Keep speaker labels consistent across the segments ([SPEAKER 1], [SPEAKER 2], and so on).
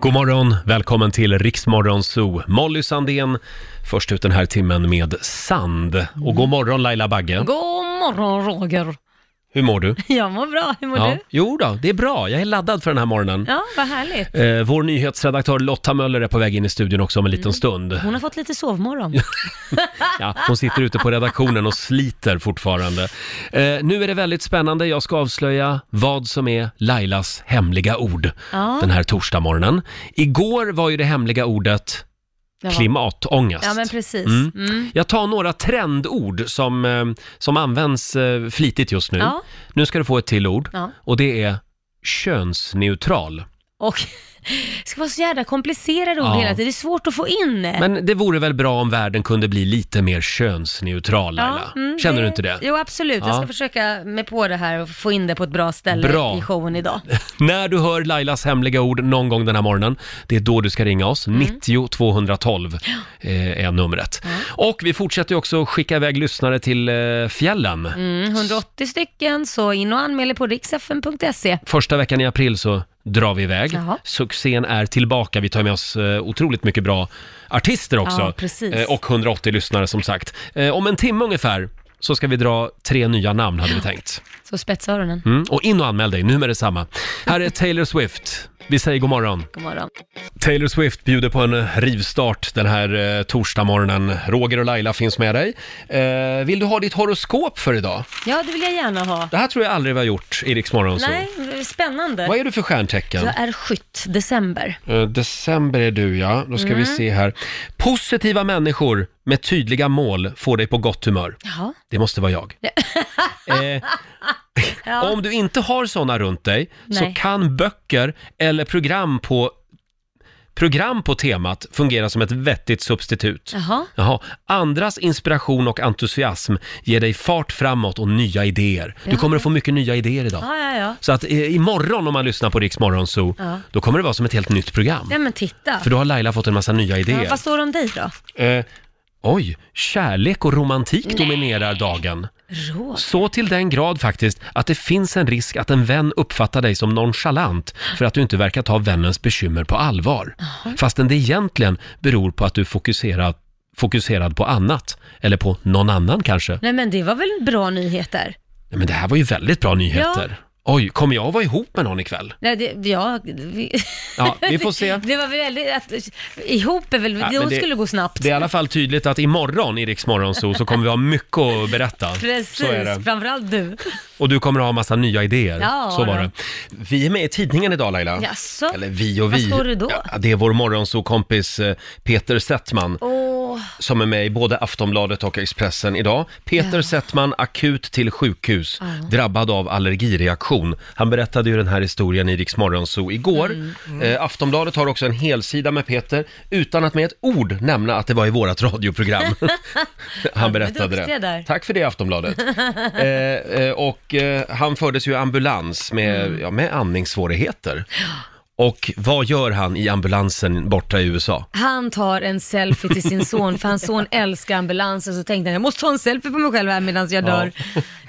[SPEAKER 1] God morgon, välkommen till Riksmorgon Zoo. Molly Sandén, först ut den här timmen med Sand. Och god morgon Laila Bagge.
[SPEAKER 2] God morgon Roger!
[SPEAKER 1] Hur mår du?
[SPEAKER 2] Jag mår bra, hur mår
[SPEAKER 1] Ja.
[SPEAKER 2] du?
[SPEAKER 1] Jo då, det är bra. Jag är laddad för den här morgonen.
[SPEAKER 2] Ja, vad härligt.
[SPEAKER 1] Eh, vår nyhetsredaktör Lotta Möller är på väg in i studion också om en
[SPEAKER 2] Mm.
[SPEAKER 1] liten stund.
[SPEAKER 2] Hon har fått lite sovmorgon.
[SPEAKER 1] Ja, hon sitter ute på redaktionen och sliter fortfarande. Eh, nu är det väldigt spännande. Jag ska avslöja vad som är Lailas hemliga ord
[SPEAKER 2] Ja.
[SPEAKER 1] den här torsdagmorgonen. Igår var ju det hemliga ordet
[SPEAKER 2] Det var-
[SPEAKER 1] klimatångest.
[SPEAKER 2] Ja, men precis.
[SPEAKER 1] Mm.
[SPEAKER 2] Mm.
[SPEAKER 1] Jag tar några trendord som, eh, som används eh, flitigt just nu.
[SPEAKER 2] Ja.
[SPEAKER 1] Nu ska du få ett till ord
[SPEAKER 2] Ja. Eh.
[SPEAKER 1] och det är könsneutral.
[SPEAKER 2] Och det ska vara så jävla komplicerade ord
[SPEAKER 1] Ja.
[SPEAKER 2] hela tiden, det är svårt att få in.
[SPEAKER 1] Men det vore väl bra om världen kunde bli lite mer könsneutral, Laila?
[SPEAKER 2] mm,
[SPEAKER 1] Känner du inte det?
[SPEAKER 2] Jo, absolut. Jag
[SPEAKER 1] Ja.
[SPEAKER 2] ska försöka mig på det här och få in det på ett bra ställe
[SPEAKER 1] Bra.
[SPEAKER 2] i showen idag.
[SPEAKER 1] När du hör Lailas hemliga ord någon gång den här morgonen, det är då du ska ringa
[SPEAKER 2] Mm.
[SPEAKER 1] oss. 90 212 eh, är numret. Och vi fortsätter ju också att skicka iväg lyssnare till eh, fjällen.
[SPEAKER 2] Mm, 180 stycken, så in och anmäl er på riksfn.se.
[SPEAKER 1] Första veckan i april så drar vi iväg.
[SPEAKER 2] Jaha.
[SPEAKER 1] Succén är tillbaka. Vi tar med oss eh, otroligt mycket bra artister också.
[SPEAKER 2] Ja, precis.
[SPEAKER 1] Eh, och 180 lyssnare som sagt. Eh, om en timme ungefär så ska vi dra tre nya namn hade vi tänkt.
[SPEAKER 2] Så spetsa öronen.
[SPEAKER 1] Mm. Och in och anmäl dig nu med detsamma. Här är Taylor Swift. Vi säger god morgon.
[SPEAKER 2] God morgon.
[SPEAKER 1] Taylor Swift bjuder på en rivstart den här eh, torsdagmorgonen. Roger och Laila finns med dig. Eh, vill du ha ditt horoskop för idag?
[SPEAKER 2] Ja, det vill jag gärna ha.
[SPEAKER 1] Det här tror jag aldrig vi har gjort i Rix Morgon Zoo.
[SPEAKER 2] Nej, det är spännande.
[SPEAKER 1] Vad är du för stjärntecken?
[SPEAKER 2] Jag är skytt, december.
[SPEAKER 1] Eh, December är du ja, då ska vi
[SPEAKER 2] Mm.
[SPEAKER 1] se här. Positiva människor med tydliga mål får dig på gott humör.
[SPEAKER 2] Jaha.
[SPEAKER 1] Det måste vara jag. eh,
[SPEAKER 2] Ja.
[SPEAKER 1] Om du inte har sådana runt dig så
[SPEAKER 2] Nej.
[SPEAKER 1] kan böcker eller program på, program på temat fungera som ett vettigt substitut.
[SPEAKER 2] Jaha.
[SPEAKER 1] Jaha. Andras inspiration och entusiasm ger dig fart framåt och nya idéer. Du
[SPEAKER 2] Ja.
[SPEAKER 1] kommer att få mycket nya idéer idag.
[SPEAKER 2] Ja, ja, ja.
[SPEAKER 1] Så att eh, imorgon om man lyssnar på Rix Morgon Zoo,
[SPEAKER 2] Ja.
[SPEAKER 1] då kommer det vara som ett helt nytt program.
[SPEAKER 2] Nej men titta.
[SPEAKER 1] För då har Laila fått en massa nya
[SPEAKER 2] Ja,
[SPEAKER 1] idéer.
[SPEAKER 2] vad står det om dig då?
[SPEAKER 1] eh, oj, kärlek och romantik dominerar dagen.
[SPEAKER 2] Råd.
[SPEAKER 1] Så till den grad faktiskt att det finns en risk att en vän uppfattar dig som nonchalant för att du inte verkar ta vännens bekymmer på allvar. Fastän det egentligen beror på att du fokuserar fokuserad på annat, eller på någon annan kanske.
[SPEAKER 2] Nej men det var väl bra nyheter?
[SPEAKER 1] Nej, men det här var ju väldigt bra nyheter. Oj, kommer jag att vara ihop med någon ikväll?
[SPEAKER 2] Nej, det, ja, vi,
[SPEAKER 1] Ja, vi får se.
[SPEAKER 2] det var väl väldigt, att, ihop är väl,
[SPEAKER 1] Ja, men
[SPEAKER 2] det
[SPEAKER 1] det-
[SPEAKER 2] skulle gå snabbt.
[SPEAKER 1] Det är i alla fall tydligt att imorgon i Rix Morgon Zoo så kommer vi ha mycket att berätta.
[SPEAKER 2] Precis,
[SPEAKER 1] Så är det. Mm.
[SPEAKER 2] framförallt du.
[SPEAKER 1] Och du kommer att ha massa nya idéer.
[SPEAKER 2] Ja,
[SPEAKER 1] så var
[SPEAKER 2] då.
[SPEAKER 1] det. Vi är med i tidningen idag Laila.
[SPEAKER 2] Jaså?
[SPEAKER 1] Eller vi och
[SPEAKER 2] Vad
[SPEAKER 1] vi.
[SPEAKER 2] står det då?
[SPEAKER 1] Ja, det är vår morgonsokompis eh, Peter Settman
[SPEAKER 2] Åh,
[SPEAKER 1] som är med i både Aftonbladet och Expressen idag. Peter Settman akut till sjukhus, drabbad av allergireaktion. Han berättade ju den här historien i Rix Morgon Zoo igår.
[SPEAKER 2] Mm,
[SPEAKER 1] Eh, Aftonbladet har också en helsida med Peter utan att med ett ord nämna att det var i vårt radioprogram. han berättade
[SPEAKER 2] duktiga
[SPEAKER 1] det.
[SPEAKER 2] där.
[SPEAKER 1] Tack för det Aftonbladet. eh, eh, och eh, han fördes ju i ambulans med,
[SPEAKER 2] Mm.
[SPEAKER 1] ja, med andningssvårigheter. Och vad gör han i ambulansen borta i USA?
[SPEAKER 2] han tar en selfie till sin son, för hans son älskar ambulanser, så tänkte han jag måste ta en selfie på mig själv här medan jag dör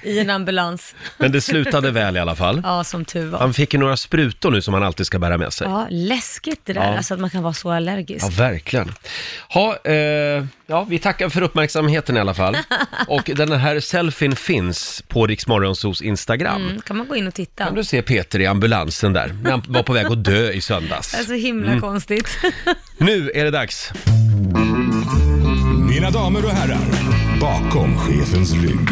[SPEAKER 2] i en ambulans.
[SPEAKER 1] Men det slutade väl i alla fall.
[SPEAKER 2] Ja, som tur var.
[SPEAKER 1] Han fick ju några sprutor nu som han alltid ska bära med sig.
[SPEAKER 2] Ja, läskigt det där,
[SPEAKER 1] Ja.
[SPEAKER 2] alltså att man kan vara så allergisk.
[SPEAKER 1] Ja, verkligen. Ha, eh, ja, vi tackar för uppmärksamheten i alla fall. Och den här selfien finns på Riksmorgonsos Instagram.
[SPEAKER 2] Mm, kan man gå in och titta?
[SPEAKER 1] Kan du se Peter i ambulansen där, när han var på väg att dö i söndags. Mm.
[SPEAKER 2] Det är så himla konstigt.
[SPEAKER 1] Nu är det dags.
[SPEAKER 3] Mina damer och herrar, bakom chefens rygg.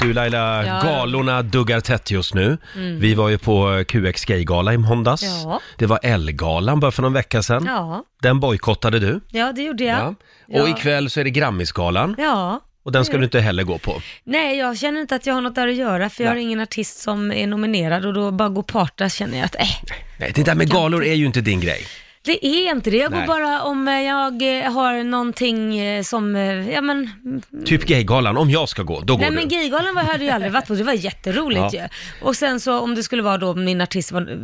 [SPEAKER 1] Du Laila,
[SPEAKER 2] Ja. Mm.
[SPEAKER 1] galorna duggar tätt just nu. Vi var ju på QX Gaygala i måndags.
[SPEAKER 2] Ja.
[SPEAKER 1] Det var Ellegalan bara för någon vecka sedan.
[SPEAKER 2] Ja,
[SPEAKER 1] Den bojkottade du.
[SPEAKER 2] ja det gjorde jag.
[SPEAKER 1] Ja.
[SPEAKER 2] Ja.
[SPEAKER 1] Och ikväll så är det Grammisgalan.
[SPEAKER 2] Ja.
[SPEAKER 1] Och den ska du inte heller gå på.
[SPEAKER 2] Nej, jag känner inte att jag har något där att göra, för jag har
[SPEAKER 1] Nej.
[SPEAKER 2] ingen artist som är nominerad och då bara gå och parta känner jag att, äh,
[SPEAKER 1] Nej, det där med galor är ju inte din grej.
[SPEAKER 2] det är inte det. Jag
[SPEAKER 1] Nej.
[SPEAKER 2] går bara om eh, jag eh, har någonting eh, som, eh, ja men,
[SPEAKER 1] Typ Gaygalan, om jag ska gå, då går
[SPEAKER 2] nej men
[SPEAKER 1] du.
[SPEAKER 2] Gaygalan var- hade jag aldrig varit på, det var jätteroligt
[SPEAKER 1] Ja.
[SPEAKER 2] ju. Och sen så om det skulle vara då min artist var,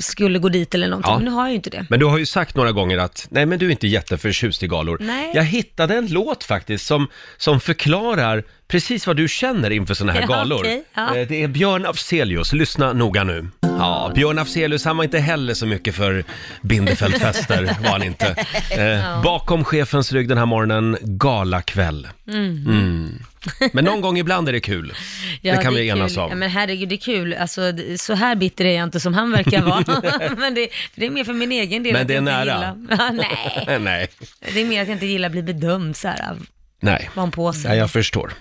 [SPEAKER 2] skulle gå dit eller någonting,
[SPEAKER 1] Ja.
[SPEAKER 2] men nu har jag ju inte det.
[SPEAKER 1] Men du har ju sagt några gånger att, nej men du är inte jätteförtjust i galor.
[SPEAKER 2] Nej.
[SPEAKER 1] Jag hittade en låt faktiskt som, som förklarar precis vad du känner inför såna här
[SPEAKER 2] Ja,
[SPEAKER 1] galor.
[SPEAKER 2] okej, ja.
[SPEAKER 1] Eh, Det är Björn Afzelius, lyssna noga nu. Ja, Björn Afzelius, han var inte heller så mycket för Bindefeldfester, var han inte. Eh, Bakom chefens rygg den här morgonen, galakväll. Mm. Men någon gång ibland är det kul. det kan
[SPEAKER 2] är
[SPEAKER 1] vi enas
[SPEAKER 2] kul.
[SPEAKER 1] om.
[SPEAKER 2] Ja, men herregud, det är kul. Alltså, d- så här bitter är jag inte som han verkar vara. men det, det är mer för min egen del.
[SPEAKER 1] Men
[SPEAKER 2] att
[SPEAKER 1] det är
[SPEAKER 2] jag inte
[SPEAKER 1] nära.
[SPEAKER 2] gillar- Ja, nej,
[SPEAKER 1] Nej,
[SPEAKER 2] det är mer att jag inte gillar att bli bedömd så här. av Mm.
[SPEAKER 1] nej.
[SPEAKER 2] Vad han på sig.
[SPEAKER 1] Ja, jag förstår.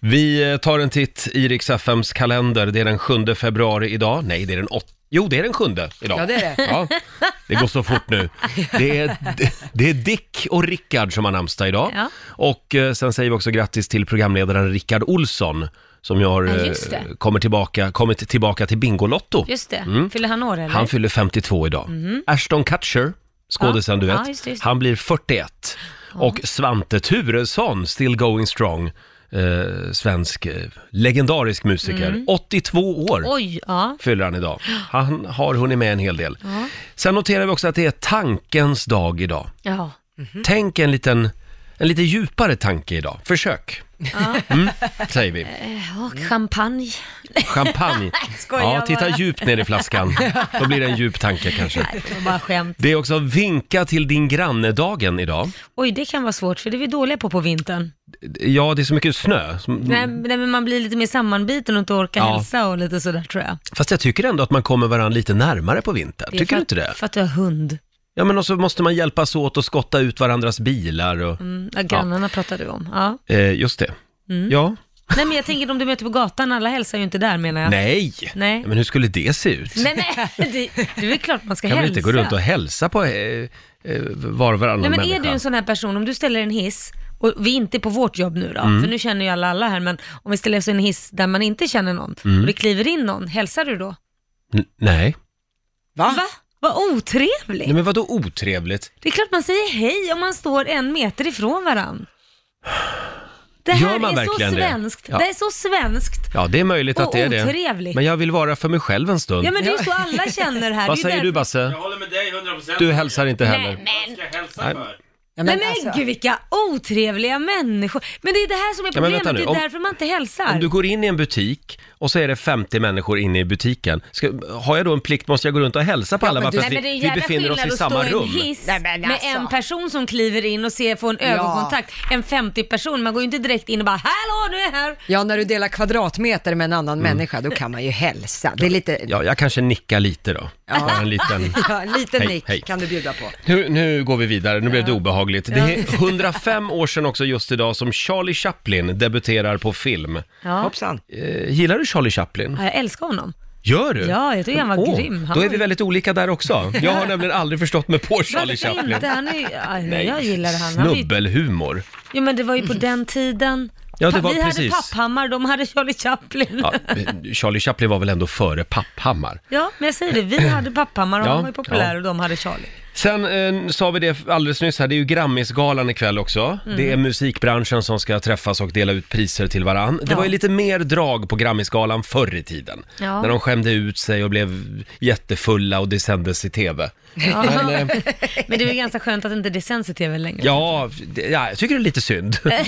[SPEAKER 1] Vi eh, tar en titt i Rix FMs kalender. Det är den 7 februari idag. Nej, det är den 8. Jo, det är den 7 idag.
[SPEAKER 4] Ja, det är det.
[SPEAKER 1] Ja, det går så fort nu. Det är, det är Dick och Rickard som har namnsdag idag.
[SPEAKER 2] Ja.
[SPEAKER 1] Och eh, sen säger vi också grattis till programledaren Rickard Olsson som ju har,
[SPEAKER 2] Ja,
[SPEAKER 1] eh,
[SPEAKER 2] just det.
[SPEAKER 1] kommer tillbaka, kommit tillbaka till Bingolotto.
[SPEAKER 2] Just det. Fyller han år eller?
[SPEAKER 1] Mm.
[SPEAKER 2] Mhm.
[SPEAKER 1] Han fyller 52 idag. Ashton Kutcher, skådisen
[SPEAKER 2] Ja.
[SPEAKER 1] du vet,
[SPEAKER 2] Ja, just det, just det.
[SPEAKER 1] han blir 41. Och Svante Thuresson, still going strong, eh, svensk eh, legendarisk musiker.
[SPEAKER 2] Mm.
[SPEAKER 1] 82 år
[SPEAKER 2] Oj, ja.
[SPEAKER 1] fyller han idag. Han har hunnit med en hel del. Sen noterar vi också att det är tankens dag idag.
[SPEAKER 2] ja.
[SPEAKER 1] Tänk en liten, en lite djupare tanke idag. Försök. Mm, säger vi.
[SPEAKER 2] ja champagne.
[SPEAKER 1] Champagne.
[SPEAKER 2] Skojar
[SPEAKER 1] Ja,
[SPEAKER 2] bara.
[SPEAKER 1] titta djupt ner i flaskan. Då blir det en djup tanke kanske.
[SPEAKER 2] Nej, det var bara skämt.
[SPEAKER 1] Det är också vinka till din granne-dagen idag.
[SPEAKER 2] Oj, det kan vara svårt, för det är vi dåliga på på vintern.
[SPEAKER 1] Ja, det är så mycket snö. som-
[SPEAKER 2] Nej, nej, men man blir lite mer sammanbiten och inte orkar
[SPEAKER 1] Mm. Ja.
[SPEAKER 2] hälsa och lite sådär tror jag.
[SPEAKER 1] Fast jag tycker ändå att man kommer varandra lite närmare på vintern.
[SPEAKER 2] Det är
[SPEAKER 1] Tycker
[SPEAKER 2] för,
[SPEAKER 1] du inte det?
[SPEAKER 2] För att du har hund.
[SPEAKER 1] Ja, men och så måste man hjälpas åt och skotta ut varandras bilar och...
[SPEAKER 2] Mm, ja, grannarna pratade vi om. Ja. Mm.
[SPEAKER 1] Eh, just det. Ja.
[SPEAKER 2] Nej, men jag tänker om du möter på gatan, alla hälsar ju inte där menar jag.
[SPEAKER 1] Nej.
[SPEAKER 2] Nej.
[SPEAKER 1] Men hur skulle det se ut?
[SPEAKER 2] Nej, nej, det, det är väl klart man ska
[SPEAKER 1] Kan
[SPEAKER 2] hälsa.
[SPEAKER 1] väl inte gå runt och hälsa på eh, eh, var och varannan
[SPEAKER 2] Nej, men är
[SPEAKER 1] människa?
[SPEAKER 2] du en sån här person, om du ställer en hiss, och vi är inte på vårt jobb nu då,
[SPEAKER 1] Mm.
[SPEAKER 2] för nu känner ju alla alla här, men om vi ställer oss i en hiss där man inte känner någon
[SPEAKER 1] Mm.
[SPEAKER 2] och det kliver in någon, hälsar du då?
[SPEAKER 1] N- Nej.
[SPEAKER 4] Va?
[SPEAKER 2] Va? Vad otrevligt!
[SPEAKER 1] Nej, men vadå otrevligt?
[SPEAKER 2] Det är klart man säger hej om man står en meter ifrån varann. Det här
[SPEAKER 1] Gör man
[SPEAKER 2] är så
[SPEAKER 1] verkligen det?
[SPEAKER 2] svenskt. Det?
[SPEAKER 1] Ja.
[SPEAKER 2] är så svenskt.
[SPEAKER 1] Ja, det är möjligt att
[SPEAKER 2] Och
[SPEAKER 1] det är det.
[SPEAKER 2] otrevligt.
[SPEAKER 1] Men jag vill vara för mig själv en stund.
[SPEAKER 2] Ja men det är ju så alla känner här.
[SPEAKER 1] Vad
[SPEAKER 2] Det är
[SPEAKER 1] säger
[SPEAKER 2] ju
[SPEAKER 1] du
[SPEAKER 2] därför-
[SPEAKER 1] Basse?
[SPEAKER 5] Jag håller med dig 100%.
[SPEAKER 1] Du hälsar inte heller?
[SPEAKER 5] Vad ska jag hälsa för?
[SPEAKER 4] Ja,
[SPEAKER 2] Men,
[SPEAKER 4] men
[SPEAKER 2] men
[SPEAKER 4] alltså,
[SPEAKER 2] gud vilka otrevliga människor. Men det är det här som är
[SPEAKER 1] Ja, men
[SPEAKER 2] problemet,
[SPEAKER 1] vänta nu,
[SPEAKER 2] det är
[SPEAKER 1] om-
[SPEAKER 2] därför man inte hälsar.
[SPEAKER 1] Om du går in i en butik och så är det 50 människor inne i butiken. Ska, har jag då en plikt, måste jag gå runt och hälsa på alla bara för
[SPEAKER 2] Nej,
[SPEAKER 1] att
[SPEAKER 2] men det är en
[SPEAKER 1] vi, vi
[SPEAKER 2] jävla
[SPEAKER 1] befinner oss
[SPEAKER 2] skillnad
[SPEAKER 1] i
[SPEAKER 2] att
[SPEAKER 1] samma
[SPEAKER 2] stå i en
[SPEAKER 1] rum?
[SPEAKER 2] hiss
[SPEAKER 4] Nej, men
[SPEAKER 2] med
[SPEAKER 4] alltså.
[SPEAKER 2] en person som kliver in och ser, får en ögonkontakt. En 50 person, man går ju inte direkt in och bara “Hallå, nu är jag här”.
[SPEAKER 4] ja, när du delar kvadratmeter med en annan
[SPEAKER 1] Mm.
[SPEAKER 4] människa, då kan man ju hälsa. Det är lite, ja.
[SPEAKER 1] Ja, jag kanske nickar lite då. Bara en liten...
[SPEAKER 4] lite
[SPEAKER 1] Hej,
[SPEAKER 4] nick
[SPEAKER 1] hej.
[SPEAKER 4] kan du bjuda på.
[SPEAKER 1] Nu, nu går vi vidare, nu blev det obehagligt. Det är 105 år sedan också just idag som Charlie Chaplin debuterar på film.
[SPEAKER 2] Ja.
[SPEAKER 4] Hoppsan.
[SPEAKER 1] Eh, gillar du Charlie Chaplin?
[SPEAKER 2] Ja, jag älskar honom.
[SPEAKER 1] Gör du?
[SPEAKER 2] Ja, jag tycker han var
[SPEAKER 1] Åh,
[SPEAKER 2] grym. Han
[SPEAKER 1] Då är
[SPEAKER 2] var-
[SPEAKER 1] vi väldigt olika där också. Jag har nämligen aldrig förstått mig på Charlie
[SPEAKER 2] Varför
[SPEAKER 1] Chaplin.
[SPEAKER 2] inte? Han är, ju- ja, nej, jag gillar han. han var ju,
[SPEAKER 1] Snubbelhumor.
[SPEAKER 2] jo men det var ju på den tiden.
[SPEAKER 1] Ja, det
[SPEAKER 2] Pa-
[SPEAKER 1] var
[SPEAKER 2] vi
[SPEAKER 1] precis.
[SPEAKER 2] hade Papphammar, de hade Charlie Chaplin.
[SPEAKER 1] Ja,
[SPEAKER 2] Ja.
[SPEAKER 1] Eh, Charlie Chaplin var väl ändå före Papphammar.
[SPEAKER 2] men jag säger det, vi hade Papphammar och
[SPEAKER 1] Ja,
[SPEAKER 2] han var ju populär
[SPEAKER 1] ja.
[SPEAKER 2] och de hade Charlie.
[SPEAKER 1] Sen eh, sa vi det alldeles nyss här, det är ju Grammisgalan ikväll också.
[SPEAKER 2] Mm.
[SPEAKER 1] Det är musikbranschen som ska träffas och dela ut priser till varann. Det
[SPEAKER 2] Ja.
[SPEAKER 1] var ju lite mer drag på Grammisgalan förr i tiden.
[SPEAKER 2] Ja.
[SPEAKER 1] När de skämde ut sig och blev jättefulla och det sändes i tv.
[SPEAKER 2] Ja.
[SPEAKER 1] Men, eh,
[SPEAKER 2] Men det är ju ganska skönt att inte det sänds i TV längre.
[SPEAKER 1] ja, det, ja, jag tycker det är lite synd. Men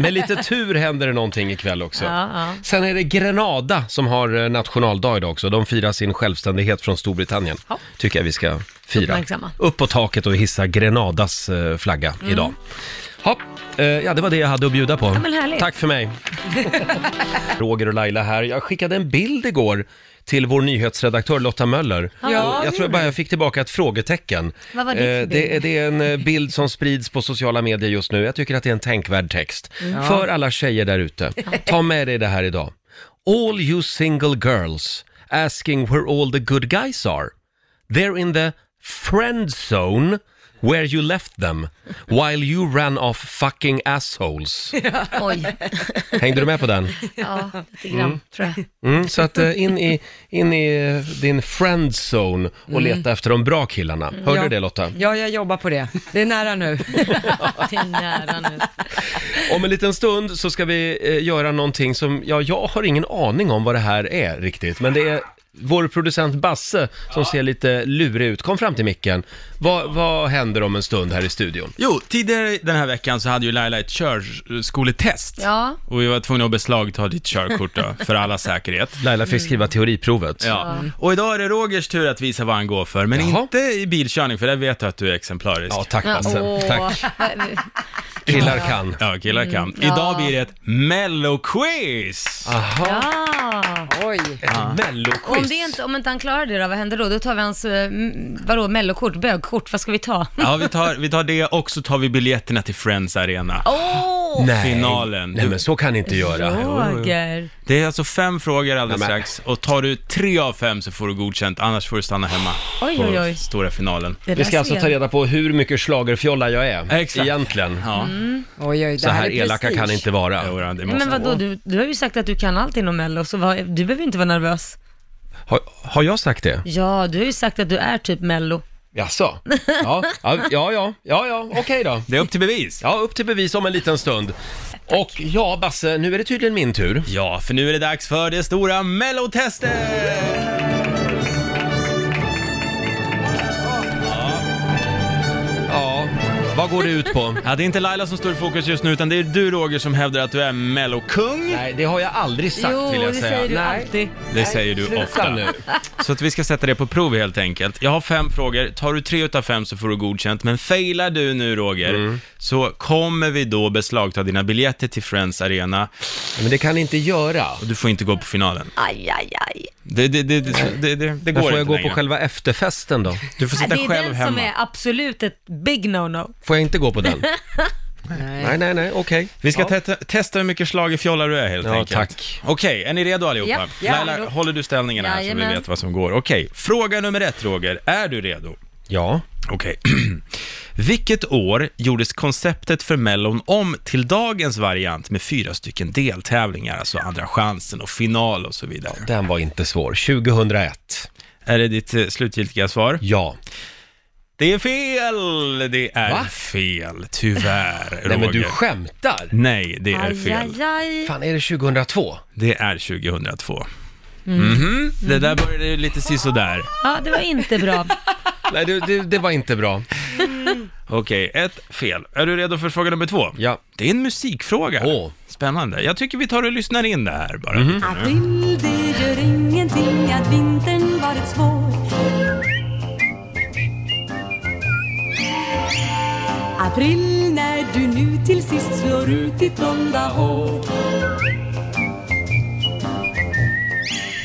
[SPEAKER 1] med lite tur händer det någonting ikväll också.
[SPEAKER 2] Ja, ja.
[SPEAKER 1] Sen är det Grenada som har eh, nationaldag idag också. De firar sin självständighet från Storbritannien.
[SPEAKER 2] Ja.
[SPEAKER 1] Tycker jag vi ska fira.
[SPEAKER 2] Uppmärksamma.
[SPEAKER 1] Upp på taket och hissa Grenadas eh, flagga idag. Hopp. Eh, Ja, det var det jag hade att bjuda på.
[SPEAKER 2] Mm. men härligt.
[SPEAKER 1] Tack för mig. Roger och Laila här. Jag skickade en bild igår till vår nyhetsredaktör Lotta Möller.
[SPEAKER 4] Ja,
[SPEAKER 1] Och jag tror jag bara jag fick tillbaka ett frågetecken.
[SPEAKER 2] Vad var det för
[SPEAKER 1] Eh, det, är- det är en eh, bild som sprids på sociala medier just nu. Jag tycker att det är en tänkvärd text.
[SPEAKER 2] Mm.
[SPEAKER 1] För alla tjejer där ute, ta med dig det här idag. All you single girls asking where all the good guys are. They're in the friend zone where you left them while you ran off fucking assholes.
[SPEAKER 2] Oj,
[SPEAKER 1] Hängde du med på den?
[SPEAKER 2] ja, lite grann tror jag.
[SPEAKER 1] Mm, så att eh, in i, in i eh, din friend zone och leta efter de bra killarna. Hörde
[SPEAKER 4] Ja.
[SPEAKER 1] du det Lotta?
[SPEAKER 4] Ja, jag jobbar på det. Det är nära nu.
[SPEAKER 2] Det är nära nu.
[SPEAKER 1] Om en liten stund så ska vi eh, göra någonting som, ja, jag har ingen aning om vad det här är riktigt, men det är vår producent Basse som ser lite lurig ut. Kom fram till micken. Vad, vad händer om en stund här i studion?
[SPEAKER 6] Jo, tidigare den här veckan så hade ju Laila ett körskoletest.
[SPEAKER 2] Ja.
[SPEAKER 6] Och vi var tvungna att beslagta ditt körkort då, för alla säkerhet.
[SPEAKER 1] Laila fick skriva teoriprovet.
[SPEAKER 6] Ja. Och idag är det Rogers tur att visa vad han går för, men
[SPEAKER 1] Jaha.
[SPEAKER 6] inte i bilkörning, för där vet jag att du är exemplarisk.
[SPEAKER 1] Ja, tack Basse.
[SPEAKER 2] åh.
[SPEAKER 1] Tack. Killar kan.
[SPEAKER 6] Ja, killar kan. Idag blir det ett mello-quiz!
[SPEAKER 1] Aha,
[SPEAKER 2] Ja.
[SPEAKER 4] Oj.
[SPEAKER 1] ett
[SPEAKER 2] Och om,
[SPEAKER 1] melloquiz.
[SPEAKER 2] det inte, om inte han klarar det då, vad händer då? Då tar vi hans, eh, m- vadå, mellokort, bögkort, vad ska vi ta?
[SPEAKER 6] Ja, vi tar, vi tar det och så tar vi biljetterna till Friends Arena.
[SPEAKER 2] Åh!
[SPEAKER 1] Nej.
[SPEAKER 6] Finalen.
[SPEAKER 1] Nej, men så kan ni inte göra.
[SPEAKER 2] Roger.
[SPEAKER 6] Det är alltså fem frågor alldeles
[SPEAKER 1] Nej, men-
[SPEAKER 6] strax och tar du tre av fem så får du godkänt, annars får du stanna hemma
[SPEAKER 2] Oj,
[SPEAKER 6] på
[SPEAKER 2] oj, oj.
[SPEAKER 6] stora finalen.
[SPEAKER 2] Det
[SPEAKER 1] Vi
[SPEAKER 2] där
[SPEAKER 1] ska alltså
[SPEAKER 2] ser
[SPEAKER 1] ta
[SPEAKER 2] jag.
[SPEAKER 1] reda på hur mycket schlagerfjolla jag är, Mm.
[SPEAKER 6] Exakt.
[SPEAKER 1] egentligen.
[SPEAKER 6] Ja,
[SPEAKER 4] Oj, oj, det
[SPEAKER 1] Så här
[SPEAKER 4] är
[SPEAKER 1] elaka
[SPEAKER 4] prestige.
[SPEAKER 1] kan inte vara.
[SPEAKER 6] jo, det måste
[SPEAKER 2] Mm. Men vadå, du, du har ju sagt att du kan allt inom mello, så vad, du behöver inte vara nervös.
[SPEAKER 1] Har, har jag sagt det?
[SPEAKER 2] Ja, du har ju sagt att du är typ mello.
[SPEAKER 1] Jaså? Ja, ja, ja, ja, ja, ja okej då.
[SPEAKER 6] Det är upp till bevis.
[SPEAKER 1] Ja, upp till bevis om en liten stund. Och ja, Basse, nu är det tydligen min tur.
[SPEAKER 6] Ja, för nu är det dags för det stora mellotestet!
[SPEAKER 1] Ja, vad går det ut på?
[SPEAKER 6] Ja, det är inte Laila som står i fokus just nu, utan det är du Roger som hävdar att du är mellokung.
[SPEAKER 1] Nej, det har jag aldrig sagt
[SPEAKER 2] jo,
[SPEAKER 1] vill jag
[SPEAKER 2] det
[SPEAKER 1] säga.
[SPEAKER 2] säger du
[SPEAKER 1] Nej.
[SPEAKER 2] alltid.
[SPEAKER 6] Det säger du
[SPEAKER 1] Sluta
[SPEAKER 6] ofta.
[SPEAKER 1] nu.
[SPEAKER 6] Så att vi ska sätta det på prov helt enkelt. Jag har fem frågor, tar du tre utav fem så får du godkänt, men failar du nu Roger,
[SPEAKER 1] Mm.
[SPEAKER 6] så kommer vi då beslagta dina biljetter till Friends Arena
[SPEAKER 1] Men det kan ni inte göra.
[SPEAKER 6] och du får inte gå på finalen.
[SPEAKER 2] Aj, aj, aj.
[SPEAKER 6] Det, det, det, det, det, det, det går
[SPEAKER 1] Men får jag
[SPEAKER 6] inte
[SPEAKER 1] gå
[SPEAKER 6] längre.
[SPEAKER 1] på själva efterfesten då?
[SPEAKER 6] Du får sitta
[SPEAKER 2] Det är
[SPEAKER 6] själv
[SPEAKER 2] den som
[SPEAKER 6] hemma.
[SPEAKER 2] är absolut ett big no-no.
[SPEAKER 1] Får jag inte gå på den?
[SPEAKER 4] Nej.
[SPEAKER 1] nej, nej, nej, okej.
[SPEAKER 6] Vi ska
[SPEAKER 1] ja.
[SPEAKER 6] testa, testa hur mycket schlagerfjollar du är helt
[SPEAKER 1] Ja,
[SPEAKER 6] enkelt.
[SPEAKER 1] tack.
[SPEAKER 6] Okej, är ni redo allihopa?
[SPEAKER 2] Ja,
[SPEAKER 4] ja.
[SPEAKER 6] Laila, håller du ställningen här så vi
[SPEAKER 2] Jajamän.
[SPEAKER 6] vet vad som går. Okej, fråga nummer ett Roger. Är du redo?
[SPEAKER 1] Ja.
[SPEAKER 6] Okej. Vilket år gjordes konceptet för Mellon om till dagens variant med fyra stycken deltävlingar, alltså Andra chansen och final och så vidare?
[SPEAKER 1] Den var inte svår. 2001.
[SPEAKER 6] Är det ditt eh, slutgiltiga svar?
[SPEAKER 1] Ja.
[SPEAKER 6] Det är fel! Det är
[SPEAKER 1] Va?
[SPEAKER 6] fel, tyvärr, Roger.
[SPEAKER 1] Nej, men du skämtar.
[SPEAKER 6] Nej, det är
[SPEAKER 2] Aj,
[SPEAKER 6] fel.
[SPEAKER 2] aj, aj.
[SPEAKER 1] Fan, är det 2002?
[SPEAKER 6] Det är 2002.
[SPEAKER 2] Mm.
[SPEAKER 6] Mhm, Det där började ju lite sisådär.
[SPEAKER 2] Ja, det var inte bra.
[SPEAKER 1] Nej, du, du, det var inte bra.
[SPEAKER 2] Mm.
[SPEAKER 6] Okej, ett fel. Är du redo för fråga nummer två?
[SPEAKER 1] Ja.
[SPEAKER 6] Det är en musikfråga.
[SPEAKER 1] Åh. Mhm.
[SPEAKER 6] Spännande. Jag tycker vi tar och lyssnar in det här bara.
[SPEAKER 7] April, det gör ingenting att vintern varit svår. April, när du nu till sist slår ut ditt blonda hår.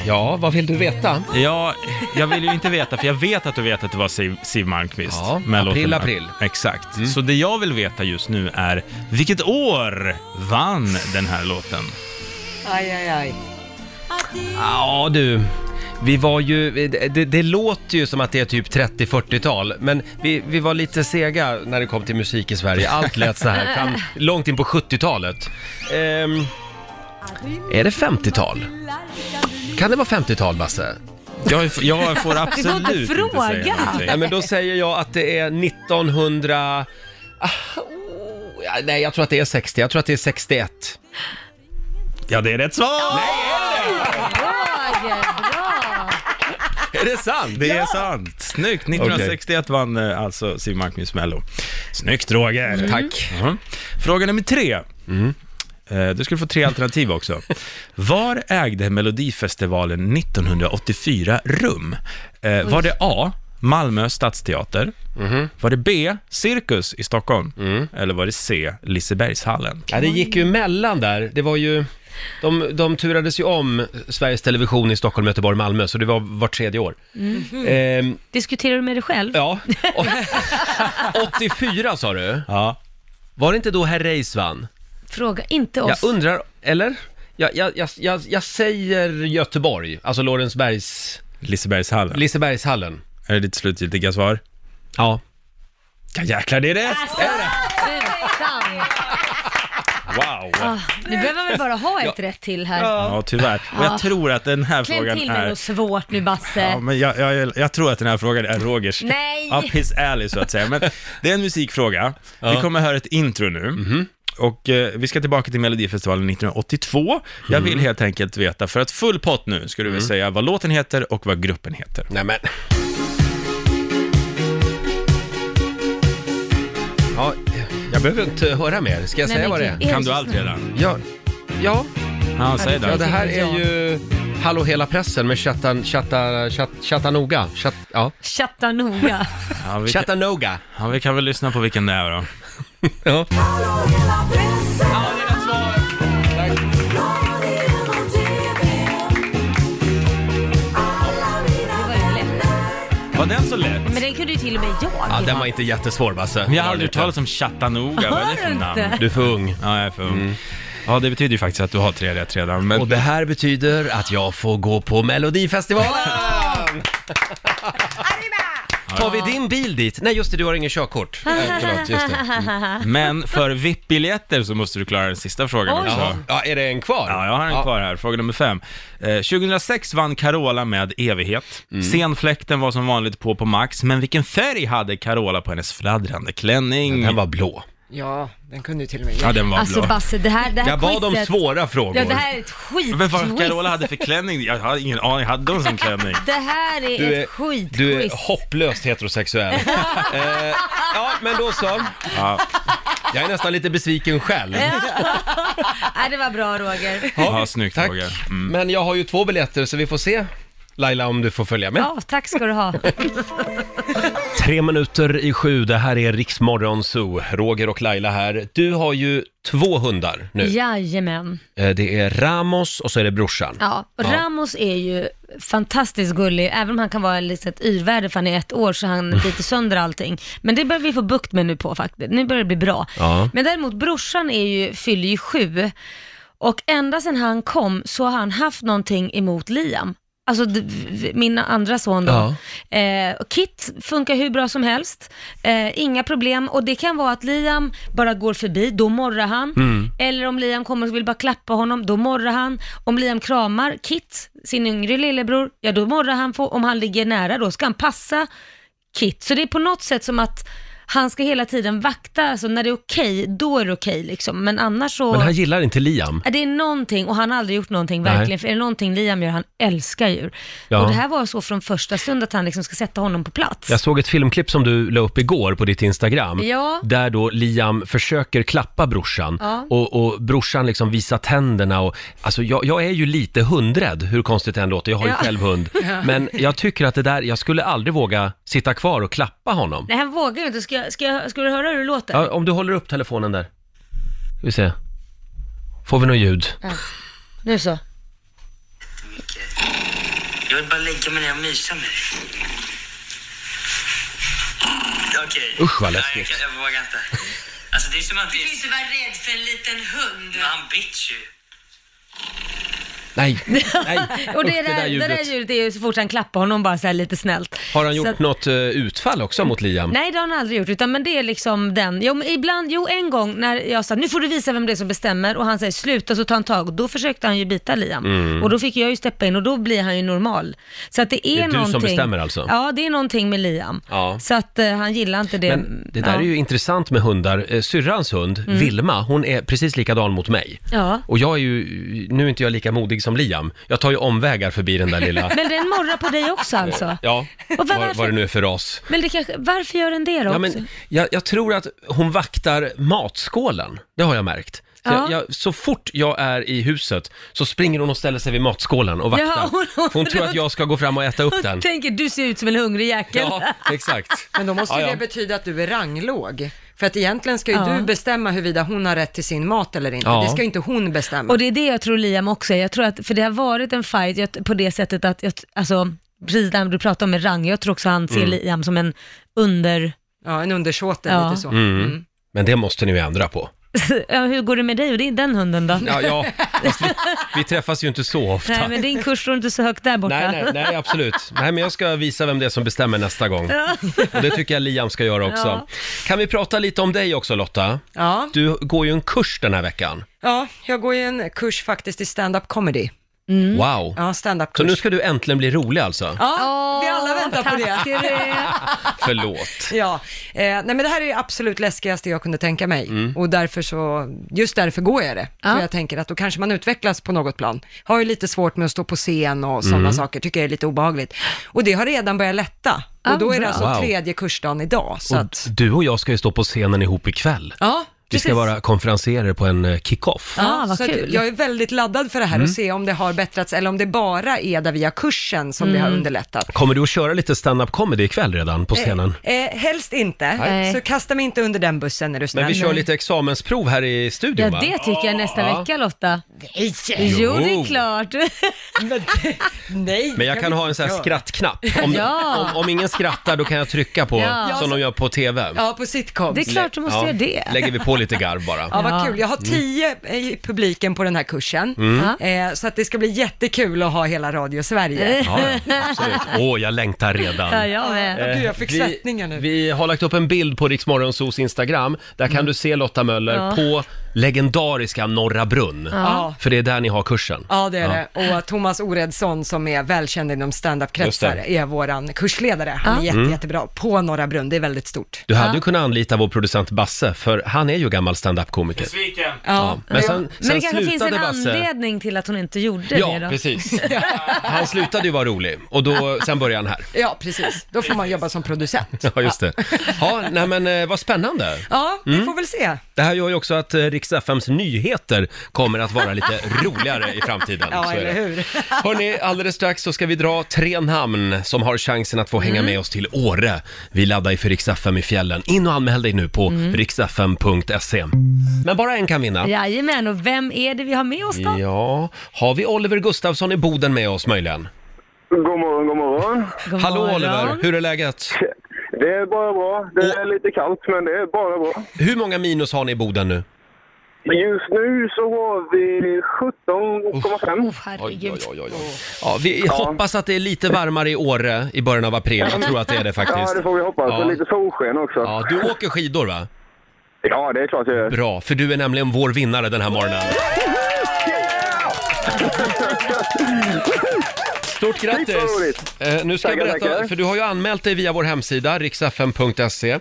[SPEAKER 1] Ja, vad vill du veta?
[SPEAKER 6] Ja, jag vill ju inte veta, för jag vet att du vet att det var Siw, Siw Malmkvist.
[SPEAKER 1] Ja,
[SPEAKER 6] Men låt
[SPEAKER 1] april,
[SPEAKER 6] mig-
[SPEAKER 1] april. Mm.
[SPEAKER 6] Exakt. Så det jag vill veta just nu är, vilket år vann den här låten?
[SPEAKER 4] Aj, aj, aj.
[SPEAKER 1] Ja du, vi var ju, det, det låter ju som att det är typ 30-40-tal, men vi, vi var lite sega när det kom till musik i Sverige. Allt lät så här fram, långt in på 70-talet. Ehm, är det 50-tal? Kan det vara 50-tal, Basse?
[SPEAKER 6] Jag, jag får absolut
[SPEAKER 2] inte
[SPEAKER 6] inte
[SPEAKER 2] fråga.
[SPEAKER 6] säga någonting.
[SPEAKER 1] Nej, men då säger jag att det är 1900... Ah, oh, ja, Nej, jag tror att det är 60. Jag tror att det är 61.
[SPEAKER 6] Ja, det är rätt svar!
[SPEAKER 2] Roger, bra.
[SPEAKER 1] Är det sant?
[SPEAKER 6] Det är sant. Snyggt. 1961 vann eh, alltså Siw Malmkvist Mello. Snyggt Roger.
[SPEAKER 1] Tack.
[SPEAKER 6] Mhm. Fråga nummer tre.
[SPEAKER 1] Mm.
[SPEAKER 6] Eh, Du skulle få tre alternativ också. Var ägde Melodifestivalen 1984 rum? Eh, Var det A. Malmö stadsteater?
[SPEAKER 1] Mm-hmm.
[SPEAKER 6] Var det B. Cirkus i Stockholm?
[SPEAKER 1] Mm.
[SPEAKER 6] Eller var det C. Lisebergshallen?
[SPEAKER 1] Ja, det gick ju emellan där. Det var ju... De, de turades ju om, Sveriges Television i Stockholm, Göteborg, Malmö, så det var vart tredje år.
[SPEAKER 2] Mm. Eh,
[SPEAKER 1] Ehm,
[SPEAKER 2] Diskuterar du med dig själv?
[SPEAKER 1] ja. Och, 84 sa du.
[SPEAKER 6] Ja.
[SPEAKER 1] Var det inte då herr Reis vann?
[SPEAKER 2] Fråga inte oss.
[SPEAKER 1] Jag undrar, eller? Jag, jag, jag, jag, jag säger Göteborg, alltså Lorensbergs,
[SPEAKER 6] Lisebergshallen.
[SPEAKER 1] Lisebergshallen.
[SPEAKER 6] är det ditt slutgiltiga svar?
[SPEAKER 1] Ja.
[SPEAKER 6] Ja, jäklar, det är rätt!
[SPEAKER 2] Tusan.
[SPEAKER 6] Wow!
[SPEAKER 2] Ah, Nu behöver man väl bara ha ett rätt till här.
[SPEAKER 6] Ja, tyvärr. Och jag tror att den här
[SPEAKER 2] Kläm
[SPEAKER 6] frågan
[SPEAKER 2] till med
[SPEAKER 6] är...
[SPEAKER 2] något svårt nu Basse.
[SPEAKER 6] Ja, men jag, jag, jag tror att den här frågan är Rogers.
[SPEAKER 2] Nej!
[SPEAKER 6] Up his alley, så att säga. Men det är en musikfråga. Vi kommer att höra ett intro nu. Och eh, vi ska tillbaka till Melodifestivalen 1982. Jag vill helt enkelt veta, för att full pott nu, ska du väl säga vad låten heter och vad gruppen heter.
[SPEAKER 1] Nej, men. Ja, jag behöver inte höra mer. Ska jag
[SPEAKER 2] Nej,
[SPEAKER 1] säga
[SPEAKER 2] men
[SPEAKER 1] vad det
[SPEAKER 2] Gud,
[SPEAKER 1] är?
[SPEAKER 2] är
[SPEAKER 6] Kan
[SPEAKER 2] det
[SPEAKER 6] du
[SPEAKER 2] så
[SPEAKER 6] allt
[SPEAKER 2] snällt?
[SPEAKER 6] redan?
[SPEAKER 1] Ja, ja,
[SPEAKER 6] Ja, säg
[SPEAKER 1] ja, det
[SPEAKER 6] det.
[SPEAKER 1] här
[SPEAKER 2] Ja.
[SPEAKER 1] är ju Hallå hela pressen med Chatan, Chata, Chat, Chattanooga. Chat, ja.
[SPEAKER 2] Chatta noga.
[SPEAKER 6] Ja, vi kan,
[SPEAKER 1] Chattanooga.
[SPEAKER 6] ja, vi kan väl lyssna på vilken det är då.
[SPEAKER 1] Ja.
[SPEAKER 2] Det var ju lätt.
[SPEAKER 6] Var den så lätt?
[SPEAKER 2] Men den kunde ju till och med jag.
[SPEAKER 1] ja, den var inte jättesvår Basse.
[SPEAKER 6] Men jag har aldrig hört talas om Chattanooga, vad är det för liksom namn?
[SPEAKER 1] Du är för ung. Mm.
[SPEAKER 6] Ja, jag är för ung. Ja, det betyder ju faktiskt att du har tre rätt redan. Men
[SPEAKER 1] Och det här betyder att jag får gå på Melodifestivalen! Tar vi din bil dit? Nej just det, du har ingen körkort. Nej, förlåt, just det. Mm.
[SPEAKER 2] Mm.
[SPEAKER 6] Men för VIP-biljetter så måste du klara den sista frågan
[SPEAKER 2] Oj.
[SPEAKER 6] också.
[SPEAKER 1] Ja. ja, är det en kvar?
[SPEAKER 6] Ja, jag har en kvar här. Fråga nummer fem. Eh, 2006 vann Carola med evighet.
[SPEAKER 1] Mm.
[SPEAKER 6] Scenfläkten var som vanligt på på max, men vilken färg hade Carola på hennes fladdrande klänning?
[SPEAKER 1] Den var blå.
[SPEAKER 4] Ja, den kunde ju till och med
[SPEAKER 6] Ja,
[SPEAKER 4] jag.
[SPEAKER 6] den var
[SPEAKER 2] Alltså
[SPEAKER 6] blå.
[SPEAKER 2] Basse, det här, det här
[SPEAKER 1] Jag bad om
[SPEAKER 2] quizet-
[SPEAKER 1] svåra frågor.
[SPEAKER 2] Ja, det här är ett skitquiz.
[SPEAKER 6] Men vad Carola hade för klänning? Jag har ingen aning. Hade hon sån klänning?
[SPEAKER 2] Det här är,
[SPEAKER 1] Du
[SPEAKER 2] ett skitquiz.
[SPEAKER 1] är, du är hopplöst heterosexuell. eh, ja, men då så.
[SPEAKER 6] Ja.
[SPEAKER 1] Jag är nästan lite besviken själv.
[SPEAKER 2] Eh, Nej, det var bra Roger.
[SPEAKER 6] Ja, snyggt
[SPEAKER 1] Tack.
[SPEAKER 6] Roger. Mm.
[SPEAKER 1] Men jag har ju två biljetter så vi får se. Laila, om du får följa med.
[SPEAKER 2] Ja, tack ska du ha.
[SPEAKER 1] Tre minuter i sju, det här är Riksmorgon Zoo. Roger och Laila här. Du har ju två hundar nu.
[SPEAKER 2] Jajamän.
[SPEAKER 1] Eh, Det är Ramos och så är det brorsan.
[SPEAKER 2] Ja, och Ramos är ju fantastiskt gullig, även om han kan vara lite ett yrväder för han är ett år så han
[SPEAKER 1] Mm.
[SPEAKER 2] biter sönder allting. Men det börjar vi få bukt med nu på faktiskt, nu börjar det bli bra.
[SPEAKER 1] Ja.
[SPEAKER 2] Men däremot brorsan är ju, fyller ju sju och ända sedan han kom så har han haft någonting emot Liam. Alltså d- v- min andra son då. Eh, och Kit funkar hur bra som helst, eh, inga problem och det kan vara att Liam bara går förbi, då morrar han.
[SPEAKER 1] Mm.
[SPEAKER 2] Eller om Liam kommer och vill bara klappa honom, då morrar han. Om Liam kramar Kit, sin yngre lillebror, ja då morrar han. På, om han ligger nära då ska han passa Kit. Så det är på något sätt som att han ska hela tiden vakta, alltså när det är okej, då är det okej liksom. Men annars så...
[SPEAKER 1] Men han gillar inte Liam.
[SPEAKER 2] Ja, Det är någonting, och han har aldrig gjort någonting
[SPEAKER 1] Nej.
[SPEAKER 2] verkligen, för är det någonting Liam gör, han älskar djur.
[SPEAKER 1] Ja.
[SPEAKER 2] Och det här var så från första stund att han liksom ska sätta honom på plats.
[SPEAKER 1] Jag såg ett filmklipp som du la upp igår på ditt Instagram.
[SPEAKER 2] Ja.
[SPEAKER 1] Där då Liam försöker klappa brorsan
[SPEAKER 2] Ja.
[SPEAKER 1] och, och brorsan liksom visar tänderna och alltså jag, jag är ju lite hundrädd, hur konstigt det än låter, jag har ju
[SPEAKER 2] Ja.
[SPEAKER 1] själv hund. Men jag tycker att det där, jag skulle aldrig våga sitta kvar och klappa honom.
[SPEAKER 2] Nej, han vågar ju inte. Ska, jag- ska, jag- ska du höra hur det låter?
[SPEAKER 1] Ja, om du håller upp telefonen där. Ska vi se. Får vi något ljud?
[SPEAKER 2] Nu så.
[SPEAKER 8] Jag vill bara lägga mig ner och mysa med dig. Okej.
[SPEAKER 1] Usch, vad
[SPEAKER 8] Nej,
[SPEAKER 1] läskigt.
[SPEAKER 8] Jag, kan- jag vågar inte. Alltså det är som att... Du kan inte vara rädd för en liten hund. Men han bits ju.
[SPEAKER 1] Nej, nej.
[SPEAKER 2] Och det,
[SPEAKER 1] Usch,
[SPEAKER 2] där, det, där, ljudet är ju så fort han klappar honom bara så här lite snällt.
[SPEAKER 1] Har han
[SPEAKER 2] Så
[SPEAKER 1] gjort
[SPEAKER 2] att-
[SPEAKER 1] något eh, utfall också mot Liam?
[SPEAKER 2] Nej, det har han aldrig gjort, utan men det är liksom den. Jo, men ibland, jo en gång när jag sa nu får du visa vem det är som bestämmer och han säger sluta så tar han tag och då försökte han ju bita Liam och då fick jag ju steppa in och då blir han ju normal. Så att det är,
[SPEAKER 1] Mm. Det är du som
[SPEAKER 2] någonting,
[SPEAKER 1] bestämmer alltså?
[SPEAKER 2] Ja, det är någonting med Liam.
[SPEAKER 1] Ja.
[SPEAKER 2] Så att eh, han gillar inte det.
[SPEAKER 1] Men det där
[SPEAKER 2] ja. Mm.
[SPEAKER 1] är ju intressant med hundar. Eh, Syrrans hund, Vilma, hon är precis likadan mot mig.
[SPEAKER 2] Ja.
[SPEAKER 1] Och jag är ju, nu är inte jag lika modig som Liam. Jag tar ju omvägar förbi den där lilla,
[SPEAKER 2] Men den morrar på dig också alltså?
[SPEAKER 1] ja,
[SPEAKER 2] Och var-
[SPEAKER 1] vad, vad det nu är för ras.
[SPEAKER 2] Men det kanske, varför gör den det
[SPEAKER 1] Ja,
[SPEAKER 2] då också?
[SPEAKER 1] men jag, jag tror att hon vaktar matskålen, det har jag märkt. Så,
[SPEAKER 2] Ja.
[SPEAKER 1] jag, jag, så fort jag är i huset så springer hon och ställer sig vid matskålen och vaktar.
[SPEAKER 2] Ja, hon-
[SPEAKER 1] hon, hon tror att jag ska gå fram och äta upp den.
[SPEAKER 2] Jag tänker, du ser ut som en hungrig jäkel.
[SPEAKER 1] Ja, exakt.
[SPEAKER 4] Men då måste ju
[SPEAKER 1] Ja, ja.
[SPEAKER 4] det betyda att du är ranglåg. För att egentligen ska ju
[SPEAKER 2] Ja.
[SPEAKER 4] du bestämma huruvida hon har rätt till sin mat eller inte.
[SPEAKER 1] Ja.
[SPEAKER 4] Det ska ju inte hon bestämma.
[SPEAKER 2] Och det är det jag tror Liam också är. Jag tror att, för det har varit en fight jag, på det sättet att, jag, alltså, precis det här du pratade om med rang, jag tror också han
[SPEAKER 1] Mm.
[SPEAKER 2] ser Liam som en under...
[SPEAKER 4] Ja, en undersåte,
[SPEAKER 2] Ja.
[SPEAKER 4] lite så. Mm.
[SPEAKER 1] Men det måste ni ju ändra på.
[SPEAKER 2] Ja, Hur går det med dig och det är den hunden då?
[SPEAKER 1] Ja, ja. fast Vi, vi träffas ju inte så ofta.
[SPEAKER 2] Nej, men din kurs står inte så högt där borta.
[SPEAKER 1] Nej, nej, nej, absolut. Nej, men jag ska visa vem det är som bestämmer nästa gång. Och det tycker jag Liam ska göra också.
[SPEAKER 2] Ja.
[SPEAKER 1] Kan vi prata lite om dig också Lotta?
[SPEAKER 4] Ja. Mm.
[SPEAKER 1] Du går ju en kurs den här veckan.
[SPEAKER 4] ja, jag går ju en kurs faktiskt i stand-up comedy.
[SPEAKER 2] Mm.
[SPEAKER 1] Wow!
[SPEAKER 4] Ja, standup-kurs.
[SPEAKER 1] Så nu ska du äntligen bli rolig alltså?
[SPEAKER 4] Ja, vi alla väntar på det.
[SPEAKER 2] taskig du är.
[SPEAKER 1] Förlåt.
[SPEAKER 4] Ja, eh, nej men det här är det absolut läskigaste jag kunde tänka mig
[SPEAKER 1] Mm.
[SPEAKER 4] och därför så, just därför går jag det.
[SPEAKER 2] Ja.
[SPEAKER 4] För jag tänker att då kanske man utvecklas på något plan. Har ju lite svårt med att stå på scen och sådana
[SPEAKER 1] Mm.
[SPEAKER 4] saker, tycker jag är lite obehagligt. Och det har redan börjat lätta.
[SPEAKER 2] Ja,
[SPEAKER 4] och då är det
[SPEAKER 2] bra.
[SPEAKER 4] alltså
[SPEAKER 1] Wow.
[SPEAKER 4] tredje kursdagen idag. Så
[SPEAKER 1] Och
[SPEAKER 4] att,
[SPEAKER 1] du och jag ska ju stå på scenen ihop ikväll.
[SPEAKER 4] ja,
[SPEAKER 1] Vi ska
[SPEAKER 4] precis.
[SPEAKER 1] vara konferenserer på en eh, kick-off.
[SPEAKER 2] Ja, Ah, vad
[SPEAKER 4] så att
[SPEAKER 2] kul.
[SPEAKER 4] Jag är väldigt laddad för det här och
[SPEAKER 1] Mm.
[SPEAKER 4] se om det har bättrats eller om det bara är där via kursen som det har
[SPEAKER 2] Mm.
[SPEAKER 4] underlättat.
[SPEAKER 1] Mm. Kommer du att köra lite stand-up comedy ikväll redan på scenen?
[SPEAKER 4] Eh, helst inte,
[SPEAKER 2] Nej.
[SPEAKER 4] så kasta mig inte under den bussen är du snäll.
[SPEAKER 1] Men vi kör lite examensprov här i studion
[SPEAKER 2] Ja,
[SPEAKER 1] va?
[SPEAKER 2] det tycker jag nästa
[SPEAKER 1] Ja.
[SPEAKER 2] vecka Lotta. Jo, det
[SPEAKER 1] Jo.
[SPEAKER 2] är klart.
[SPEAKER 4] Nej,
[SPEAKER 1] Men jag kan ha en sån här
[SPEAKER 4] Ja.
[SPEAKER 1] skrattknapp. Om,
[SPEAKER 2] Ja.
[SPEAKER 1] om, om ingen skrattar då kan jag trycka på,
[SPEAKER 2] Ja.
[SPEAKER 1] som de gör på TV.
[SPEAKER 4] Ja, på sitcoms.
[SPEAKER 2] Det är klart du måste
[SPEAKER 1] Ja,
[SPEAKER 2] göra det.
[SPEAKER 1] Lägger vi på lite garv bara. Mm.
[SPEAKER 4] Ja,
[SPEAKER 2] Ja.
[SPEAKER 4] vad kul. Jag har tio eh, i publiken på den här kursen, eh, så att det ska bli jättekul att ha hela Radio Sverige.
[SPEAKER 1] Ja, absolut. Åh, jag längtar redan. Eh,
[SPEAKER 2] Ja, jag med.
[SPEAKER 4] Åh, Gud, jag fick
[SPEAKER 1] vi,
[SPEAKER 4] svettningar nu.
[SPEAKER 1] Vi har lagt upp en bild på Riksmorgonsos Instagram. Där
[SPEAKER 4] Mm.
[SPEAKER 1] kan du se Lotta Möller
[SPEAKER 2] Ja.
[SPEAKER 1] på legendariska Norra Brunn.
[SPEAKER 4] Ja.
[SPEAKER 1] För det är där ni har kursen.
[SPEAKER 4] Ja, det är det. Och Thomas Oredsson som är välkänd inom standup-kretsar
[SPEAKER 1] Just
[SPEAKER 4] är våran kursledare. Han är jätte, jättebra på Norra Brunn, det är väldigt stort.
[SPEAKER 1] Mm. Du hade ju kunnat anlita vår producent Basse, för han är ju gammal standup-komiker.
[SPEAKER 5] Besviken.
[SPEAKER 4] Ja.
[SPEAKER 1] Men sen,
[SPEAKER 2] Men det
[SPEAKER 1] sen
[SPEAKER 2] kanske finns en
[SPEAKER 1] slutade Basse...
[SPEAKER 2] anledning till att hon inte gjorde
[SPEAKER 1] Ja,
[SPEAKER 2] det då.
[SPEAKER 1] precis. Han slutade ju vara rolig och då, sen började han här.
[SPEAKER 4] ja, precis. Då får man jobba som producent.
[SPEAKER 1] Ja, just det. Ja, nej men eh, vad spännande. Mm.
[SPEAKER 4] Ja, vi får väl se.
[SPEAKER 1] Det här gör ju också att eh, Rix FMs nyheter kommer att vara lite roligare i framtiden.
[SPEAKER 4] Ja,
[SPEAKER 1] Så är
[SPEAKER 4] eller
[SPEAKER 1] det.
[SPEAKER 4] hur?
[SPEAKER 1] Hörni, alldeles strax så ska vi dra tre namn som har chansen att få hänga
[SPEAKER 4] Mm.
[SPEAKER 1] med oss till Åre. Vi laddar ju för Rix FM i fjällen. In och anmäl dig nu på
[SPEAKER 4] Mm.
[SPEAKER 1] riksfm.se. Men bara en kan vinna.
[SPEAKER 2] Jajamän, och vem är det vi har med oss då?
[SPEAKER 1] Ja, har vi Oliver Gustafsson i Boden med oss möjligen?
[SPEAKER 9] God morgon, god morgon.
[SPEAKER 2] God
[SPEAKER 1] Hallå
[SPEAKER 2] morgon.
[SPEAKER 1] Oliver, hur är läget?
[SPEAKER 9] Det är bara bra. Det är lite kallt, men det är bara bra.
[SPEAKER 1] Hur många minus har ni i Boden nu?
[SPEAKER 9] Just nu så har vi 17,5.
[SPEAKER 2] Åh, herregud.
[SPEAKER 1] Ja, vi hoppas att det är lite varmare i Åre i början av april. Jag tror att det är det
[SPEAKER 9] Ja,
[SPEAKER 1] faktiskt.
[SPEAKER 9] det får vi hoppas.
[SPEAKER 1] Ja.
[SPEAKER 9] Och lite solsken också.
[SPEAKER 1] Ja,
[SPEAKER 9] Ja.
[SPEAKER 1] du åker skidor va?
[SPEAKER 9] det är klart jag gör.
[SPEAKER 1] Bra, för du är nämligen vår vinnare den här morgonen. Stort
[SPEAKER 9] Shit, vad
[SPEAKER 1] grattis!
[SPEAKER 9] roligt.
[SPEAKER 1] Eh, nu ska jag
[SPEAKER 9] Tackar,
[SPEAKER 1] berätta,
[SPEAKER 9] tackar.
[SPEAKER 1] för du har ju anmält dig via vår hemsida, riksfm.se.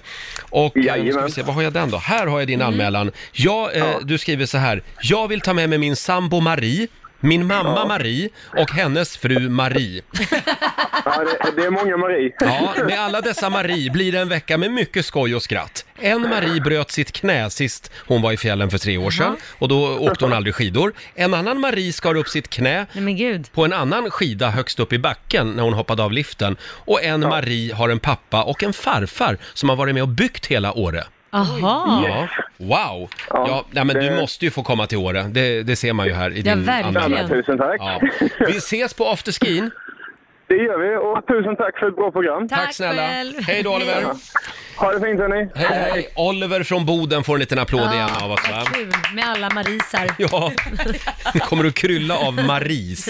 [SPEAKER 1] Och eh, nu ska vi
[SPEAKER 9] Jajamän. Mm.
[SPEAKER 1] se, vad har jag den då? Här har jag din anmälan. Jag, eh, Du skriver så här, jag vill ta med mig min sambo Marie, min mamma Marie och hennes fru Marie.
[SPEAKER 9] Ja, det, det är många Marie.
[SPEAKER 1] Ja, med alla dessa Marie blir det en vecka med mycket skoj och skratt. En Marie bröt sitt knä sist hon var i fjällen för tre år sedan och då åkte hon aldrig skidor. En annan Marie skar upp sitt knä
[SPEAKER 2] Nej men gud.
[SPEAKER 1] på en annan skida högst upp i backen när hon hoppade av liften. Och en Marie har en pappa och en farfar som har varit med och byggt hela Åre.
[SPEAKER 2] Aha.
[SPEAKER 1] Ja. Wow! Ja, nej, men du
[SPEAKER 9] det-
[SPEAKER 1] måste ju få komma till Åre. Det, det ser man ju här i
[SPEAKER 2] Ja,
[SPEAKER 1] din
[SPEAKER 2] verkligen.
[SPEAKER 9] Ja,
[SPEAKER 1] anmälan.
[SPEAKER 9] men, tusen tack.
[SPEAKER 1] Ja. Vi ses på afterskin.
[SPEAKER 9] Det gör vi. Och tusen tack för ett bra program.
[SPEAKER 1] Tack snälla.
[SPEAKER 2] själv.
[SPEAKER 1] Hej då Oliver.
[SPEAKER 9] Ha det fint, hörni.
[SPEAKER 1] Hej, hej. Oliver från Boden får en liten
[SPEAKER 2] Ah.
[SPEAKER 1] applåd igen av oss va?
[SPEAKER 2] vad kul med alla marisar.
[SPEAKER 1] Ja, det kommer att krylla av Maris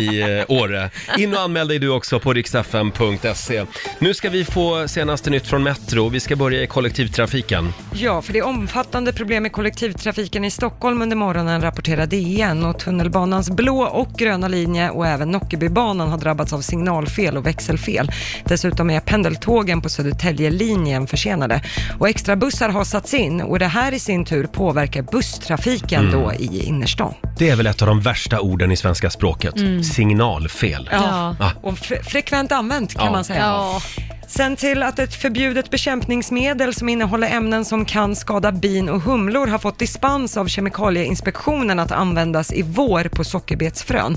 [SPEAKER 1] i eh, Åre. In och anmäl dig du också på riksfm.se. Nu ska vi få senaste nytt från Metro. Vi ska börja i kollektivtrafiken.
[SPEAKER 4] Ja, för det är omfattande problem med kollektivtrafiken i Stockholm under morgonen, rapporterar DN. Och tunnelbanans blå och gröna linje och även Nockebybanan har drabbats av signalfel och växelfel. Dessutom är pendeltågen på Södertäljelinjen försenade. Och extra bussar har satts in och det här i sin tur påverkar busstrafiken då i innerstan.
[SPEAKER 1] Det är väl ett av de värsta orden i svenska språket.
[SPEAKER 4] Mm.
[SPEAKER 1] Signalfel.
[SPEAKER 2] Ja.
[SPEAKER 1] Ah.
[SPEAKER 4] Och fre- frekvent använt kan
[SPEAKER 1] Ja.
[SPEAKER 4] man säga.
[SPEAKER 2] Ja.
[SPEAKER 4] Sen till att ett förbjudet bekämpningsmedel som innehåller ämnen som kan skada bin och humlor har fått dispens av Kemikalieinspektionen att användas i vår på sockerbetsfrön.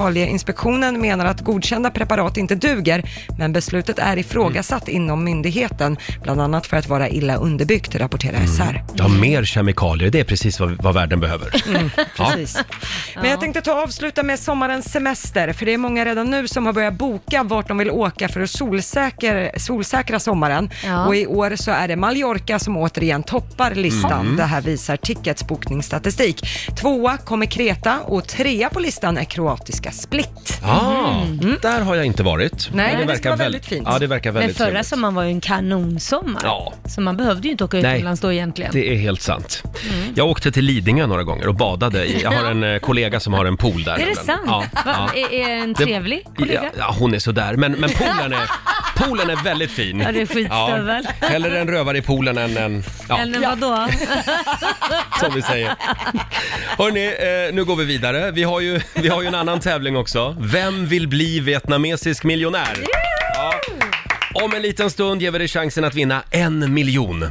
[SPEAKER 4] Kemikalieinspektionen menar att godkända preparat inte duger, men beslutet är ifrågasatt inom myndigheten, bland annat för att vara illa underbyggt, rapporterar SR.
[SPEAKER 1] Ja, mer kemikalier. Det är precis vad, vad världen behöver.
[SPEAKER 4] Mm.
[SPEAKER 1] Ja.
[SPEAKER 4] Precis. Men jag tänkte ta och avsluta med sommarens semester, för det är många redan nu som har börjat boka vart de vill åka för att solsäker, solsäkra sommaren.
[SPEAKER 2] Ja.
[SPEAKER 4] Och i år så är det Mallorca som återigen toppar listan.
[SPEAKER 1] Mm.
[SPEAKER 4] Det här visar Tickets bokningsstatistik. Tvåa kommer Kreta och trea på listan är kroatiska Split. Mm.
[SPEAKER 1] Ah, Där har jag inte varit.
[SPEAKER 4] Nej, det ska
[SPEAKER 1] verkar
[SPEAKER 4] vara
[SPEAKER 1] väl-
[SPEAKER 4] väldigt fint.
[SPEAKER 1] Ja, det verkar
[SPEAKER 2] Men
[SPEAKER 1] väldigt
[SPEAKER 2] förra
[SPEAKER 1] trevligt.
[SPEAKER 2] sommaren var ju en kanonsommar.
[SPEAKER 1] Ja.
[SPEAKER 2] Så man behövde ju inte åka
[SPEAKER 1] Nej.
[SPEAKER 2] utomlands då egentligen.
[SPEAKER 1] Det är helt sant. Jag åkte till Lidingö några gånger och badade i Jag har en eh, kollega som har en pool där.
[SPEAKER 2] Är det
[SPEAKER 1] nämligen.
[SPEAKER 2] sant?
[SPEAKER 1] Ja,
[SPEAKER 2] Va,
[SPEAKER 1] ja.
[SPEAKER 2] Är, är en
[SPEAKER 1] Det-
[SPEAKER 2] trevlig kollega?
[SPEAKER 1] Ja, ja, hon är sådär, men, men poolen, är, poolen är väldigt fin.
[SPEAKER 2] Ja, det är skitstövel.
[SPEAKER 1] Ja, hellre en rövare i poolen än en... Ja,
[SPEAKER 2] Eller vadå?
[SPEAKER 1] som vi säger. Hörni, eh, nu går vi vidare. Vi har, ju, vi har ju en annan tävling också. Vem vill bli vietnamesisk miljonär? Ja. Om en liten stund ger vi dig chansen att vinna en miljon.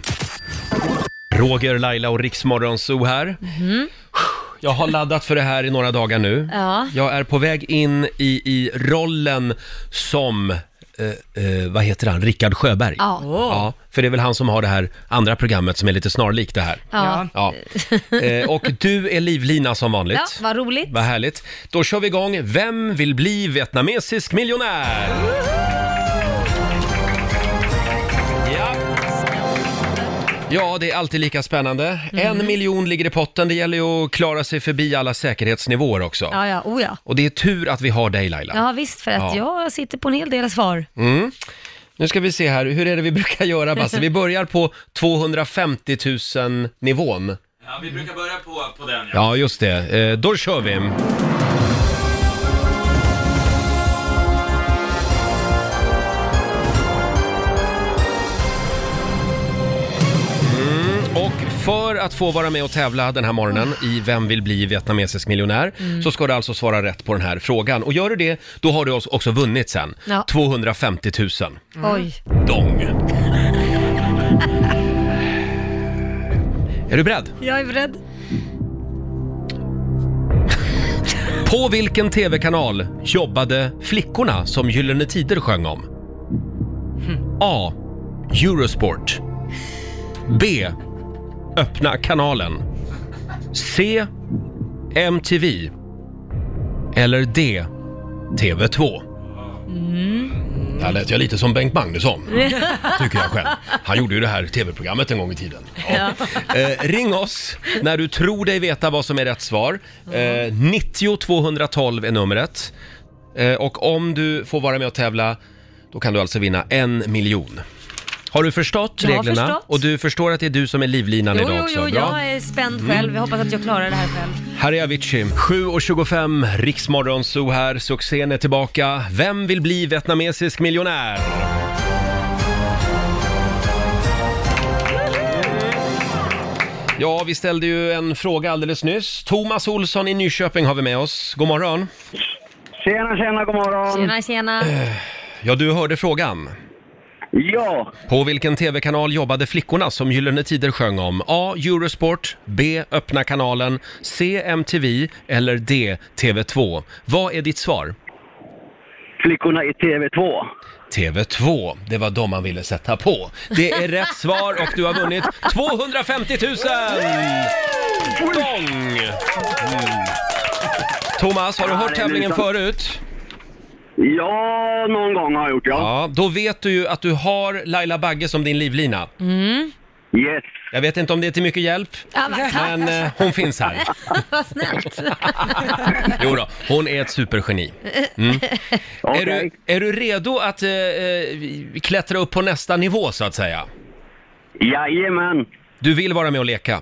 [SPEAKER 1] Roger, Laila och Riksmorgonzoo här.
[SPEAKER 2] Mhm.
[SPEAKER 1] Jag har laddat för det här i några dagar nu.
[SPEAKER 2] Ja.
[SPEAKER 1] Jag är på väg in i, i rollen som, eh, eh, vad heter han, Rickard Sjöberg.
[SPEAKER 2] Ja.
[SPEAKER 1] ja. För det är väl han som har det här andra programmet som är lite snarlikt det här.
[SPEAKER 2] Ja.
[SPEAKER 1] Ja. Eh, och du är livlina som vanligt.
[SPEAKER 2] ja, vad roligt.
[SPEAKER 1] Vad härligt. Då kör vi igång. Vem vill bli vietnamesisk miljonär? Ja. Ja, det är alltid lika spännande.
[SPEAKER 2] Mm.
[SPEAKER 1] En miljon ligger i potten. Det gäller ju att klara sig förbi alla säkerhetsnivåer också.
[SPEAKER 2] Ja, ja, oh ja.
[SPEAKER 1] Och det är tur att vi har dig Laila. Mm.
[SPEAKER 2] Ja, visst, för att jag sitter på en hel del svar.
[SPEAKER 1] Nu ska vi se här, hur är det vi brukar göra Basse? Vi börjar på 250 000 nivån.
[SPEAKER 5] Ja, vi brukar börja på, på den ja.
[SPEAKER 1] Ja, just det. Eh, då kör vi. Mm, Och För att få vara med och tävla den här morgonen i Vem vill bli vietnamesisk miljonär så ska du alltså svara rätt på den här frågan. Och gör du det, då har du oss- också vunnit sen.
[SPEAKER 2] Ja.
[SPEAKER 1] 250 000
[SPEAKER 2] Oj.
[SPEAKER 1] dong. Är du beredd?
[SPEAKER 2] Jag är beredd.
[SPEAKER 1] På vilken tv-kanal jobbade flickorna som Gyllene Tider sjöng om? A. Eurosport B. Öppna kanalen C. MTV Eller D. TV2 Det här lät jag lite som Bengt Magnusson, tycker jag själv. Han gjorde ju det här tv-programmet en gång i tiden. Ja. Eh, ring oss när du tror dig veta vad som är rätt svar. Eh, 90 212 är numret. Eh, och om du får vara med och tävla, då kan du alltså vinna en miljon. Har du förstått
[SPEAKER 2] Jag har
[SPEAKER 1] reglerna?
[SPEAKER 2] förstått.
[SPEAKER 1] Och du förstår att det är du som är livlinan
[SPEAKER 2] Jo,
[SPEAKER 1] idag
[SPEAKER 2] jo,
[SPEAKER 1] också?
[SPEAKER 2] jo,
[SPEAKER 1] Bra.
[SPEAKER 2] jag är spänd själv. Jag hoppas att jag klarar det här själv.
[SPEAKER 1] Här är Avicii. 7.25, Riksmorgon Zoo här. Succén är tillbaka. Vem vill bli vietnamesisk miljonär? Ja, vi ställde ju en fråga alldeles nyss. Thomas Olsson i Nyköping har vi med oss. God morgon.
[SPEAKER 9] Tjena, tjena, god morgon.
[SPEAKER 2] Tjena, tjena.
[SPEAKER 1] Ja, du hörde frågan.
[SPEAKER 9] Ja,
[SPEAKER 1] På vilken tv-kanal jobbade flickorna som Gyllene Tider sjöng om? A. Eurosport, B. Öppna kanalen, C. MTV eller D. TV2. Vad är ditt svar?
[SPEAKER 9] flickorna i TV2.
[SPEAKER 1] TV2, det var de man ville sätta på. Det är rätt svar och du har vunnit 250 000! Dong! Mm. Thomas, har du hört tävlingen förut?
[SPEAKER 9] Ja, någon gång har jag gjort, ja.
[SPEAKER 1] Ja, då vet du ju att du har Laila Bagge som din livlina.
[SPEAKER 9] Yes.
[SPEAKER 1] Jag vet inte om det är till mycket hjälp,
[SPEAKER 2] Mm. Ja, men tack,
[SPEAKER 1] men eh, hon finns här.
[SPEAKER 2] vad snällt.
[SPEAKER 1] Jo då, hon är ett supergeni.
[SPEAKER 9] Okej.
[SPEAKER 1] Är du, är du redo att eh, eh, klättra upp på nästa nivå så att säga?
[SPEAKER 9] Jajamän.
[SPEAKER 1] Du vill vara med och leka?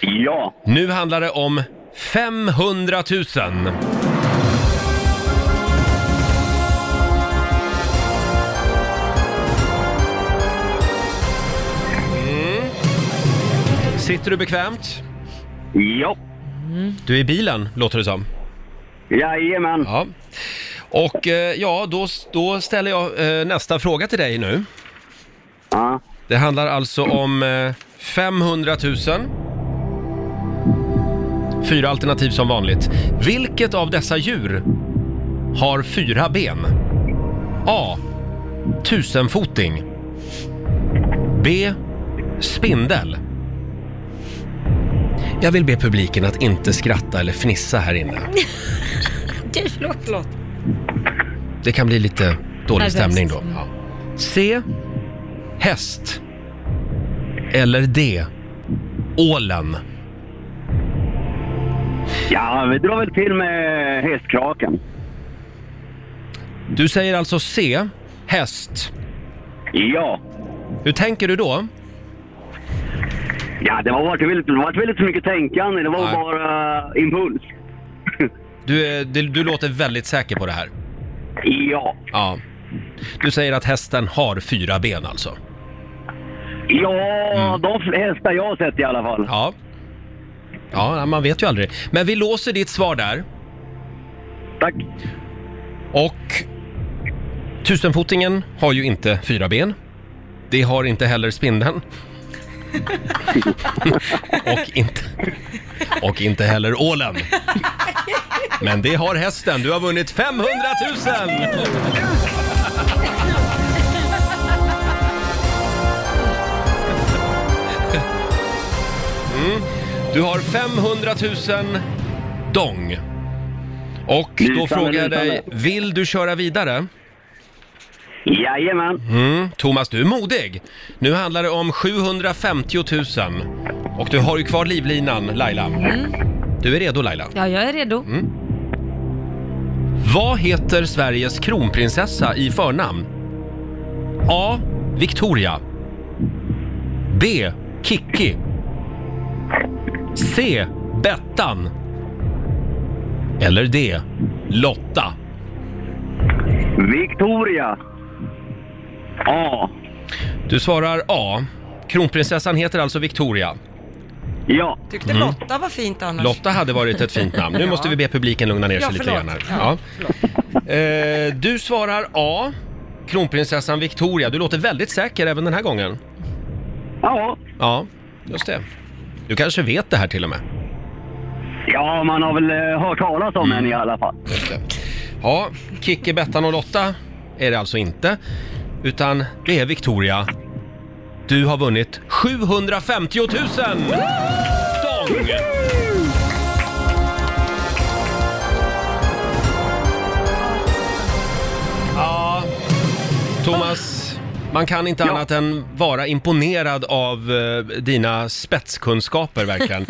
[SPEAKER 9] Ja.
[SPEAKER 1] Nu handlar det om Mm. 500 000. Sitter du bekvämt?
[SPEAKER 9] Ja.
[SPEAKER 1] Du är i bilen, låter det som.
[SPEAKER 9] Jajamän.
[SPEAKER 1] Ja. Och eh, ja, då, då ställer jag eh, nästa fråga till dig nu.
[SPEAKER 9] Ja.
[SPEAKER 1] Det handlar alltså om eh, 500 000. Fyra alternativ som vanligt. Vilket av dessa djur har fyra ben? A. Tusenfoting. B. Spindel. Jag vill be publiken att inte skratta eller fnissa här inne.
[SPEAKER 2] Gud, förlåt.
[SPEAKER 1] Det kan bli lite dålig
[SPEAKER 2] Nervöst.
[SPEAKER 1] stämning då. Ja. C. Häst. Eller D. Ålen.
[SPEAKER 9] Ja, vi drar väl till med hästkraken.
[SPEAKER 1] Du säger alltså C. Häst.
[SPEAKER 9] Ja.
[SPEAKER 1] Hur tänker du då?
[SPEAKER 10] Ja, det var varit väldigt, det var väldigt mycket tänkande. Det var
[SPEAKER 1] Nej.
[SPEAKER 10] bara impuls.
[SPEAKER 1] Du, är- du, du låter väldigt säker på det här.
[SPEAKER 10] Ja.
[SPEAKER 1] Ja. Du säger att hästen har fyra ben alltså? Mm.
[SPEAKER 10] Ja, de hästar jag har sett i alla fall.
[SPEAKER 1] Ja. Ja, man vet ju aldrig. Men vi låser ditt svar där.
[SPEAKER 10] Tack.
[SPEAKER 1] Och tusenfotingen har ju inte fyra ben. Det har inte heller spindeln. och, inte, och inte heller ålen. Men det har hästen. Du har vunnit 500 000! Mm. Du har 500 000 dong. Och då
[SPEAKER 10] Lysande,
[SPEAKER 1] frågar jag dig,
[SPEAKER 10] lysande.
[SPEAKER 1] vill du köra vidare?
[SPEAKER 10] Jajamän.
[SPEAKER 1] Mm, Thomas, du är modig. Nu handlar det om 750 000. Och du har ju kvar livlinan, Laila. Du är redo, Laila.
[SPEAKER 2] Ja, jag är redo.
[SPEAKER 1] Mm. Vad heter Sveriges kronprinsessa i förnamn? A. Victoria. B. Kikki. C. Bettan. Eller D. Lotta.
[SPEAKER 10] Victoria. A.
[SPEAKER 1] Du svarar A. Kronprinsessan heter alltså Victoria.
[SPEAKER 10] Ja.
[SPEAKER 4] Tyckte
[SPEAKER 1] Mm.
[SPEAKER 4] Lotta var fint annars.
[SPEAKER 1] Lotta hade varit ett fint namn. Nu
[SPEAKER 4] Ja.
[SPEAKER 1] måste vi be publiken lugna ner sig
[SPEAKER 4] Ja,
[SPEAKER 1] lite
[SPEAKER 4] förlåt.
[SPEAKER 1] grann här.
[SPEAKER 4] Ja,
[SPEAKER 1] Ja. Eh, du svarar A. Kronprinsessan Victoria. Du låter väldigt säker även den här gången.
[SPEAKER 10] Ja.
[SPEAKER 1] Ja, just det. Du kanske vet det här till och med.
[SPEAKER 10] Ja, man har väl eh, hört talas
[SPEAKER 1] Mm.
[SPEAKER 10] om henne i alla fall.
[SPEAKER 1] Ja, Kikki, Bettan och Lotta är det alltså inte. Utan det är Victoria. Du har vunnit 750 000! Dong! Ja, Thomas. Man kan inte annat än vara imponerad av eh, dina spetskunskaper verkligen.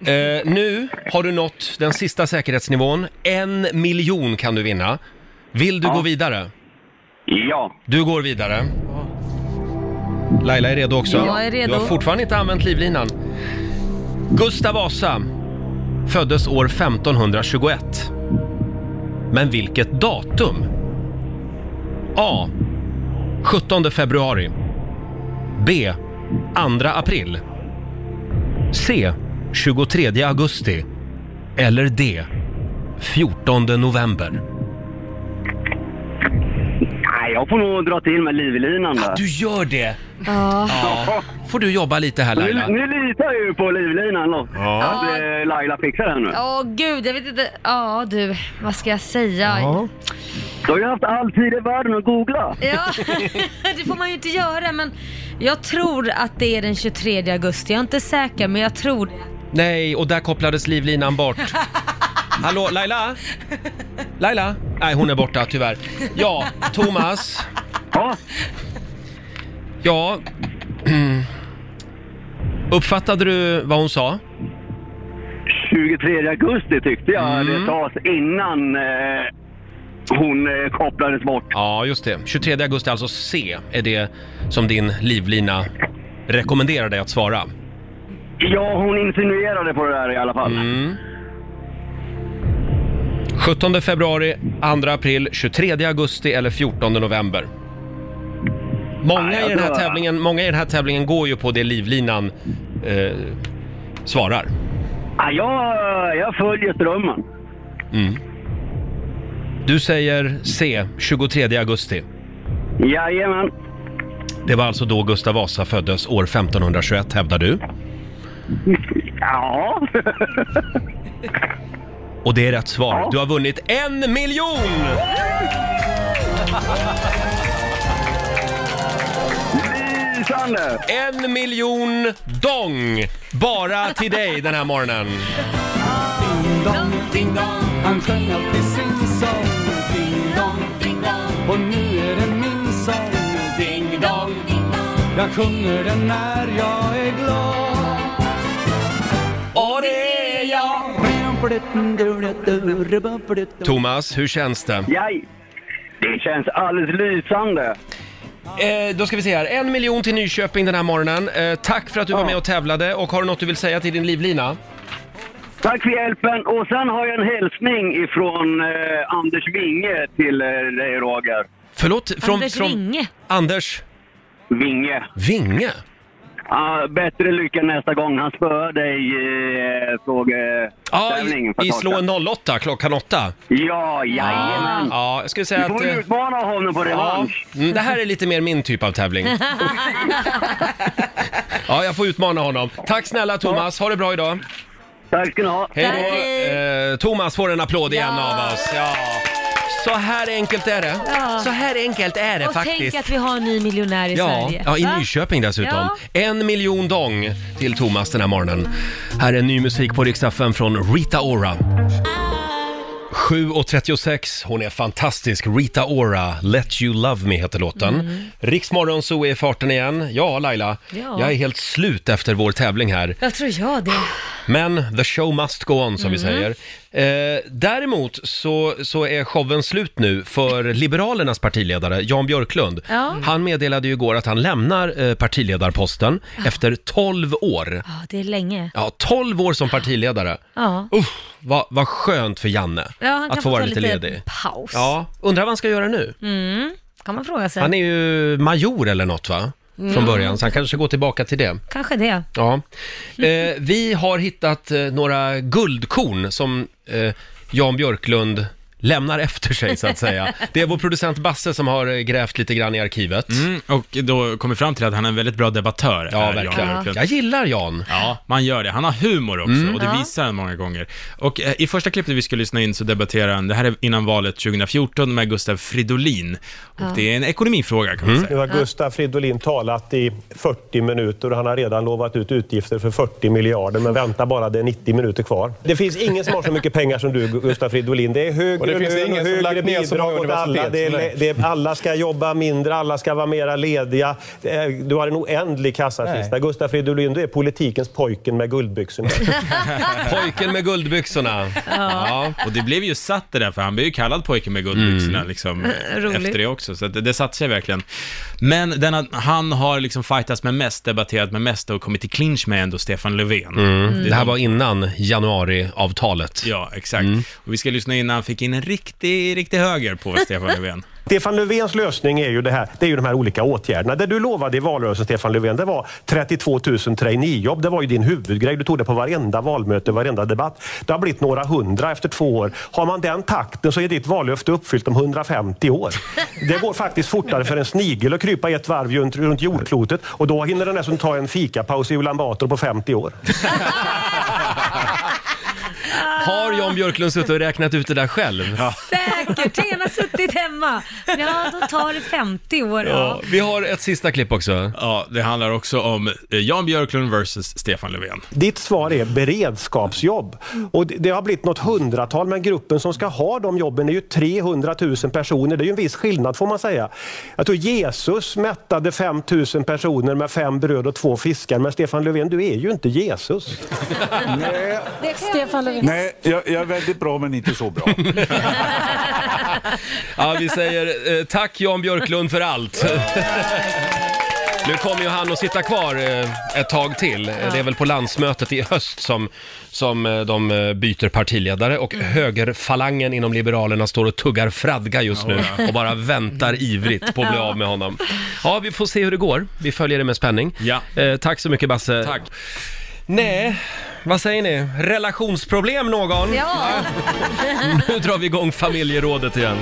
[SPEAKER 1] Eh, nu har du nått den sista säkerhetsnivån. En miljon kan du vinna. Vill du gå vidare?
[SPEAKER 10] Ja.
[SPEAKER 1] Du går vidare. Laila är redo också.
[SPEAKER 2] Jag är redo.
[SPEAKER 1] Du har fortfarande inte använt livlinan. Gustav Vasa föddes år 1521. Men vilket datum? A. 17 februari. B. 2 april. C. 23 augusti. Eller D. 14 november.
[SPEAKER 10] Nej, jag får nog dra till med livlinan där.
[SPEAKER 1] Du gör det? Ah.
[SPEAKER 2] Ja.
[SPEAKER 1] Ja. Får du jobba lite här
[SPEAKER 10] Nu,
[SPEAKER 1] Laila?
[SPEAKER 10] nu litar jag ju på livlinan då.
[SPEAKER 1] Ja.
[SPEAKER 10] Att eh, Laila fixar det här nu.
[SPEAKER 2] Åh gud, jag vet inte. Ja du, vad ska jag säga? Ja,
[SPEAKER 10] Du har ju haft all tid i världen att googla.
[SPEAKER 2] det får man ju inte göra men jag tror att det är den 23 augusti. Jag är inte säker men jag tror det.
[SPEAKER 1] Nej, och där kopplades livlinan bort. Hallå, Laila? Laila? Nej, hon är borta tyvärr. Ja, Thomas.
[SPEAKER 10] Ja?
[SPEAKER 1] Ja. Mm. Uppfattade du vad hon sa?
[SPEAKER 10] 23 augusti tyckte jag
[SPEAKER 1] Mm.
[SPEAKER 10] det sades innan eh, hon eh, kopplades bort.
[SPEAKER 1] Ja, just det. 23 augusti, alltså C, är det som din livlina rekommenderar dig att svara.
[SPEAKER 10] Ja, hon insinuerade på det där i alla fall.
[SPEAKER 1] Mm. 17 februari, 2 april, 23 augusti eller 14 november. Många, i den här tävlingen, många i den här tävlingen går ju på det livlinan eh, svarar.
[SPEAKER 10] Ja, jag, jag följer strömmen.
[SPEAKER 1] Mm. Du säger C, 23 augusti.
[SPEAKER 10] Jajamän.
[SPEAKER 1] Det var alltså då Gustav Vasa föddes år 1521, hävdar du.
[SPEAKER 10] Ja.
[SPEAKER 1] Och det är rätt svar. Du har vunnit en miljon!
[SPEAKER 10] Lysande!
[SPEAKER 1] En miljon dong! Bara till dig den här morgonen.
[SPEAKER 7] Ding dong, ding dong, han sjöng alltid sin sång. Ding dong, ding dong, och nu är det min sång. Ding dong, ding dong, jag sjunger den när jag är glad.
[SPEAKER 1] Och det är
[SPEAKER 7] jag!
[SPEAKER 1] Thomas, hur känns det?
[SPEAKER 10] Jaj. Det känns alldeles lysande.
[SPEAKER 1] Eh, då ska vi se här, en miljon till Nyköping den här morgonen. Eh, tack för att du var med och tävlade och har du något du vill säga till din livlina?
[SPEAKER 10] Tack för hjälpen. Och sen har jag en hälsning ifrån eh, Anders Winge till eh, dig Roger.
[SPEAKER 1] Förlåt? Från,
[SPEAKER 10] Anders
[SPEAKER 1] från...
[SPEAKER 10] Winge?
[SPEAKER 1] Anders?
[SPEAKER 10] Winge.
[SPEAKER 1] Vinge?
[SPEAKER 10] Ja, bättre lycka nästa gång. Han spöade dig i eh,
[SPEAKER 1] Ja,
[SPEAKER 10] frågeställningen.
[SPEAKER 1] i, i Slå en 08 klockan 8.
[SPEAKER 10] Ja, jajamän.
[SPEAKER 1] Ja, jag skulle säga
[SPEAKER 10] Du
[SPEAKER 1] att...
[SPEAKER 10] får ju
[SPEAKER 1] eh,
[SPEAKER 10] utmana honom på revansch.
[SPEAKER 1] Ja, mm, det här är lite mer min typ av tävling. Ja, jag får utmana honom. Tack snälla Thomas, ha det bra idag.
[SPEAKER 10] Tack ska ni ha.
[SPEAKER 1] Hej då. Eh, Thomas får en applåd igen av oss. Ja. Så här enkelt är det. Så här enkelt är det
[SPEAKER 2] och
[SPEAKER 1] faktiskt.
[SPEAKER 2] tänk att vi har en ny miljonär i
[SPEAKER 1] Ja,
[SPEAKER 2] Sverige.
[SPEAKER 1] ja, i
[SPEAKER 2] Va?
[SPEAKER 1] Nyköping dessutom.
[SPEAKER 2] Ja.
[SPEAKER 1] En miljon dong till Thomas den här morgonen. Här är ny musik på riksdag från Rita Ora. 7.36, hon är fantastisk. Rita Ora, Let You Love Me heter låten.
[SPEAKER 2] Mm.
[SPEAKER 1] Riksmorgon så är i farten igen. Ja, Laila,
[SPEAKER 2] Ja.
[SPEAKER 1] jag är helt slut efter vår tävling här.
[SPEAKER 2] Jag tror jag det.
[SPEAKER 1] Men the show must go on, som vi
[SPEAKER 2] Mm.
[SPEAKER 1] säger. Eh, däremot så, så är showen slut nu för Liberalernas partiledare Jan Björklund.
[SPEAKER 2] Ja.
[SPEAKER 1] Han meddelade ju igår att han lämnar eh, partiledarposten efter 12 år.
[SPEAKER 2] Ja, det är länge.
[SPEAKER 1] Ja, 12 år som partiledare.
[SPEAKER 2] Ja.
[SPEAKER 1] Uff, vad, vad skönt för Janne
[SPEAKER 2] Ja, han kan
[SPEAKER 1] att få
[SPEAKER 2] få
[SPEAKER 1] vara
[SPEAKER 2] ta
[SPEAKER 1] lite
[SPEAKER 2] lite
[SPEAKER 1] ledig.
[SPEAKER 2] paus.
[SPEAKER 1] Ja, undrar vad han ska göra nu?
[SPEAKER 2] Mm, kan man fråga sig.
[SPEAKER 1] Han är ju major eller något va? Från
[SPEAKER 2] Mm.
[SPEAKER 1] början, så han kanske går tillbaka till det.
[SPEAKER 2] Kanske det.
[SPEAKER 1] Ja. Eh, vi har hittat eh, några guldkorn som eh, Jan Björklund lämnar efter sig, så att säga. Det är vår producent Basse som har eh, grävt lite grann i arkivet.
[SPEAKER 6] Mm, och då kommer vi fram till att han är en väldigt bra debattör.
[SPEAKER 1] Ja,
[SPEAKER 6] är Jan
[SPEAKER 1] verkligen.
[SPEAKER 6] Björklund.
[SPEAKER 1] Jag gillar Jan.
[SPEAKER 6] Ja, man gör det. Han har humor också
[SPEAKER 1] Mm.
[SPEAKER 6] och det
[SPEAKER 1] Ja.
[SPEAKER 6] visar han många gånger. Och eh, i första klippet vi skulle lyssna in så debatterar han, det här är innan valet 2014 med Gustav Fridolin. Och
[SPEAKER 11] Ja.
[SPEAKER 6] det är en ekonomifråga
[SPEAKER 1] Mm.
[SPEAKER 6] kan man
[SPEAKER 12] Mm.
[SPEAKER 11] Nu
[SPEAKER 6] säga.
[SPEAKER 11] har Gustav Fridolin talat i 40 minuter och han har redan lovat ut utgifter för 40 miljarder men vänta bara, det är 90 minuter kvar. Det finns ingen som har så mycket pengar som du, Gustav Fridolin. Det är
[SPEAKER 12] Och det
[SPEAKER 11] högre
[SPEAKER 12] finns
[SPEAKER 11] lön och
[SPEAKER 12] ingen som
[SPEAKER 11] högre
[SPEAKER 12] lagt ner så många
[SPEAKER 11] bidrag åt alla.
[SPEAKER 12] universitet
[SPEAKER 11] Det
[SPEAKER 12] som
[SPEAKER 11] är,
[SPEAKER 12] dig.
[SPEAKER 11] det är, alla ska jobba mindre, alla ska vara mera lediga. Det är- Du har en oändlig kassakista.
[SPEAKER 1] Nej.
[SPEAKER 11] Gustav Fridolin, du är politikens pojken med guldbyxorna.
[SPEAKER 1] Pojken med guldbyxorna.
[SPEAKER 6] Ja. Och det blev ju satt det där, för han blev ju kallad pojken med guldbyxorna
[SPEAKER 1] Mm.
[SPEAKER 6] liksom,
[SPEAKER 1] Roligt.
[SPEAKER 6] efter det också. Så att det, det satte sig verkligen. Men den att han har liksom fightats med mest, debatterat med mest och kommit i clinch med ändå Stefan Löfven.
[SPEAKER 1] Mm. Det här
[SPEAKER 6] de-
[SPEAKER 1] var innan januariavtalet. Mm.
[SPEAKER 6] Ja, exakt. Och vi ska lyssna in när han fick in en riktig, riktig höger på Stefan Löfven.
[SPEAKER 11] Stefan Löfvens lösning är ju, det här, det är ju de här olika åtgärderna. Det du lovade i valrörelsen, Stefan Löfven, det var 32 000 traineejobb. Det var ju din huvudgrej. Du tog det på varenda valmöte, varenda debatt. Det har blivit några hundra efter två år. Har man den takten så är ditt vallöfte uppfyllt om 150 år. Det går faktiskt fortare för en snigel att krypa ett varv runt, runt jordklotet och då hinner den dessutom ta en fikapaus i Ulan Bator på 50 år.
[SPEAKER 1] Har Jan Björklund suttit och räknat ut det där själv?
[SPEAKER 2] Säkert, tänk han har suttit hemma. Ja, då tar det 50 år. Ja.
[SPEAKER 1] Vi har ett sista klipp också.
[SPEAKER 6] Ja, det handlar också om eh, Jan Björklund versus Stefan Löfven.
[SPEAKER 11] Ditt svar är beredskapsjobb. Och det- det har blivit något hundratal, men gruppen som ska ha de jobben är ju 300 000 personer. Det är ju en viss skillnad får man säga. Jag tror Jesus mättade 5 000 personer med fem bröd och två fiskar, men Stefan Löfven, du är ju inte Jesus.
[SPEAKER 12] Nej,
[SPEAKER 13] Stefan Löfven.
[SPEAKER 12] nej jag, jag är väldigt bra men inte så bra.
[SPEAKER 1] Ja, vi säger eh, tack Jan Björklund för allt. Nu kommer ju han att sitta kvar eh, ett tag till. Eh, Det är väl på landsmötet i höst som, som eh, de eh, byter partiledare och högerfalangen inom Liberalerna står och tuggar fradga just nu
[SPEAKER 6] Ja.
[SPEAKER 1] och bara väntar ivrigt på att bli av med honom. Ja, vi får se hur det går. Vi följer det med spänning. Eh, Tack så mycket Basse. Tack. Nej, vad säger ni? Relationsproblem någon?
[SPEAKER 2] Ja.
[SPEAKER 1] Nu drar vi igång familjerådet igen.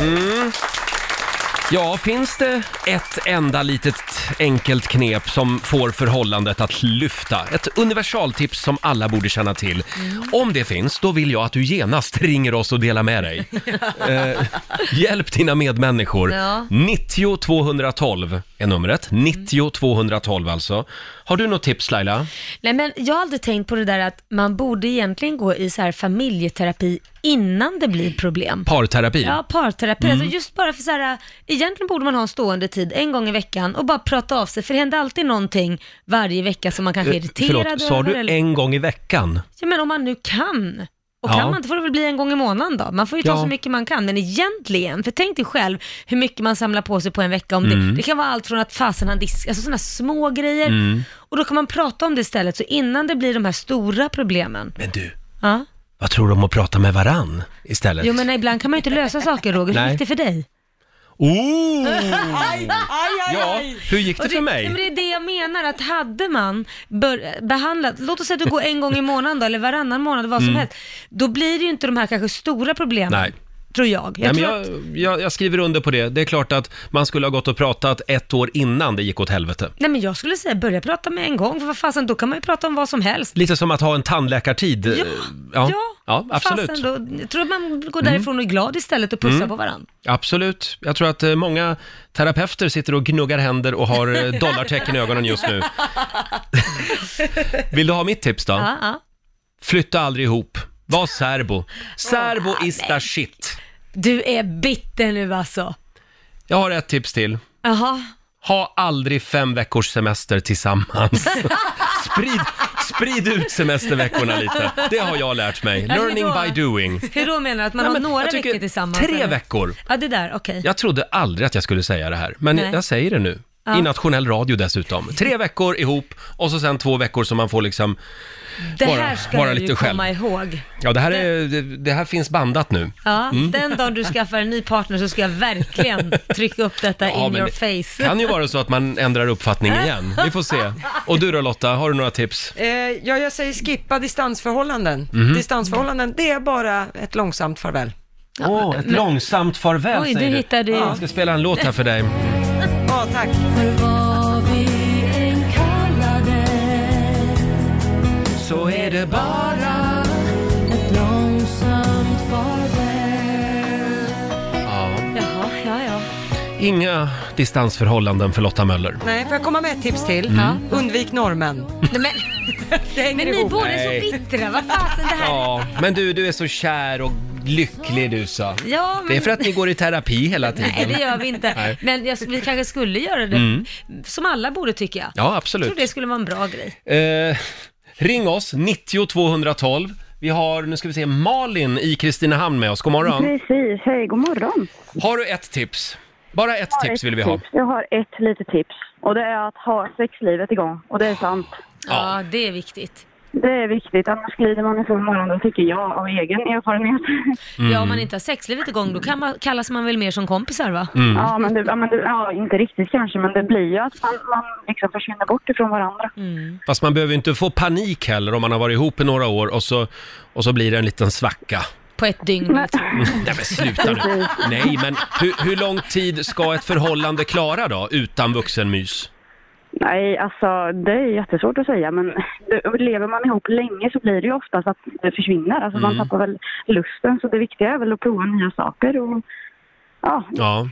[SPEAKER 1] Mm. Ja, finns det ett enda litet enkelt knep som får förhållandet att lyfta? Ett universaltips som alla borde känna till.
[SPEAKER 2] Mm.
[SPEAKER 1] Om det finns, då vill jag att du genast ringer oss och delar med dig. Eh, hjälp dina medmänniskor.
[SPEAKER 2] Ja. Mm.
[SPEAKER 1] 90 212 är numret. 90 212 alltså. Har du något tips Laila?
[SPEAKER 2] Nej, men jag har aldrig tänkt på det där att man borde egentligen gå i så här familjeterapi innan det blir problem.
[SPEAKER 1] Parterapi?
[SPEAKER 2] Ja, parterapi.
[SPEAKER 1] Mm.
[SPEAKER 2] Alltså just bara för så här, egentligen borde man ha en stående tid en gång i veckan och bara prata av sig, för det händer alltid någonting varje vecka som man kanske är
[SPEAKER 1] Eh,
[SPEAKER 2] irriterad
[SPEAKER 1] Förlåt, sa du
[SPEAKER 2] över. eller-
[SPEAKER 1] en gång i veckan?
[SPEAKER 2] Ja, men om man nu kan. Och
[SPEAKER 1] Ja.
[SPEAKER 2] kan man inte får det väl bli en gång i månaden då. Man får ju ta
[SPEAKER 1] Ja.
[SPEAKER 2] så mycket man kan. Men egentligen, för tänk dig själv hur mycket man samlar på sig på en vecka. Om det,
[SPEAKER 1] Mm.
[SPEAKER 2] det kan vara allt från att fasen han diskar, alltså sådana små grejer.
[SPEAKER 1] Mm.
[SPEAKER 2] Och då kan man prata om det istället, så innan det blir de här stora problemen.
[SPEAKER 1] Men du,
[SPEAKER 2] Ja.
[SPEAKER 1] vad tror du om att prata med varann istället?
[SPEAKER 2] Jo men ibland kan man ju inte lösa saker Roger, hur
[SPEAKER 1] Nej.
[SPEAKER 2] gick det för dig?
[SPEAKER 1] Oh!
[SPEAKER 2] Ja,
[SPEAKER 1] hur gick det för mig?
[SPEAKER 2] Men det är det jag menar, att hade man bör, behandlat, låt oss säga att du går en gång i månaden då, eller varannan månad, vad som
[SPEAKER 1] Mm.
[SPEAKER 2] helst, då blir det ju inte de här kanske stora problemen.
[SPEAKER 1] Nej.
[SPEAKER 2] Tror jag.
[SPEAKER 1] Jag,
[SPEAKER 2] Jag,
[SPEAKER 1] Nej,
[SPEAKER 2] tror
[SPEAKER 1] men
[SPEAKER 2] Att,
[SPEAKER 1] jag, jag, jag skriver under på det. Det är klart att man skulle ha gått och pratat ett år innan det gick åt helvete.
[SPEAKER 2] nej men jag skulle säga börja prata med en gång, för vad fasen, då kan man ju prata om vad som helst.
[SPEAKER 1] Lite som att ha en tandläkartid. Ja, ja, ja absolut.
[SPEAKER 2] Fasen, då, jag tror att man går därifrån och är glad istället och pussar
[SPEAKER 1] Mm.
[SPEAKER 2] på varandra.
[SPEAKER 1] Absolut. Jag tror att eh, många terapeuter sitter och gnuggar händer och har eh, dollartecken i ögonen just nu. Vill du ha mitt tips då?
[SPEAKER 2] Ja, ja.
[SPEAKER 1] Flytta aldrig ihop. Var serbo. Serbo is the shit.
[SPEAKER 2] Du är bitter nu alltså.
[SPEAKER 1] Jag har ett tips till.
[SPEAKER 2] Jaha.
[SPEAKER 1] Ha aldrig fem veckors semester tillsammans. Sprid, sprid ut semesterveckorna lite. Det har jag lärt mig.
[SPEAKER 2] Ja, hur
[SPEAKER 1] Learning
[SPEAKER 2] då?
[SPEAKER 1] by doing.
[SPEAKER 2] Hur då menar du? Att man
[SPEAKER 1] Nej,
[SPEAKER 2] har
[SPEAKER 1] men
[SPEAKER 2] några
[SPEAKER 1] jag tycker
[SPEAKER 2] veckor tillsammans?
[SPEAKER 1] Tre
[SPEAKER 2] eller?
[SPEAKER 1] veckor.
[SPEAKER 2] Ja, det där, okej.
[SPEAKER 1] Jag trodde aldrig att jag skulle säga det här, men
[SPEAKER 2] Nej.
[SPEAKER 1] jag säger det nu.
[SPEAKER 2] Ja.
[SPEAKER 1] I nationell radio dessutom. Tre veckor ihop och så sen två veckor som man får liksom
[SPEAKER 2] Det
[SPEAKER 1] vara-
[SPEAKER 2] här ska
[SPEAKER 1] vara
[SPEAKER 2] du
[SPEAKER 1] lite
[SPEAKER 2] ju
[SPEAKER 1] själv.
[SPEAKER 2] komma ihåg.
[SPEAKER 1] Ja, det här, är, det, det här finns bandat nu.
[SPEAKER 2] Ja,
[SPEAKER 1] Mm.
[SPEAKER 2] den dagen du skaffar en ny partner så ska jag verkligen trycka upp detta
[SPEAKER 1] Ja,
[SPEAKER 2] in
[SPEAKER 1] men
[SPEAKER 2] your
[SPEAKER 1] det
[SPEAKER 2] face.
[SPEAKER 1] kan ju vara så att man ändrar uppfattning igen. Vi får se. Och du då Lotta, har du några tips?
[SPEAKER 4] Eh, ja, jag säger skippa distansförhållanden.
[SPEAKER 1] Mhm.
[SPEAKER 4] Distansförhållanden, det är bara ett långsamt farväl.
[SPEAKER 1] Åh, ett långsamt farväl
[SPEAKER 4] Oj,
[SPEAKER 1] säger
[SPEAKER 4] du
[SPEAKER 1] du.
[SPEAKER 4] hittade ju-
[SPEAKER 1] Jag ska spela en låt här för dig.
[SPEAKER 4] Ja, tack.
[SPEAKER 1] Så är det
[SPEAKER 7] bara ett långsamt farväl
[SPEAKER 1] Ja.
[SPEAKER 2] Jaha, ja, ja.
[SPEAKER 1] Inga distansförhållanden för Lotta Möller.
[SPEAKER 4] Nej, får jag komma med ett tips till?
[SPEAKER 1] Mm. Ja.
[SPEAKER 4] Undvik norrmän.
[SPEAKER 2] men
[SPEAKER 4] det hänger
[SPEAKER 2] men ni
[SPEAKER 4] ihop.
[SPEAKER 2] båda
[SPEAKER 1] Nej.
[SPEAKER 2] är så bittra, vad fasen det här...
[SPEAKER 1] Ja, men du, du är så kär och lycklig du sa.
[SPEAKER 2] Ja, men-
[SPEAKER 1] Det är för att ni går i terapi hela tiden.
[SPEAKER 2] Nej, det gör vi inte.
[SPEAKER 1] Nej.
[SPEAKER 2] Men jag, vi kanske skulle göra det,
[SPEAKER 1] Mm.
[SPEAKER 2] som alla borde tycker jag.
[SPEAKER 1] Ja,
[SPEAKER 2] Jag
[SPEAKER 1] absolut.
[SPEAKER 2] tror det skulle vara en bra grej.
[SPEAKER 1] Eh, ring oss, 90 212. Vi har, nu ska vi se, Malin i Kristinehamn med oss. God morgon.
[SPEAKER 13] Precis, hej, god morgon.
[SPEAKER 1] Har du ett tips? Bara ett
[SPEAKER 13] Jag har
[SPEAKER 1] tips
[SPEAKER 13] ett
[SPEAKER 1] vill vi ha.
[SPEAKER 13] tips. Jag har ett litet tips och det är att ha sexlivet igång och det är sant.
[SPEAKER 2] Ja, det är viktigt.
[SPEAKER 13] Det är viktigt, annars glider man ifrån varandra tycker jag av egen erfarenhet.
[SPEAKER 1] Mm.
[SPEAKER 2] Ja, om man inte har sexlivet igång, då kan man, kallas man väl mer som kompisar va?
[SPEAKER 13] Mm. Ja, men det, ja, men det, ja, inte riktigt kanske, men det blir ju att man, man liksom försvinner bort ifrån varandra.
[SPEAKER 2] Mm.
[SPEAKER 1] Fast man behöver ju inte få panik heller om man har varit ihop i några år och så, och så blir det en liten svacka.
[SPEAKER 2] På ett dygn typ. eller två.
[SPEAKER 1] Mm. Nej men sluta nu. Nej men hur, hur lång tid ska ett förhållande klara då utan vuxenmys?
[SPEAKER 13] Nej, alltså det är jättesvårt att säga, men det, lever man ihop länge så blir det ju oftast att det försvinner. Alltså man
[SPEAKER 1] Mm.
[SPEAKER 13] tappar väl lusten, så det viktiga är väl att prova nya saker och ja,
[SPEAKER 1] Ja.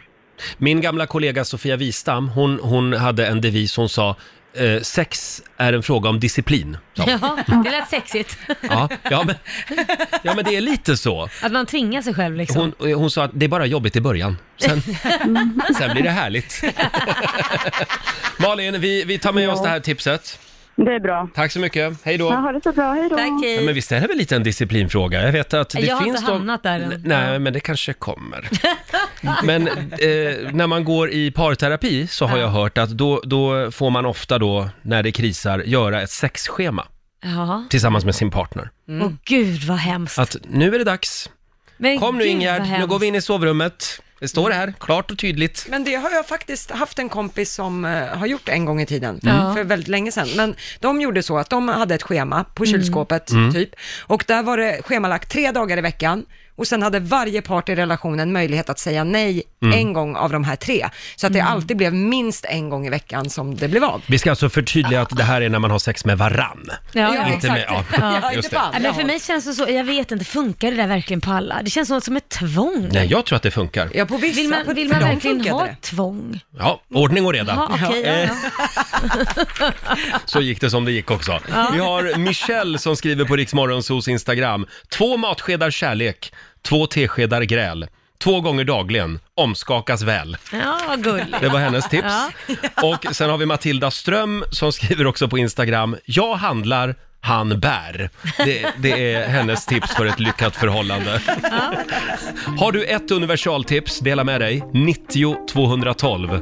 [SPEAKER 1] Min gamla kollega Sofia Wistam, hon, hon hade en devis, hon sa eh, sex är en fråga om disciplin. sa hon.
[SPEAKER 2] Ja, det lät sexigt.
[SPEAKER 1] Ja, ja, men, ja men det är lite så.
[SPEAKER 2] Att man tvingar sig själv liksom.
[SPEAKER 1] Hon, hon sa att det är bara jobbigt i början, sen,
[SPEAKER 13] Mm.
[SPEAKER 1] sen blir det härligt. Malin, vi, vi tar med oss det här tipset.
[SPEAKER 13] det är bra.
[SPEAKER 1] Tack så mycket, hej då.
[SPEAKER 13] Ja, ha det så bra, hej då.
[SPEAKER 2] Tack,
[SPEAKER 1] Ja, men visst är det väl lite en disciplinfråga? Jag vet att det
[SPEAKER 2] jag har
[SPEAKER 1] finns
[SPEAKER 2] inte
[SPEAKER 1] de-
[SPEAKER 2] hamnat där än.
[SPEAKER 1] Nej, men det kanske kommer. Men eh, när man går i parterapi så har jag hört att då, då får man ofta då, när det krisar, göra ett sexschema
[SPEAKER 2] Ja.
[SPEAKER 1] tillsammans med sin partner.
[SPEAKER 2] Åh gud vad hemskt.
[SPEAKER 1] Att nu är det dags.
[SPEAKER 2] Men
[SPEAKER 1] Kom nu
[SPEAKER 2] gud,
[SPEAKER 1] Ingegerd,
[SPEAKER 2] vad
[SPEAKER 1] nu
[SPEAKER 2] hemskt.
[SPEAKER 1] går vi in i sovrummet. Det står här, klart och tydligt.
[SPEAKER 4] Men det har jag faktiskt haft en kompis som eh, har gjort en gång i tiden, Mm.
[SPEAKER 1] Ja.
[SPEAKER 4] för väldigt länge sedan. Men de gjorde så att de hade ett schema på kylskåpet
[SPEAKER 1] Mm.
[SPEAKER 4] typ, och där var det schemalagt tre dagar i veckan. och sen hade varje part i relationen möjlighet att säga nej
[SPEAKER 1] Mm.
[SPEAKER 4] en gång av de här tre. Så att det alltid blev minst en gång i veckan som det blev av.
[SPEAKER 1] Vi ska alltså förtydliga att det här är när man har sex med varann.
[SPEAKER 2] Ja, ja,
[SPEAKER 1] inte med, ja,
[SPEAKER 2] exakt. Ja.
[SPEAKER 1] just det.
[SPEAKER 2] Ja, men för mig känns det så, jag vet inte, funkar det där verkligen på alla? Det känns som- som ett tvång.
[SPEAKER 1] Nej, jag tror att det funkar.
[SPEAKER 4] Ja, på vissa,
[SPEAKER 2] vill man,
[SPEAKER 4] på-
[SPEAKER 2] vill
[SPEAKER 4] för
[SPEAKER 2] man
[SPEAKER 4] dem
[SPEAKER 2] verkligen
[SPEAKER 4] funkade
[SPEAKER 2] ha
[SPEAKER 4] det.
[SPEAKER 2] ett tvång?
[SPEAKER 1] Ja, ordning och reda.
[SPEAKER 2] Ja, okej, ja,
[SPEAKER 1] Eh,
[SPEAKER 2] ja.
[SPEAKER 1] Så gick det som det gick också.
[SPEAKER 2] Ja.
[SPEAKER 1] Vi har Michelle som skriver på Riksmorgonsos Instagram. Två matskedar kärlek, två teskedar gräl. Två gånger dagligen, omskakas väl.
[SPEAKER 2] Ja, vad gulligt.
[SPEAKER 1] Det var hennes tips.
[SPEAKER 2] Ja.
[SPEAKER 1] Och sen har vi Matilda Ström som skriver också på Instagram. Jag handlar, han bär. Det, det är hennes tips för ett lyckat förhållande. Har du ett universaltips, dela med dig. 90 212.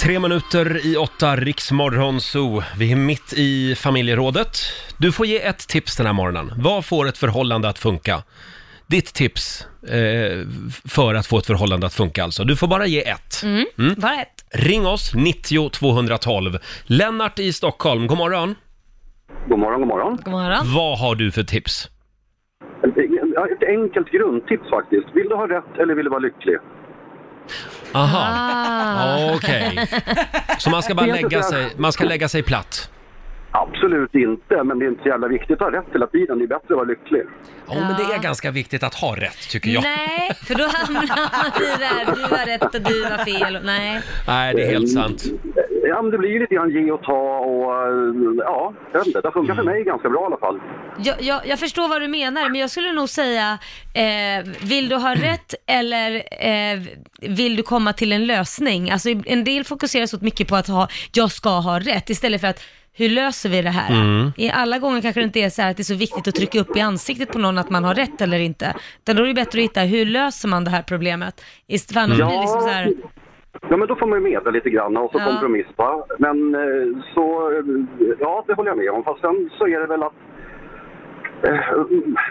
[SPEAKER 1] Tre minuter i åtta, Riksmorgon Zoo. Vi är mitt i familjerådet. Du får ge ett tips den här morgonen. Vad får ett förhållande att funka? Ditt tips eh, f- för att få ett förhållande att funka alltså. Du får bara ge ett.
[SPEAKER 2] Mm.
[SPEAKER 1] Mm.
[SPEAKER 2] Bara ett.
[SPEAKER 1] Ring oss, 90 212. Lennart i Stockholm, god morgon.
[SPEAKER 14] God morgon, god morgon.
[SPEAKER 2] God morgon.
[SPEAKER 1] Vad har du för tips?
[SPEAKER 14] Ja, Ett enkelt grundtips faktiskt. Vill du ha rätt eller vill du vara lycklig?
[SPEAKER 1] Aha,
[SPEAKER 2] Ah.
[SPEAKER 1] okej. Så man ska bara
[SPEAKER 14] Det är inte
[SPEAKER 1] lägga
[SPEAKER 14] så här-
[SPEAKER 1] sig, man ska lägga sig platt?
[SPEAKER 14] Absolut inte, men det är inte så jävla viktigt att ha rätt hela tiden. Det är bättre att vara lycklig.
[SPEAKER 1] Ja, men det är ganska viktigt att ha rätt tycker jag.
[SPEAKER 2] Nej, för då hamnar man i det här, du var rätt och du var fel. och- Nej.
[SPEAKER 1] Nej, det är helt sant.
[SPEAKER 14] Ja, men det blir ju lite grann ge och ta och eh, ja, jag vet inte. Det funkar för mig ganska bra i alla fall.
[SPEAKER 2] Jag, jag, jag förstår vad du menar, men jag skulle nog säga, eh, vill du ha rätt eller eh, vill du komma till en lösning? Alltså en del fokuserar så mycket på att ha, jag ska ha rätt, istället för att hur löser vi det här?
[SPEAKER 1] Mm.
[SPEAKER 2] I alla gånger kanske det inte är så här att det är så viktigt att trycka upp i ansiktet på någon att man har rätt eller inte. Utan då är det bättre att hitta, hur löser man det här problemet? Ist- För annars blir det liksom så här,
[SPEAKER 14] Ja, men då får man ju medla lite grann och så
[SPEAKER 2] Ja.
[SPEAKER 14] kompromissa. Men eh, så, eh, ja det håller jag med om. Fast sen så är det väl att eh,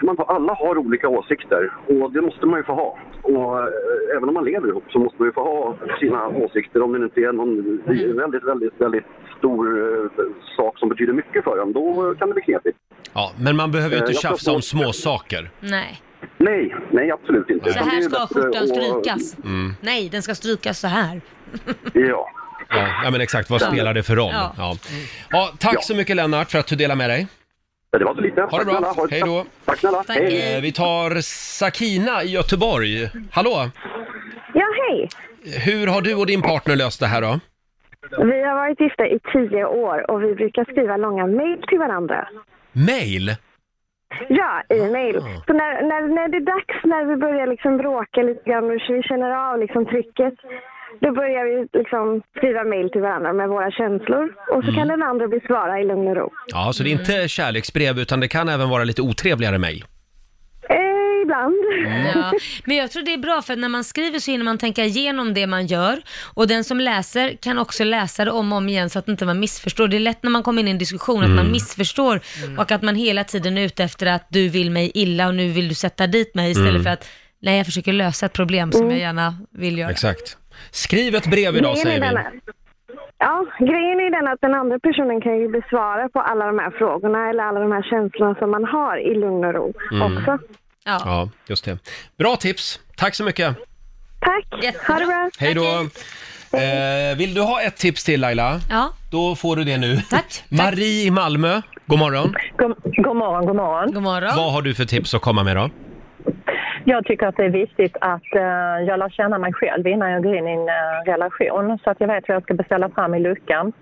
[SPEAKER 14] man, alla har olika åsikter och det måste man ju få ha. Och eh, även om man lever ihop så måste man ju få ha sina åsikter om det inte är någon det är en väldigt, väldigt, väldigt stor eh, sak som betyder mycket för en. Då kan det bli knepigt.
[SPEAKER 1] Ja, men man behöver ju
[SPEAKER 14] Eh,
[SPEAKER 1] inte
[SPEAKER 14] jag ska
[SPEAKER 1] tjafsa
[SPEAKER 14] få-
[SPEAKER 1] om små saker.
[SPEAKER 2] nej.
[SPEAKER 14] Nej, nej absolut inte.
[SPEAKER 2] Så
[SPEAKER 14] Utan det
[SPEAKER 2] här
[SPEAKER 14] är
[SPEAKER 2] ska
[SPEAKER 14] bättre
[SPEAKER 2] skjortan
[SPEAKER 14] att-
[SPEAKER 2] strykas.
[SPEAKER 1] Mm.
[SPEAKER 2] Nej, den ska strykas så här.
[SPEAKER 14] Ja.
[SPEAKER 1] Ja, men exakt, vad spelar det för roll?
[SPEAKER 2] Ja.
[SPEAKER 1] Ja. Ja, tack så mycket Lennart för att du delar med dig.
[SPEAKER 14] Det var så lite.
[SPEAKER 1] Ha det bra, hej då.
[SPEAKER 14] Tack snälla.
[SPEAKER 2] Tack. Hej.
[SPEAKER 1] Eh, Vi tar Sakina i Göteborg. Hallå!
[SPEAKER 15] Ja, hej.
[SPEAKER 1] Hur har du och din partner löst det här då?
[SPEAKER 15] Vi har varit gifta i tio år och vi brukar skriva långa mejl till varandra.
[SPEAKER 1] Mail?
[SPEAKER 15] Ja, e-mail. Så när, när, när det är dags, när vi börjar liksom bråka lite grann och vi känner av liksom trycket, då börjar vi liksom skriva mejl till varandra med våra känslor. Och så kan den andra besvara i lugn och ro.
[SPEAKER 1] Ja, så det är inte kärleksbrev utan det kan även vara lite otrevligare mail.
[SPEAKER 15] Eh, ibland.
[SPEAKER 1] Mm.
[SPEAKER 2] Ja, men jag tror det är bra för när man skriver så hinner man tänka igenom det man gör och den som läser kan också läsa det om och om igen så att inte man missförstår. Det är lätt när man kommer in i en diskussion att
[SPEAKER 16] Mm.
[SPEAKER 2] man missförstår
[SPEAKER 1] Mm.
[SPEAKER 2] och att man hela tiden är ute efter att du vill mig illa och nu vill du sätta dit mig istället
[SPEAKER 1] Mm.
[SPEAKER 2] för att nej, jag försöker lösa ett problem som jag gärna vill göra.
[SPEAKER 1] Exakt. Skriv ett brev idag
[SPEAKER 15] Grejen är
[SPEAKER 1] säger
[SPEAKER 15] den
[SPEAKER 1] vi.
[SPEAKER 15] att- Ja, grejen är den att den andra personen kan ju besvara på alla de här frågorna eller alla de här känslorna som man har i lugn och ro
[SPEAKER 1] Mm.
[SPEAKER 15] också.
[SPEAKER 2] Ja.
[SPEAKER 1] ja, just det. Bra tips! Tack så mycket!
[SPEAKER 15] Tack! Ha det bra!
[SPEAKER 1] Hej då! Eh, vill du ha ett tips till Laila?
[SPEAKER 2] Ja.
[SPEAKER 1] Då får du det nu. Tack! Marie i Malmö, god morgon.
[SPEAKER 17] God, god morgon, god morgon.
[SPEAKER 2] God morgon.
[SPEAKER 1] Vad har du för tips att komma med då?
[SPEAKER 17] Jag tycker att det är viktigt att eh, jag lär känna mig själv innan jag går in i en eh, relation så att jag vet vad jag ska beställa fram i luckan.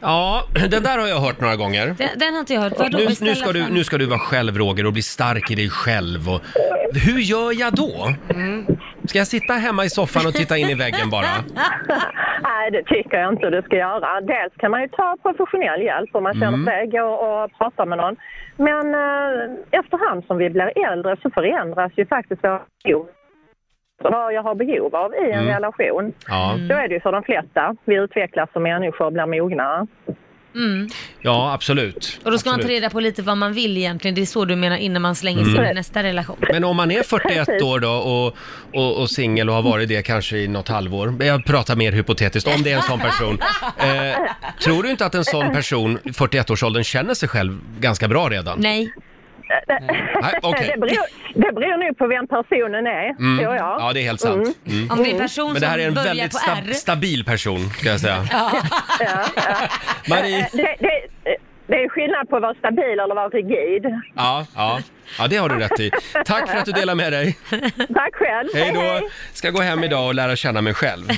[SPEAKER 1] Ja, den där har jag hört några gånger.
[SPEAKER 2] Den, den har inte jag hört. Vadå,
[SPEAKER 1] Nu,
[SPEAKER 2] beställa
[SPEAKER 1] nu, ska du,
[SPEAKER 2] fram?
[SPEAKER 1] nu ska du vara själv Roger och bli stark i dig själv. Och... Hur gör jag då?
[SPEAKER 2] Mm.
[SPEAKER 1] Ska jag sitta hemma i soffan och titta in i väggen bara?
[SPEAKER 17] Nej, det tycker jag inte du ska göra. Dels kan man ju ta professionell hjälp om man känner
[SPEAKER 1] Mm.
[SPEAKER 17] sig och, och prata med någon. Men eh, efterhand som vi blir äldre så förändras ju faktiskt våra behov. Vad jag har behov av i en
[SPEAKER 1] Mm.
[SPEAKER 17] relation.
[SPEAKER 1] Ja.
[SPEAKER 17] Så är det ju för de flesta. Vi utvecklas som människor och blir mognare.
[SPEAKER 2] Mm.
[SPEAKER 1] Ja, absolut.
[SPEAKER 2] Och då ska man ta
[SPEAKER 1] Absolut.
[SPEAKER 2] reda på lite vad man vill egentligen. Det är så du menar innan man slänger sig
[SPEAKER 1] Mm.
[SPEAKER 2] in i nästa relation.
[SPEAKER 1] Men om man är 41
[SPEAKER 2] Precis.
[SPEAKER 1] år då och, och, och singel och har varit det kanske i något halvår. Men Jag pratar mer hypotetiskt om det är en sån person. Eh, tror du inte att en sån person i 41-årsåldern känner sig själv ganska bra redan?
[SPEAKER 2] Nej.
[SPEAKER 1] Nej, okej.
[SPEAKER 17] det, beror, det beror nu på vem personen är,
[SPEAKER 1] Mm.
[SPEAKER 17] tror jag.
[SPEAKER 1] Ja, det är helt sant.
[SPEAKER 17] Mm.
[SPEAKER 1] Mm.
[SPEAKER 2] Om det är en person
[SPEAKER 1] Men det här
[SPEAKER 2] som
[SPEAKER 1] är en
[SPEAKER 2] börjar
[SPEAKER 1] väldigt
[SPEAKER 2] på
[SPEAKER 1] sta-
[SPEAKER 2] R.
[SPEAKER 1] stabil person, ska jag säga.
[SPEAKER 17] Ja. Eh,
[SPEAKER 1] Marie?
[SPEAKER 17] Det, det, det är skillnad på att vara stabil eller vara rigid.
[SPEAKER 1] Ja, ja. ja, det har du rätt i. Tack för att du delar med dig.
[SPEAKER 17] Tack själv.
[SPEAKER 1] Hej då! Ska gå hem idag och lära känna mig själv.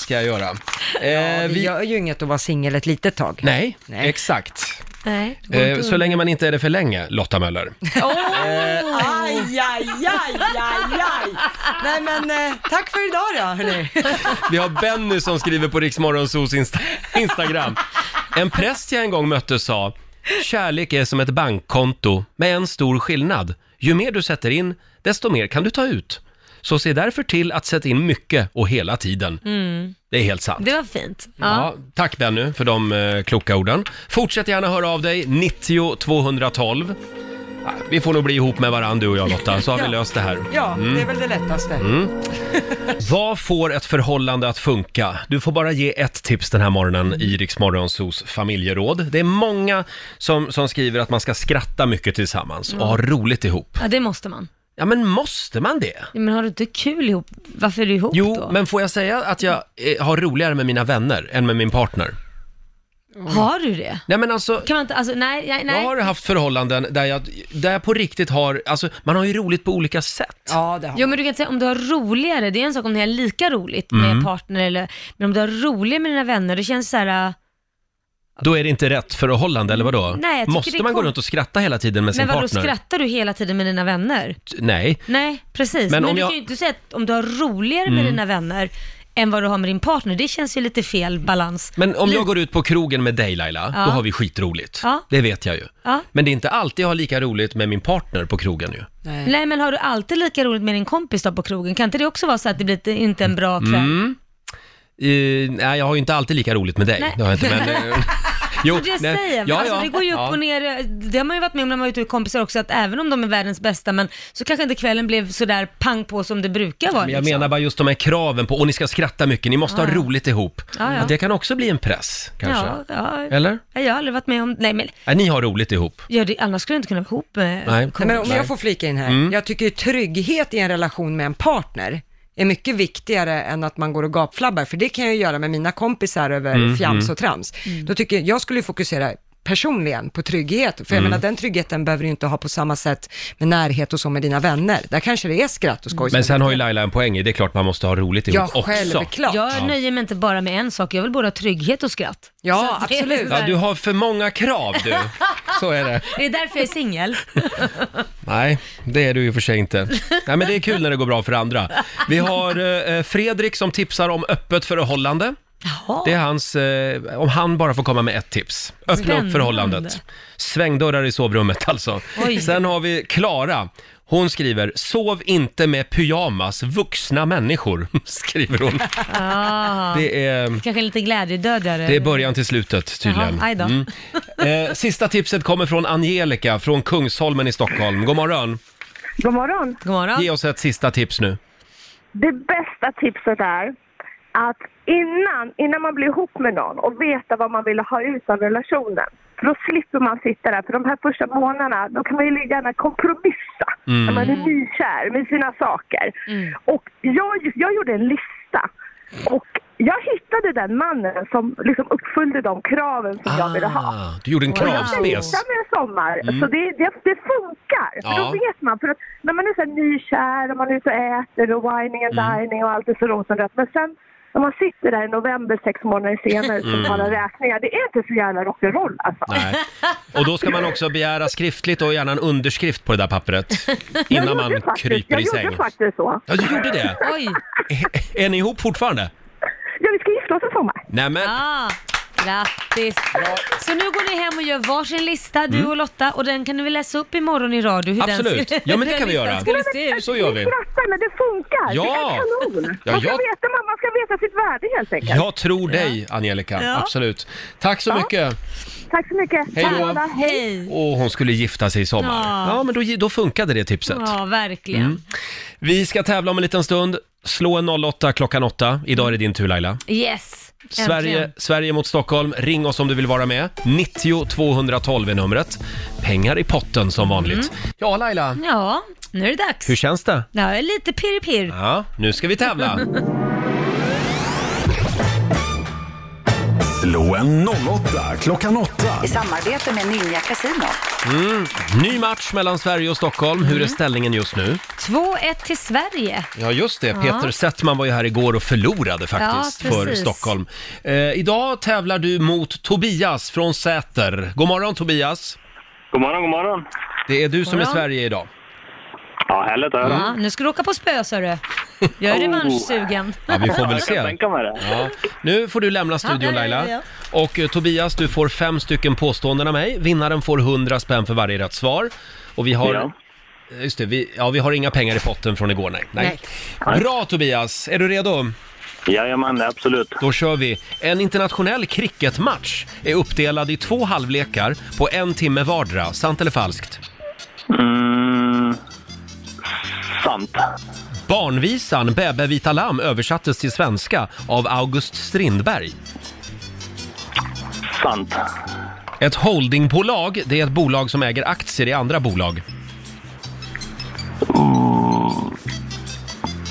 [SPEAKER 1] Ska jag göra. Eh,
[SPEAKER 4] Det
[SPEAKER 1] vi...
[SPEAKER 4] gör ju inget att vara singel ett litet tag.
[SPEAKER 1] Nej, exakt.
[SPEAKER 2] Nej.
[SPEAKER 1] Eh, så länge man inte är det för länge, Lotta Möller.
[SPEAKER 4] Eh, Aj, aj, aj, aj, aj. Nej men eh, tack för idag då hörni.
[SPEAKER 1] Vi har Benny som skriver på Riksmorgonsos insta- Instagram. En präst jag en gång mötte sa Kärlek är som ett bankkonto med en stor skillnad. Ju mer du sätter in, desto mer kan du ta ut. Så se därför till att sätta in mycket och hela tiden.
[SPEAKER 2] Mm.
[SPEAKER 1] Det är helt sant.
[SPEAKER 2] Det var fint.
[SPEAKER 1] Ja, tack Benny för de eh, kloka orden. Fortsätt gärna höra av dig, 90 212. Ah, Vi får nog bli ihop med varandra du och jag Lotta, så har vi
[SPEAKER 4] Ja.
[SPEAKER 1] löst det här.
[SPEAKER 4] Ja,
[SPEAKER 1] Mm.
[SPEAKER 4] det är väl det lättaste.
[SPEAKER 1] Mm. Vad får ett förhållande att funka? Du får bara ge ett tips den här morgonen i Rix Morgonzos familjeråd. Det är många som, som skriver att man ska skratta mycket tillsammans och ha
[SPEAKER 2] Mm.
[SPEAKER 1] roligt ihop.
[SPEAKER 2] Ja, det måste man.
[SPEAKER 1] Ja, men måste man det?
[SPEAKER 2] Ja, Men har du inte kul ihop, varför är du ihop
[SPEAKER 1] Jo,
[SPEAKER 2] då?
[SPEAKER 1] men får jag säga att jag eh, har roligare med mina vänner än med min partner?
[SPEAKER 2] Har du det?
[SPEAKER 1] Nej, men alltså...
[SPEAKER 2] Kan man inte, alltså nej, nej, nej.
[SPEAKER 1] Jag har haft förhållanden där jag, där jag på riktigt har, alltså man har ju roligt på olika sätt.
[SPEAKER 4] Ja, det har
[SPEAKER 2] Jo men du kan säga om du har roligare, det är en sak om ni har lika roligt
[SPEAKER 1] Mm.
[SPEAKER 2] med partner eller, men om du har roligare med dina vänner, det känns så här. äh,
[SPEAKER 1] Då är det inte rätt förhållande, eller vadå?
[SPEAKER 2] Nej, jag tycker det
[SPEAKER 1] Måste
[SPEAKER 2] är
[SPEAKER 1] man gå
[SPEAKER 2] kon-
[SPEAKER 1] runt och skratta hela tiden med
[SPEAKER 2] men
[SPEAKER 1] sin
[SPEAKER 2] vadå
[SPEAKER 1] partner?
[SPEAKER 2] skrattar du hela tiden med dina vänner?
[SPEAKER 1] Nej.
[SPEAKER 2] Nej,
[SPEAKER 1] Men
[SPEAKER 2] precis. Men,
[SPEAKER 1] om
[SPEAKER 2] du
[SPEAKER 1] jag-
[SPEAKER 2] kan ju inte säga att om du har roligare med
[SPEAKER 1] Mm.
[SPEAKER 2] dina vänner än vad du har med din partner, det känns ju lite fel balans.
[SPEAKER 1] Men om
[SPEAKER 2] Lite-
[SPEAKER 1] jag går ut på krogen med dig Laila,
[SPEAKER 2] Ja.
[SPEAKER 1] då har vi skitroligt.
[SPEAKER 2] Ja.
[SPEAKER 1] Det vet jag ju.
[SPEAKER 2] Ja.
[SPEAKER 1] Men det är inte alltid jag har lika roligt med min partner på krogen ju.
[SPEAKER 2] Nej. men har du alltid lika roligt med din kompis då på krogen? Kan inte det också vara så att det blir lite- inte en bra kväll?
[SPEAKER 1] Mm. Eh, nej, jag har ju inte alltid lika roligt med dig.
[SPEAKER 2] Nej.
[SPEAKER 1] Det har jag inte, men... eh, jo,
[SPEAKER 2] Det
[SPEAKER 1] nej.
[SPEAKER 2] säger jag.
[SPEAKER 1] Ja,
[SPEAKER 2] alltså,
[SPEAKER 1] ja.
[SPEAKER 2] det går ju upp
[SPEAKER 1] Ja.
[SPEAKER 2] och ner. Det har man ju varit med om när man är ute med kompisar också, att även om de är världens bästa, men så kanske inte kvällen blev sådär pang på som det brukar vara.
[SPEAKER 1] Men jag
[SPEAKER 2] liksom.
[SPEAKER 1] menar bara just de här kraven på, och ni ska skratta mycket, ni måste
[SPEAKER 2] Ja,
[SPEAKER 1] ha
[SPEAKER 2] ja.
[SPEAKER 1] roligt ihop.
[SPEAKER 2] Ja, ja.
[SPEAKER 1] Att Det kan också bli en press, kanske.
[SPEAKER 2] Ja, ja.
[SPEAKER 1] Eller?
[SPEAKER 2] Nej, Jag har aldrig varit med om, nej men,
[SPEAKER 1] Nej, ni har roligt ihop.
[SPEAKER 2] ja, det, annars skulle jag inte kunna vara ihop eh, med
[SPEAKER 1] Nej.
[SPEAKER 4] Nej, men om
[SPEAKER 1] Nej.
[SPEAKER 4] jag får flika in här,
[SPEAKER 1] Mm.
[SPEAKER 4] jag tycker ju trygghet i en relation med en partner är mycket viktigare än att man går och gapflabbar, för det kan jag ju göra med mina kompisar över
[SPEAKER 16] Mm,
[SPEAKER 4] fjams
[SPEAKER 16] mm.
[SPEAKER 4] och trams. Då tycker jag, jag skulle ju fokusera personligen på trygghet, för jag
[SPEAKER 1] Mm.
[SPEAKER 4] menar den tryggheten behöver du inte ha på samma sätt med närhet och så med dina vänner. Där kanske det är skratt och skoj.
[SPEAKER 1] Men sen har ju Laila en poäng i, det är klart man måste ha roligt ihop
[SPEAKER 4] Ja,
[SPEAKER 1] också.
[SPEAKER 4] självklart.
[SPEAKER 2] Jag
[SPEAKER 1] Ja.
[SPEAKER 2] nöjer mig inte bara med en sak, jag vill både ha trygghet och skratt.
[SPEAKER 4] Ja,
[SPEAKER 2] Så det är
[SPEAKER 4] absolut.
[SPEAKER 2] så här-
[SPEAKER 1] Ja, du har för många krav du. Så är det.
[SPEAKER 2] Det är därför jag är singel.
[SPEAKER 1] Nej, det är du ju för sig inte. Nej, men det är kul när det går bra för andra. Vi har eh, Fredrik som tipsar om öppet förhållande. Det är hans, eh, om han bara får komma med ett tips. Öppna
[SPEAKER 2] Spännande.
[SPEAKER 1] upp förhållandet. Svängdörrar i sovrummet alltså.
[SPEAKER 2] Oj.
[SPEAKER 1] Sen har vi Klara. Hon skriver, sov inte med pyjamas, vuxna människor, skriver hon.
[SPEAKER 2] Ah.
[SPEAKER 1] Det är,
[SPEAKER 2] Kanske en liten glädjedödare.
[SPEAKER 1] det är början till slutet tydligen.
[SPEAKER 2] Jaha, aj då.
[SPEAKER 1] Mm. Eh, sista tipset kommer från Angelica från Kungsholmen i Stockholm. God morgon.
[SPEAKER 16] God morgon.
[SPEAKER 2] God morgon.
[SPEAKER 1] Ge oss ett sista tips nu.
[SPEAKER 16] Det bästa tipset är att innan, innan man blir ihop med någon och veta vad man vill ha ut av relationen. För då slipper man sitta där. För de här första månaderna, då kan man ju lika gärna kompromissa.
[SPEAKER 18] Mm.
[SPEAKER 16] När man är nykär med sina saker. Och jag, jag gjorde en lista. Och jag hittade den mannen som liksom uppfyllde de kraven som jag ville ha.
[SPEAKER 1] Ah, du gjorde en
[SPEAKER 16] Och jag
[SPEAKER 1] kravspes.
[SPEAKER 16] längtar med sommar,
[SPEAKER 1] Mm.
[SPEAKER 16] så det, det, det funkar. För
[SPEAKER 1] Ja.
[SPEAKER 16] då vet man. För att när man är så här nykär och man är ute och äter och whining
[SPEAKER 1] Mm.
[SPEAKER 16] and dining och allt är så rosenrött. Men sen när man sitter där i november sex månader senare och
[SPEAKER 1] Mm.
[SPEAKER 16] betalar räkningar. Det är inte så jävla rock'n'roll alltså.
[SPEAKER 1] Nej. Och då ska man också begära skriftligt och gärna en underskrift på det där pappret innan
[SPEAKER 16] Jag
[SPEAKER 1] man
[SPEAKER 16] gjorde faktiskt-
[SPEAKER 1] kryper i
[SPEAKER 16] Jag
[SPEAKER 1] säng.
[SPEAKER 16] gjorde faktiskt så.
[SPEAKER 1] Ja, du gjorde det?
[SPEAKER 2] Oj.
[SPEAKER 1] Är ni ihop fortfarande?
[SPEAKER 16] Ja, vi ska gifta oss i sommar.
[SPEAKER 1] Nämen,
[SPEAKER 2] Ah, grattis. Så nu går ni hem och gör varsin lista, du
[SPEAKER 1] Mm.
[SPEAKER 2] och Lotta, och den kan ni väl läsa upp imorgon i radio? Hur
[SPEAKER 1] Absolut.
[SPEAKER 2] Den,
[SPEAKER 1] Ja, men det
[SPEAKER 2] den
[SPEAKER 1] kan vi
[SPEAKER 2] listan
[SPEAKER 1] göra.
[SPEAKER 2] Skulle se ut.
[SPEAKER 1] så gör vi.
[SPEAKER 16] Fattar, men det funkar.
[SPEAKER 1] Ja.
[SPEAKER 16] Det är kanon.
[SPEAKER 1] Ja,
[SPEAKER 16] man, ska
[SPEAKER 1] jag-
[SPEAKER 16] veta, man, man ska veta sitt värde helt enkelt.
[SPEAKER 1] Jag tror dig, Angelica.
[SPEAKER 16] Ja.
[SPEAKER 1] Absolut. Tack så
[SPEAKER 16] Ja.
[SPEAKER 1] mycket.
[SPEAKER 16] Tack så mycket.
[SPEAKER 1] Hej då.
[SPEAKER 16] Tack. Hej.
[SPEAKER 1] Och hon skulle gifta sig i sommar.
[SPEAKER 2] Ja.
[SPEAKER 1] Ja, men då, då funkade det tipset.
[SPEAKER 2] Ja, verkligen.
[SPEAKER 1] Mm. Vi ska tävla om en liten stund. Slå en 08 klockan 8. Idag är det din tur Laila.
[SPEAKER 2] Yes.
[SPEAKER 1] Sverige, Sverige mot Stockholm. Ring oss om du vill vara med. 90 212 är numret. Pengar i potten som vanligt.
[SPEAKER 2] Mm.
[SPEAKER 1] Ja, Laila.
[SPEAKER 2] Ja, nu är det dags.
[SPEAKER 1] Hur känns det?
[SPEAKER 2] Ja, jag är lite pirr-pirr.
[SPEAKER 1] Ja, nu ska vi tävla.
[SPEAKER 3] Slå en 08 klockan 8.
[SPEAKER 18] I samarbete med Ninja Casino.
[SPEAKER 1] Mm. Ny match mellan Sverige och Stockholm.
[SPEAKER 2] Mm.
[SPEAKER 1] Hur är ställningen just nu?
[SPEAKER 2] 2-1 till Sverige.
[SPEAKER 1] Ja, just det.
[SPEAKER 2] Ja.
[SPEAKER 1] Peter Settman var ju här igår och förlorade faktiskt
[SPEAKER 2] Ja,
[SPEAKER 1] för
[SPEAKER 2] precis.
[SPEAKER 1] Stockholm. Eh, idag tävlar du mot Tobias från Säter. God morgon Tobias!
[SPEAKER 9] God morgon, god morgon!
[SPEAKER 1] Det är du som är
[SPEAKER 2] Morgon.
[SPEAKER 1] Sverige idag.
[SPEAKER 9] Ja, härligt att
[SPEAKER 2] Ja, nu ska du åka på spö, sa du. Jag är
[SPEAKER 9] Oh.
[SPEAKER 2] revanschsugen.
[SPEAKER 1] Ja, vi får väl
[SPEAKER 9] Jag
[SPEAKER 1] se.
[SPEAKER 9] kan tänka mig det.
[SPEAKER 1] Ja. Nu får du lämna
[SPEAKER 2] Ja,
[SPEAKER 1] studion
[SPEAKER 2] där är
[SPEAKER 1] Laila.
[SPEAKER 2] jag.
[SPEAKER 1] Och eh, Tobias, du får fem stycken påståenden av mig. Vinnaren får 100 spänn för varje rätt svar. Och vi har...
[SPEAKER 9] Ja.
[SPEAKER 1] Eh, Just det, vi, ja, vi har inga pengar i potten från igår, nej. nej.
[SPEAKER 9] Nej.
[SPEAKER 1] Bra Tobias, är du redo?
[SPEAKER 9] Jajamän, absolut.
[SPEAKER 1] Då kör vi. En internationell cricketmatch är uppdelad i två halvlekar på en timme vardera. Sant eller falskt?
[SPEAKER 9] Mm, sant.
[SPEAKER 1] Barnvisan Bäbbe vita lamm översattes till svenska av August Strindberg.
[SPEAKER 9] Sant.
[SPEAKER 1] Ett holdingbolag, det är ett bolag som äger aktier i andra bolag.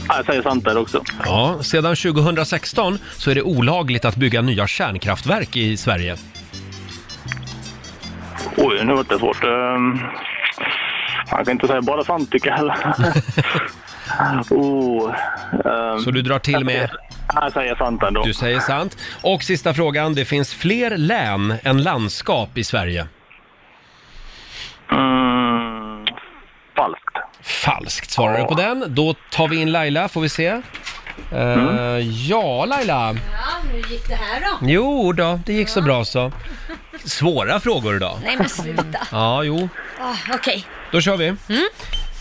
[SPEAKER 9] Ja, jag säger sant där också.
[SPEAKER 1] Ja, sedan 2016 så är det olagligt att bygga nya kärnkraftverk i Sverige.
[SPEAKER 9] Oj, nu vart det svårt. Ehm, jag kan inte säga bara sant tycker jag heller. oh, ehm,
[SPEAKER 1] Så du drar till med...
[SPEAKER 9] Jag säger sant ändå.
[SPEAKER 1] Du säger sant. Och sista frågan, det finns fler län än landskap i Sverige.
[SPEAKER 9] Mm, falskt.
[SPEAKER 1] Falskt svarar du på den. Då tar vi in Laila, får vi se. Eh,
[SPEAKER 9] Mm.
[SPEAKER 1] Ja, Laila.
[SPEAKER 2] Ja, hur gick det här då?
[SPEAKER 1] Jo då, det gick så bra så. Svåra frågor idag.
[SPEAKER 2] Nej, men sluta.
[SPEAKER 1] Ja, jo.
[SPEAKER 2] Ah, Okej.
[SPEAKER 1] Då kör vi.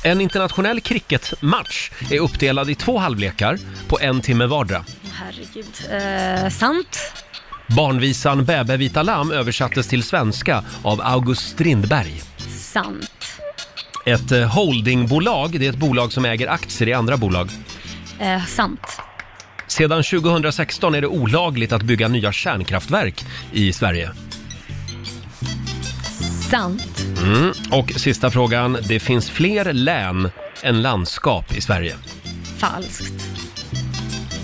[SPEAKER 1] En internationell cricketmatch är uppdelad i två halvlekar på en timme vardera.
[SPEAKER 2] Herregud. Eh, sant?
[SPEAKER 1] Barnvisan Bäbe vita lamm översattes till svenska av August Strindberg.
[SPEAKER 2] Sant.
[SPEAKER 1] Ett eh, holdingbolag, det är ett bolag som äger aktier i andra bolag.
[SPEAKER 2] Eh, sant.
[SPEAKER 1] Sedan 2016 är det olagligt att bygga nya kärnkraftverk i Sverige.
[SPEAKER 2] Sant.
[SPEAKER 1] Mm. Och sista frågan, det finns fler län än landskap i Sverige.
[SPEAKER 2] Falskt.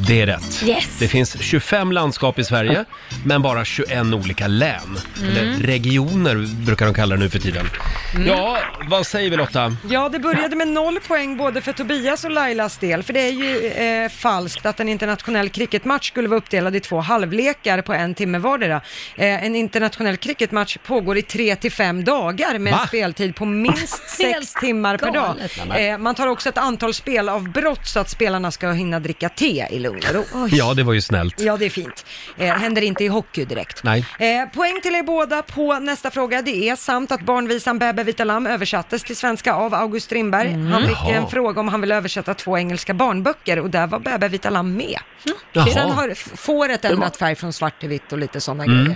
[SPEAKER 1] Det är rätt.
[SPEAKER 2] Yes.
[SPEAKER 1] Det finns 25 landskap i Sverige, men bara 21 olika län.
[SPEAKER 4] Mm.
[SPEAKER 1] Eller regioner brukar de kalla det nu för tiden.
[SPEAKER 4] Mm.
[SPEAKER 1] Ja, vad säger vi Lotta?
[SPEAKER 4] Ja, det började med noll poäng både för Tobias och Lailas del, för det är ju eh, falskt att en internationell cricketmatch skulle vara uppdelad i två halvlekar på en timme vardera. Eh, en internationell cricketmatch pågår i tre till fem dagar med
[SPEAKER 2] Va?
[SPEAKER 4] en speltid på minst sex timmar per dag.
[SPEAKER 2] galet.
[SPEAKER 4] Eh, man tar också ett antal spelavbrott så att spelarna ska hinna dricka te i lugn och ro.
[SPEAKER 1] Ja, det var ju snällt.
[SPEAKER 4] Ja, det är fint. Eh, händer inte i hockey direkt.
[SPEAKER 1] Nej.
[SPEAKER 4] Eh, poäng till er båda på nästa fråga. Det är sant att barnvisan Bäbe vita lamm översattes till svenska av August Strindberg.
[SPEAKER 1] Mm.
[SPEAKER 4] Han fick
[SPEAKER 1] Jaha.
[SPEAKER 4] en fråga om han ville översätta två engelska barnböcker och där var Bäbe vita lamm med.
[SPEAKER 1] Mm. Jaha.
[SPEAKER 4] Sen har f- fåret ändrat färg från svart till vitt och lite sådana
[SPEAKER 1] Mm.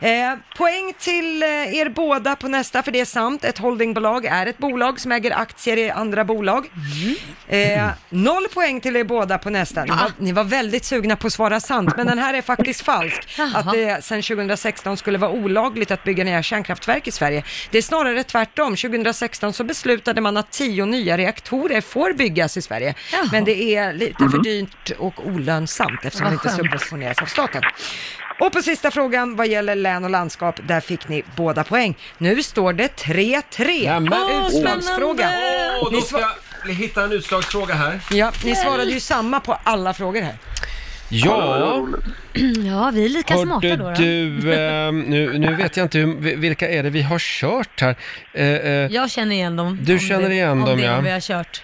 [SPEAKER 4] grejer. Eh, poäng till eh, er båda på nästa, för det är sant. Ett holdingbolag är ett bolag som äger aktier i andra bolag. Eh, noll poäng till er båda på nästa. Ni var, ni var väldigt sugna på att svara sant, men den här är faktiskt falsk. Att det sedan 2016 skulle vara olagligt att bygga nya kärnkraftverk i Sverige. Det är snarare tvärtom. 2016 så beslutade man att tio nya reaktorer får byggas i Sverige. Men det är lite
[SPEAKER 1] Mm. Mhm.
[SPEAKER 4] för dyrt och olönsamt eftersom
[SPEAKER 2] Vad
[SPEAKER 4] det inte
[SPEAKER 2] skönt.
[SPEAKER 4] subventioneras av staten. Och på sista frågan vad gäller län och landskap, där fick ni båda poäng. Nu står det 3-3. Utslagsfråga.
[SPEAKER 1] Åh,
[SPEAKER 4] Ni
[SPEAKER 1] då
[SPEAKER 4] sva-
[SPEAKER 1] ska jag hitta en utslagsfråga här.
[SPEAKER 4] Ja, ni svarade ju samma på alla frågor här.
[SPEAKER 1] Ja,
[SPEAKER 2] Ja, vi är lika smarta
[SPEAKER 1] hörde
[SPEAKER 2] då. då.
[SPEAKER 1] du, eh, nu, nu vet jag inte hur, vilka är det vi har kört här. Eh, eh,
[SPEAKER 2] Jag känner igen dem.
[SPEAKER 1] Du
[SPEAKER 2] Om
[SPEAKER 1] känner
[SPEAKER 2] det-
[SPEAKER 1] igen
[SPEAKER 2] om
[SPEAKER 1] dem,
[SPEAKER 2] det,
[SPEAKER 1] ja.
[SPEAKER 2] Om vi har kört.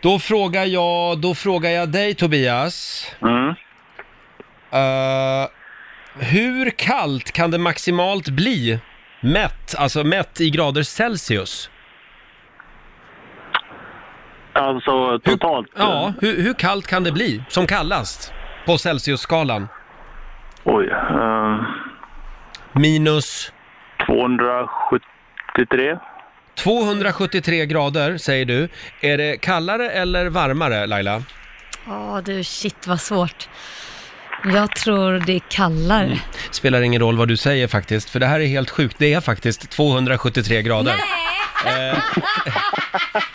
[SPEAKER 1] Då frågar jag, då frågar jag dig Tobias. Eh, hur kallt kan det maximalt bli mätt, alltså mätt i grader Celsius?
[SPEAKER 9] Alltså totalt.
[SPEAKER 1] Ja, hur, hur kallt kan det bli som kallast på Celsius-skalan?
[SPEAKER 9] Oj. ehm,
[SPEAKER 1] Minus?
[SPEAKER 9] 273.
[SPEAKER 1] 273 grader säger du. Är det kallare eller varmare Laila?
[SPEAKER 2] Ja, du shit vad svårt. Jag tror det är kallare.
[SPEAKER 1] Mm. Spelar ingen roll vad du säger faktiskt, för det här är helt sjukt. Det är faktiskt 273 grader. Eh,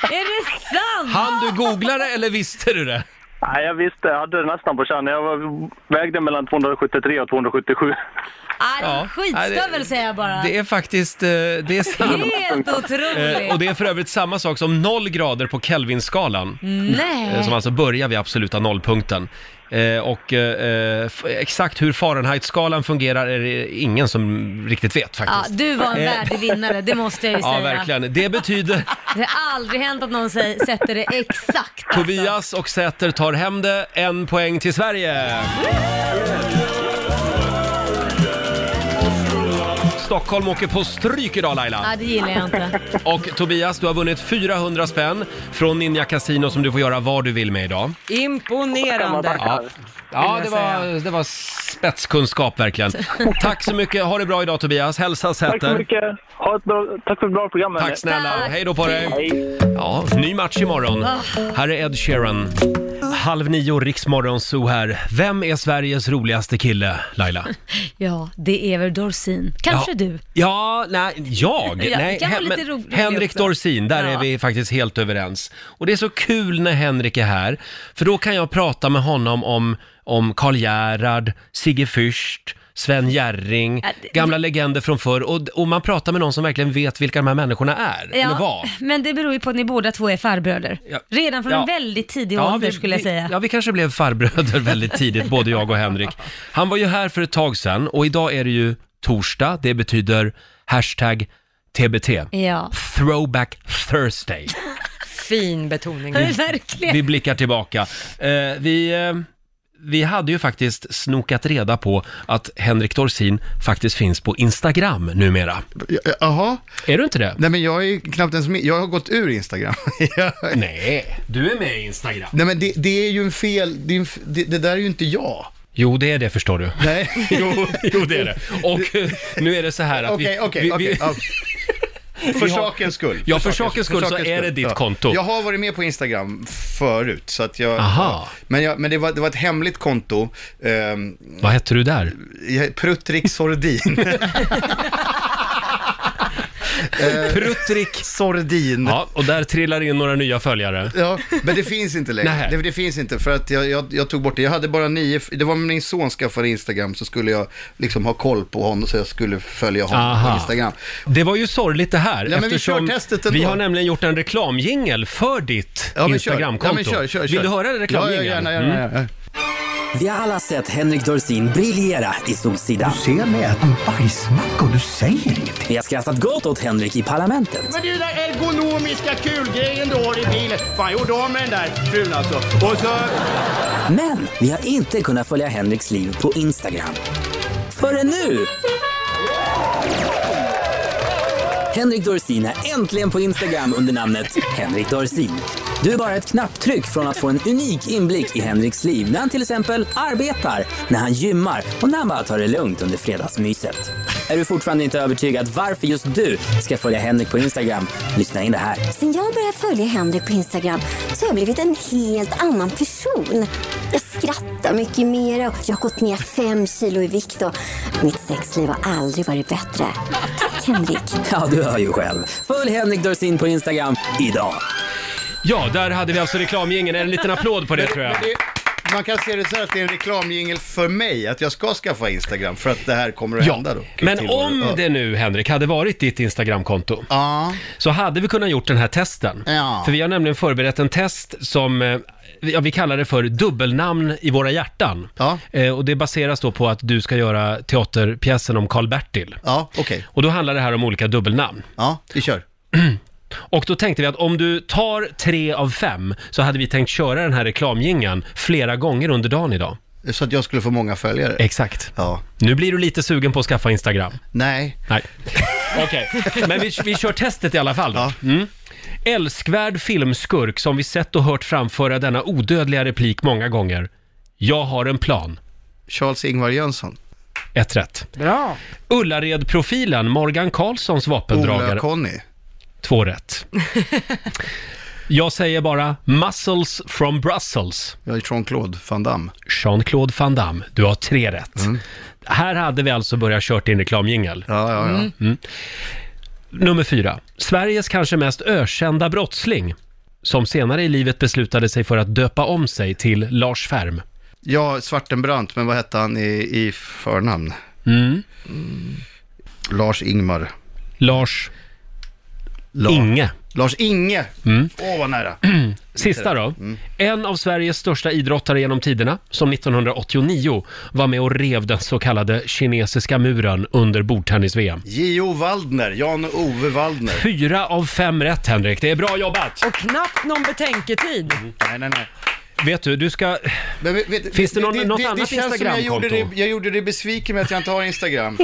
[SPEAKER 2] Är det sant?
[SPEAKER 1] han du googlade eller visste du det?
[SPEAKER 9] Nej, jag visste. Jag hade det nästan på känn. Jag var- vägde mellan 273 och 277.
[SPEAKER 2] Ah, det är en
[SPEAKER 1] Ja.
[SPEAKER 2] skitstövel säger jag bara.
[SPEAKER 1] Det är faktiskt, eh, det är sant.
[SPEAKER 2] Helt otroligt.
[SPEAKER 1] Eh, Och det är för övrigt samma sak som noll grader på Kelvinskalan.
[SPEAKER 2] Nej.
[SPEAKER 1] Eh, Som alltså börjar vid absoluta nollpunkten. Eh, och eh, f- exakt hur Fahrenheitskalan fungerar är det ingen som riktigt vet
[SPEAKER 2] Ja,
[SPEAKER 1] faktiskt.
[SPEAKER 2] du var en
[SPEAKER 1] Eh,
[SPEAKER 2] värdig vinnare, det måste jag ju
[SPEAKER 1] Ja,
[SPEAKER 2] säga.
[SPEAKER 1] verkligen. Det betyder
[SPEAKER 2] Det har aldrig hänt att någon säger, sätter det exakt.
[SPEAKER 1] Tobias och Säter tar hem det. En poäng till Sverige! Stockholm åker på stryk idag Laila.
[SPEAKER 2] Ja, det gillar jag inte.
[SPEAKER 1] Och Tobias, du har vunnit 400 spänn från Ninja Casino som du får göra vad du vill med idag.
[SPEAKER 4] Imponerande.
[SPEAKER 1] Ja, ja det, var, det var spetskunskap verkligen. Tack så mycket, ha det bra idag Tobias. Hälsa Säter.
[SPEAKER 9] Tack så mycket. Ha ett bra, tack för ett bra program. hörni.
[SPEAKER 1] Tack snälla, hej då på dig. Ja, ny match imorgon. Här är Ed Sheeran. Halv nio, Riksmorgon Zoo här. Vem är Sveriges roligaste kille, Laila?
[SPEAKER 2] Ja, det är väl Dorsin. Kanske
[SPEAKER 1] Ja.
[SPEAKER 2] du.
[SPEAKER 1] Ja, nej, jag?
[SPEAKER 2] Ja,
[SPEAKER 1] nej,
[SPEAKER 2] kan vara
[SPEAKER 1] Hen-
[SPEAKER 2] lite
[SPEAKER 1] men
[SPEAKER 2] rolig
[SPEAKER 1] Henrik
[SPEAKER 2] också.
[SPEAKER 1] Dorsin, där
[SPEAKER 2] Ja.
[SPEAKER 1] är vi faktiskt helt överens. Och det är så kul när Henrik är här, för då kan jag prata med honom om, om Karl Gerhard, Sigge Fürst, Sven Jerring,
[SPEAKER 2] Ja, det-
[SPEAKER 1] gamla legender från förr. Och, och man pratar med någon som verkligen vet vilka de här människorna är, eller var.
[SPEAKER 2] men det beror ju på att ni båda två är farbröder.
[SPEAKER 1] Ja.
[SPEAKER 2] Redan från
[SPEAKER 1] Ja.
[SPEAKER 2] en väldigt tidig
[SPEAKER 1] Ja,
[SPEAKER 2] ålder
[SPEAKER 1] vi-
[SPEAKER 2] skulle jag
[SPEAKER 1] vi-
[SPEAKER 2] säga.
[SPEAKER 1] Ja, vi kanske blev farbröder väldigt tidigt, både jag och Henrik. Han var ju här för ett tag sedan och idag är det ju torsdag. Det betyder hashtag TBT.
[SPEAKER 2] Ja.
[SPEAKER 1] Throwback Thursday.
[SPEAKER 4] Fin betoning.
[SPEAKER 2] Verkligen.
[SPEAKER 1] Vi blickar tillbaka. Eh, vi, eh, vi hade ju faktiskt snokat reda på att Henrik Dorsin faktiskt finns på Instagram numera.
[SPEAKER 19] Jaha?
[SPEAKER 1] Är du inte det?
[SPEAKER 19] Nej, men jag är knappt ens med. Jag har gått ur Instagram.
[SPEAKER 1] Nej, du är med i Instagram.
[SPEAKER 19] Nej, men det, det är ju en fel... Det, är en f- det, det där är ju inte jag.
[SPEAKER 1] Jo, det är det förstår du.
[SPEAKER 19] Nej.
[SPEAKER 1] jo, jo, det är det. Och eh, nu är det så här att
[SPEAKER 19] Okej,
[SPEAKER 1] vi...
[SPEAKER 19] okej,
[SPEAKER 1] vi-
[SPEAKER 19] okej.
[SPEAKER 1] vi-
[SPEAKER 19] ja. För
[SPEAKER 1] vi har-
[SPEAKER 19] sakens skull.
[SPEAKER 1] Ja, för sakens skull så
[SPEAKER 19] sakens
[SPEAKER 1] är det ditt
[SPEAKER 19] Ja.
[SPEAKER 1] konto.
[SPEAKER 19] Jag har varit med på Instagram förut, så att jag...
[SPEAKER 1] Aha.
[SPEAKER 19] Men, jag, men det, var, det var ett hemligt konto. Um,
[SPEAKER 1] Vad hette du där?
[SPEAKER 19] Pruttrik Sordin.
[SPEAKER 1] Pruttrik
[SPEAKER 19] Eh, Sordin.
[SPEAKER 1] Ja, och där trillar in några nya följare.
[SPEAKER 19] Ja, men det finns inte längre.
[SPEAKER 1] Nej.
[SPEAKER 19] Det, det finns inte, för att jag, jag, jag tog bort det. Jag hade bara nio, det var min son skaffade Instagram, så skulle jag liksom ha koll på honom, så jag skulle följa honom på Instagram.
[SPEAKER 1] Det var ju sorgligt det här,
[SPEAKER 19] Ja, men vi
[SPEAKER 1] eftersom
[SPEAKER 19] kör testet ändå.
[SPEAKER 1] vi har nämligen gjort en reklamjingel för ditt
[SPEAKER 19] Ja, men kör.
[SPEAKER 1] Instagramkonto.
[SPEAKER 19] Ja, men kör, kör,
[SPEAKER 1] Vill
[SPEAKER 19] kör.
[SPEAKER 1] du höra Mm.
[SPEAKER 19] Ja, ja,
[SPEAKER 1] reklamjingeln?
[SPEAKER 19] gärna, gärna, gärna.
[SPEAKER 20] Vi har alla sett Henrik Dorsin briljera i Solsidan. Du ser mig äta en bajsmacka och du säger ingenting. Vi har skrattat gott åt Henrik i Parlamentet.
[SPEAKER 21] Men det är den där ergonomiska kulgrejen du har i bilen. Fan, jag gjorde av med den där frun alltså. Och så...
[SPEAKER 20] Men vi har inte kunnat följa Henriks liv på Instagram. Förrän nu! Henrik Dorsin är äntligen på Instagram under namnet Henrik Dorsin. Du är bara ett knapptryck från att få en unik inblick i Henriks liv när han till exempel arbetar, när han gymmar och när han bara tar det lugnt under fredagsmyset. Är du fortfarande inte övertygad varför just du ska följa Henrik på Instagram? Lyssna in det här.
[SPEAKER 22] Sen jag började följa Henrik på Instagram så har jag blivit en helt annan person. Jag skrattar mycket mer och jag har gått ner fem kilo i vikt och mitt sexliv har aldrig varit bättre. Tack Henrik!
[SPEAKER 20] Ja, du hör ju själv. Följ Henrik Dorsin på Instagram idag.
[SPEAKER 1] Ja, där hade vi alltså reklamjingeln. En liten applåd på det tror jag.
[SPEAKER 19] Men det- Man kan se det så här att det är en reklamjingel för mig, att jag ska skaffa Instagram för att det här kommer att
[SPEAKER 1] Ja,
[SPEAKER 19] hända då.
[SPEAKER 1] men
[SPEAKER 19] Till-
[SPEAKER 1] om
[SPEAKER 19] Ja.
[SPEAKER 1] det nu, Henrik, hade varit ditt Instagramkonto så hade vi kunnat gjort den här testen.
[SPEAKER 19] Ja.
[SPEAKER 1] För vi har nämligen förberett en test som eh, ja, vi kallar det för dubbelnamn i våra hjärtan. Eh, och det baseras då på att du ska göra teaterpjäsen om Karl-Bertil.
[SPEAKER 19] Ja,
[SPEAKER 1] Och då handlar det här om olika dubbelnamn.
[SPEAKER 19] Ja, vi kör.
[SPEAKER 1] Och då tänkte vi att om du tar tre av fem så hade vi tänkt köra den här reklamjingeln flera gånger under dagen idag.
[SPEAKER 19] Så att jag skulle få många följare?
[SPEAKER 1] Exakt.
[SPEAKER 19] Ja.
[SPEAKER 1] Nu blir du lite sugen på att skaffa Instagram.
[SPEAKER 19] Nej.
[SPEAKER 1] Nej. Okej, men vi, vi kör testet i alla fall då. Mm. Älskvärd filmskurk som vi sett och hört framföra denna odödliga replik många gånger. Jag har en plan.
[SPEAKER 19] Charles-Ingvar Jönsson.
[SPEAKER 1] Ett rätt.
[SPEAKER 4] Bra.
[SPEAKER 1] Ullared-profilen Morgan Karlssons vapendragare.
[SPEAKER 19] Ola Conny.
[SPEAKER 1] Två rätt. Jag säger bara Muscles from Brussels.
[SPEAKER 19] Jag är Jean-Claude Van Damme.
[SPEAKER 1] Jean-Claude Van Damme, du har tre rätt. Här hade vi alltså börjat kört in reklamjingel.
[SPEAKER 19] Mm. Ja, ja, ja.
[SPEAKER 1] Mm. Nummer fyra. Sveriges kanske mest ökända brottsling som senare i livet beslutade sig för att döpa om sig till Lars Färm.
[SPEAKER 19] Ja, Svartenbrandt, men vad hette han i, i förnamn?
[SPEAKER 1] Mm.
[SPEAKER 19] Lars Ingmar.
[SPEAKER 1] Lars... Inge.
[SPEAKER 19] Lars Inge!
[SPEAKER 1] Mm.
[SPEAKER 19] Åh, vad nära. Mm.
[SPEAKER 1] Sista då. En av Sveriges största idrottare genom tiderna, som 1989 var med och rev den så kallade kinesiska muren under bordtennis-VM.
[SPEAKER 19] J.O. Waldner, Jan-Ove Waldner.
[SPEAKER 1] Fyra av fem rätt, Henrik. Det är bra jobbat! Mm.
[SPEAKER 4] Och knappt någon betänketid.
[SPEAKER 19] Nej, nej, nej.
[SPEAKER 1] Vet du, du ska... Finns det någon- något annat
[SPEAKER 19] jag gjorde, dig,
[SPEAKER 1] Instagramkonto?
[SPEAKER 19] jag gjorde dig besviken med att jag inte har Instagram.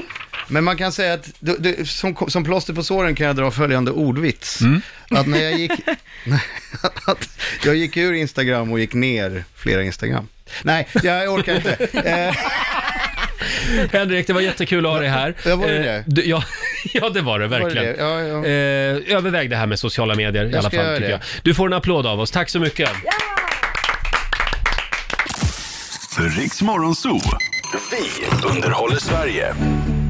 [SPEAKER 19] Men man kan säga att, du, du, som, som plåster på såren kan jag dra följande ordvits.
[SPEAKER 1] Mm.
[SPEAKER 19] Att när jag gick... att jag gick ur Instagram och gick ner flera Instagram. Nej, jag orkar inte. Eh,
[SPEAKER 1] Henrik, det var jättekul att ha dig här.
[SPEAKER 19] Ja, var det
[SPEAKER 1] Eh,
[SPEAKER 19] det?
[SPEAKER 1] du- ja, ja, det var det
[SPEAKER 19] det
[SPEAKER 1] verkligen.
[SPEAKER 19] det? Ja, ja.
[SPEAKER 1] Eh, överväg det här med sociala medier i
[SPEAKER 19] Jag
[SPEAKER 1] alla
[SPEAKER 19] ska
[SPEAKER 1] fall,
[SPEAKER 19] göra
[SPEAKER 1] tycker
[SPEAKER 19] det.
[SPEAKER 1] jag. Du får en applåd av oss. Tack så mycket.
[SPEAKER 3] Riks Morgonzoo. Vi underhåller Sverige.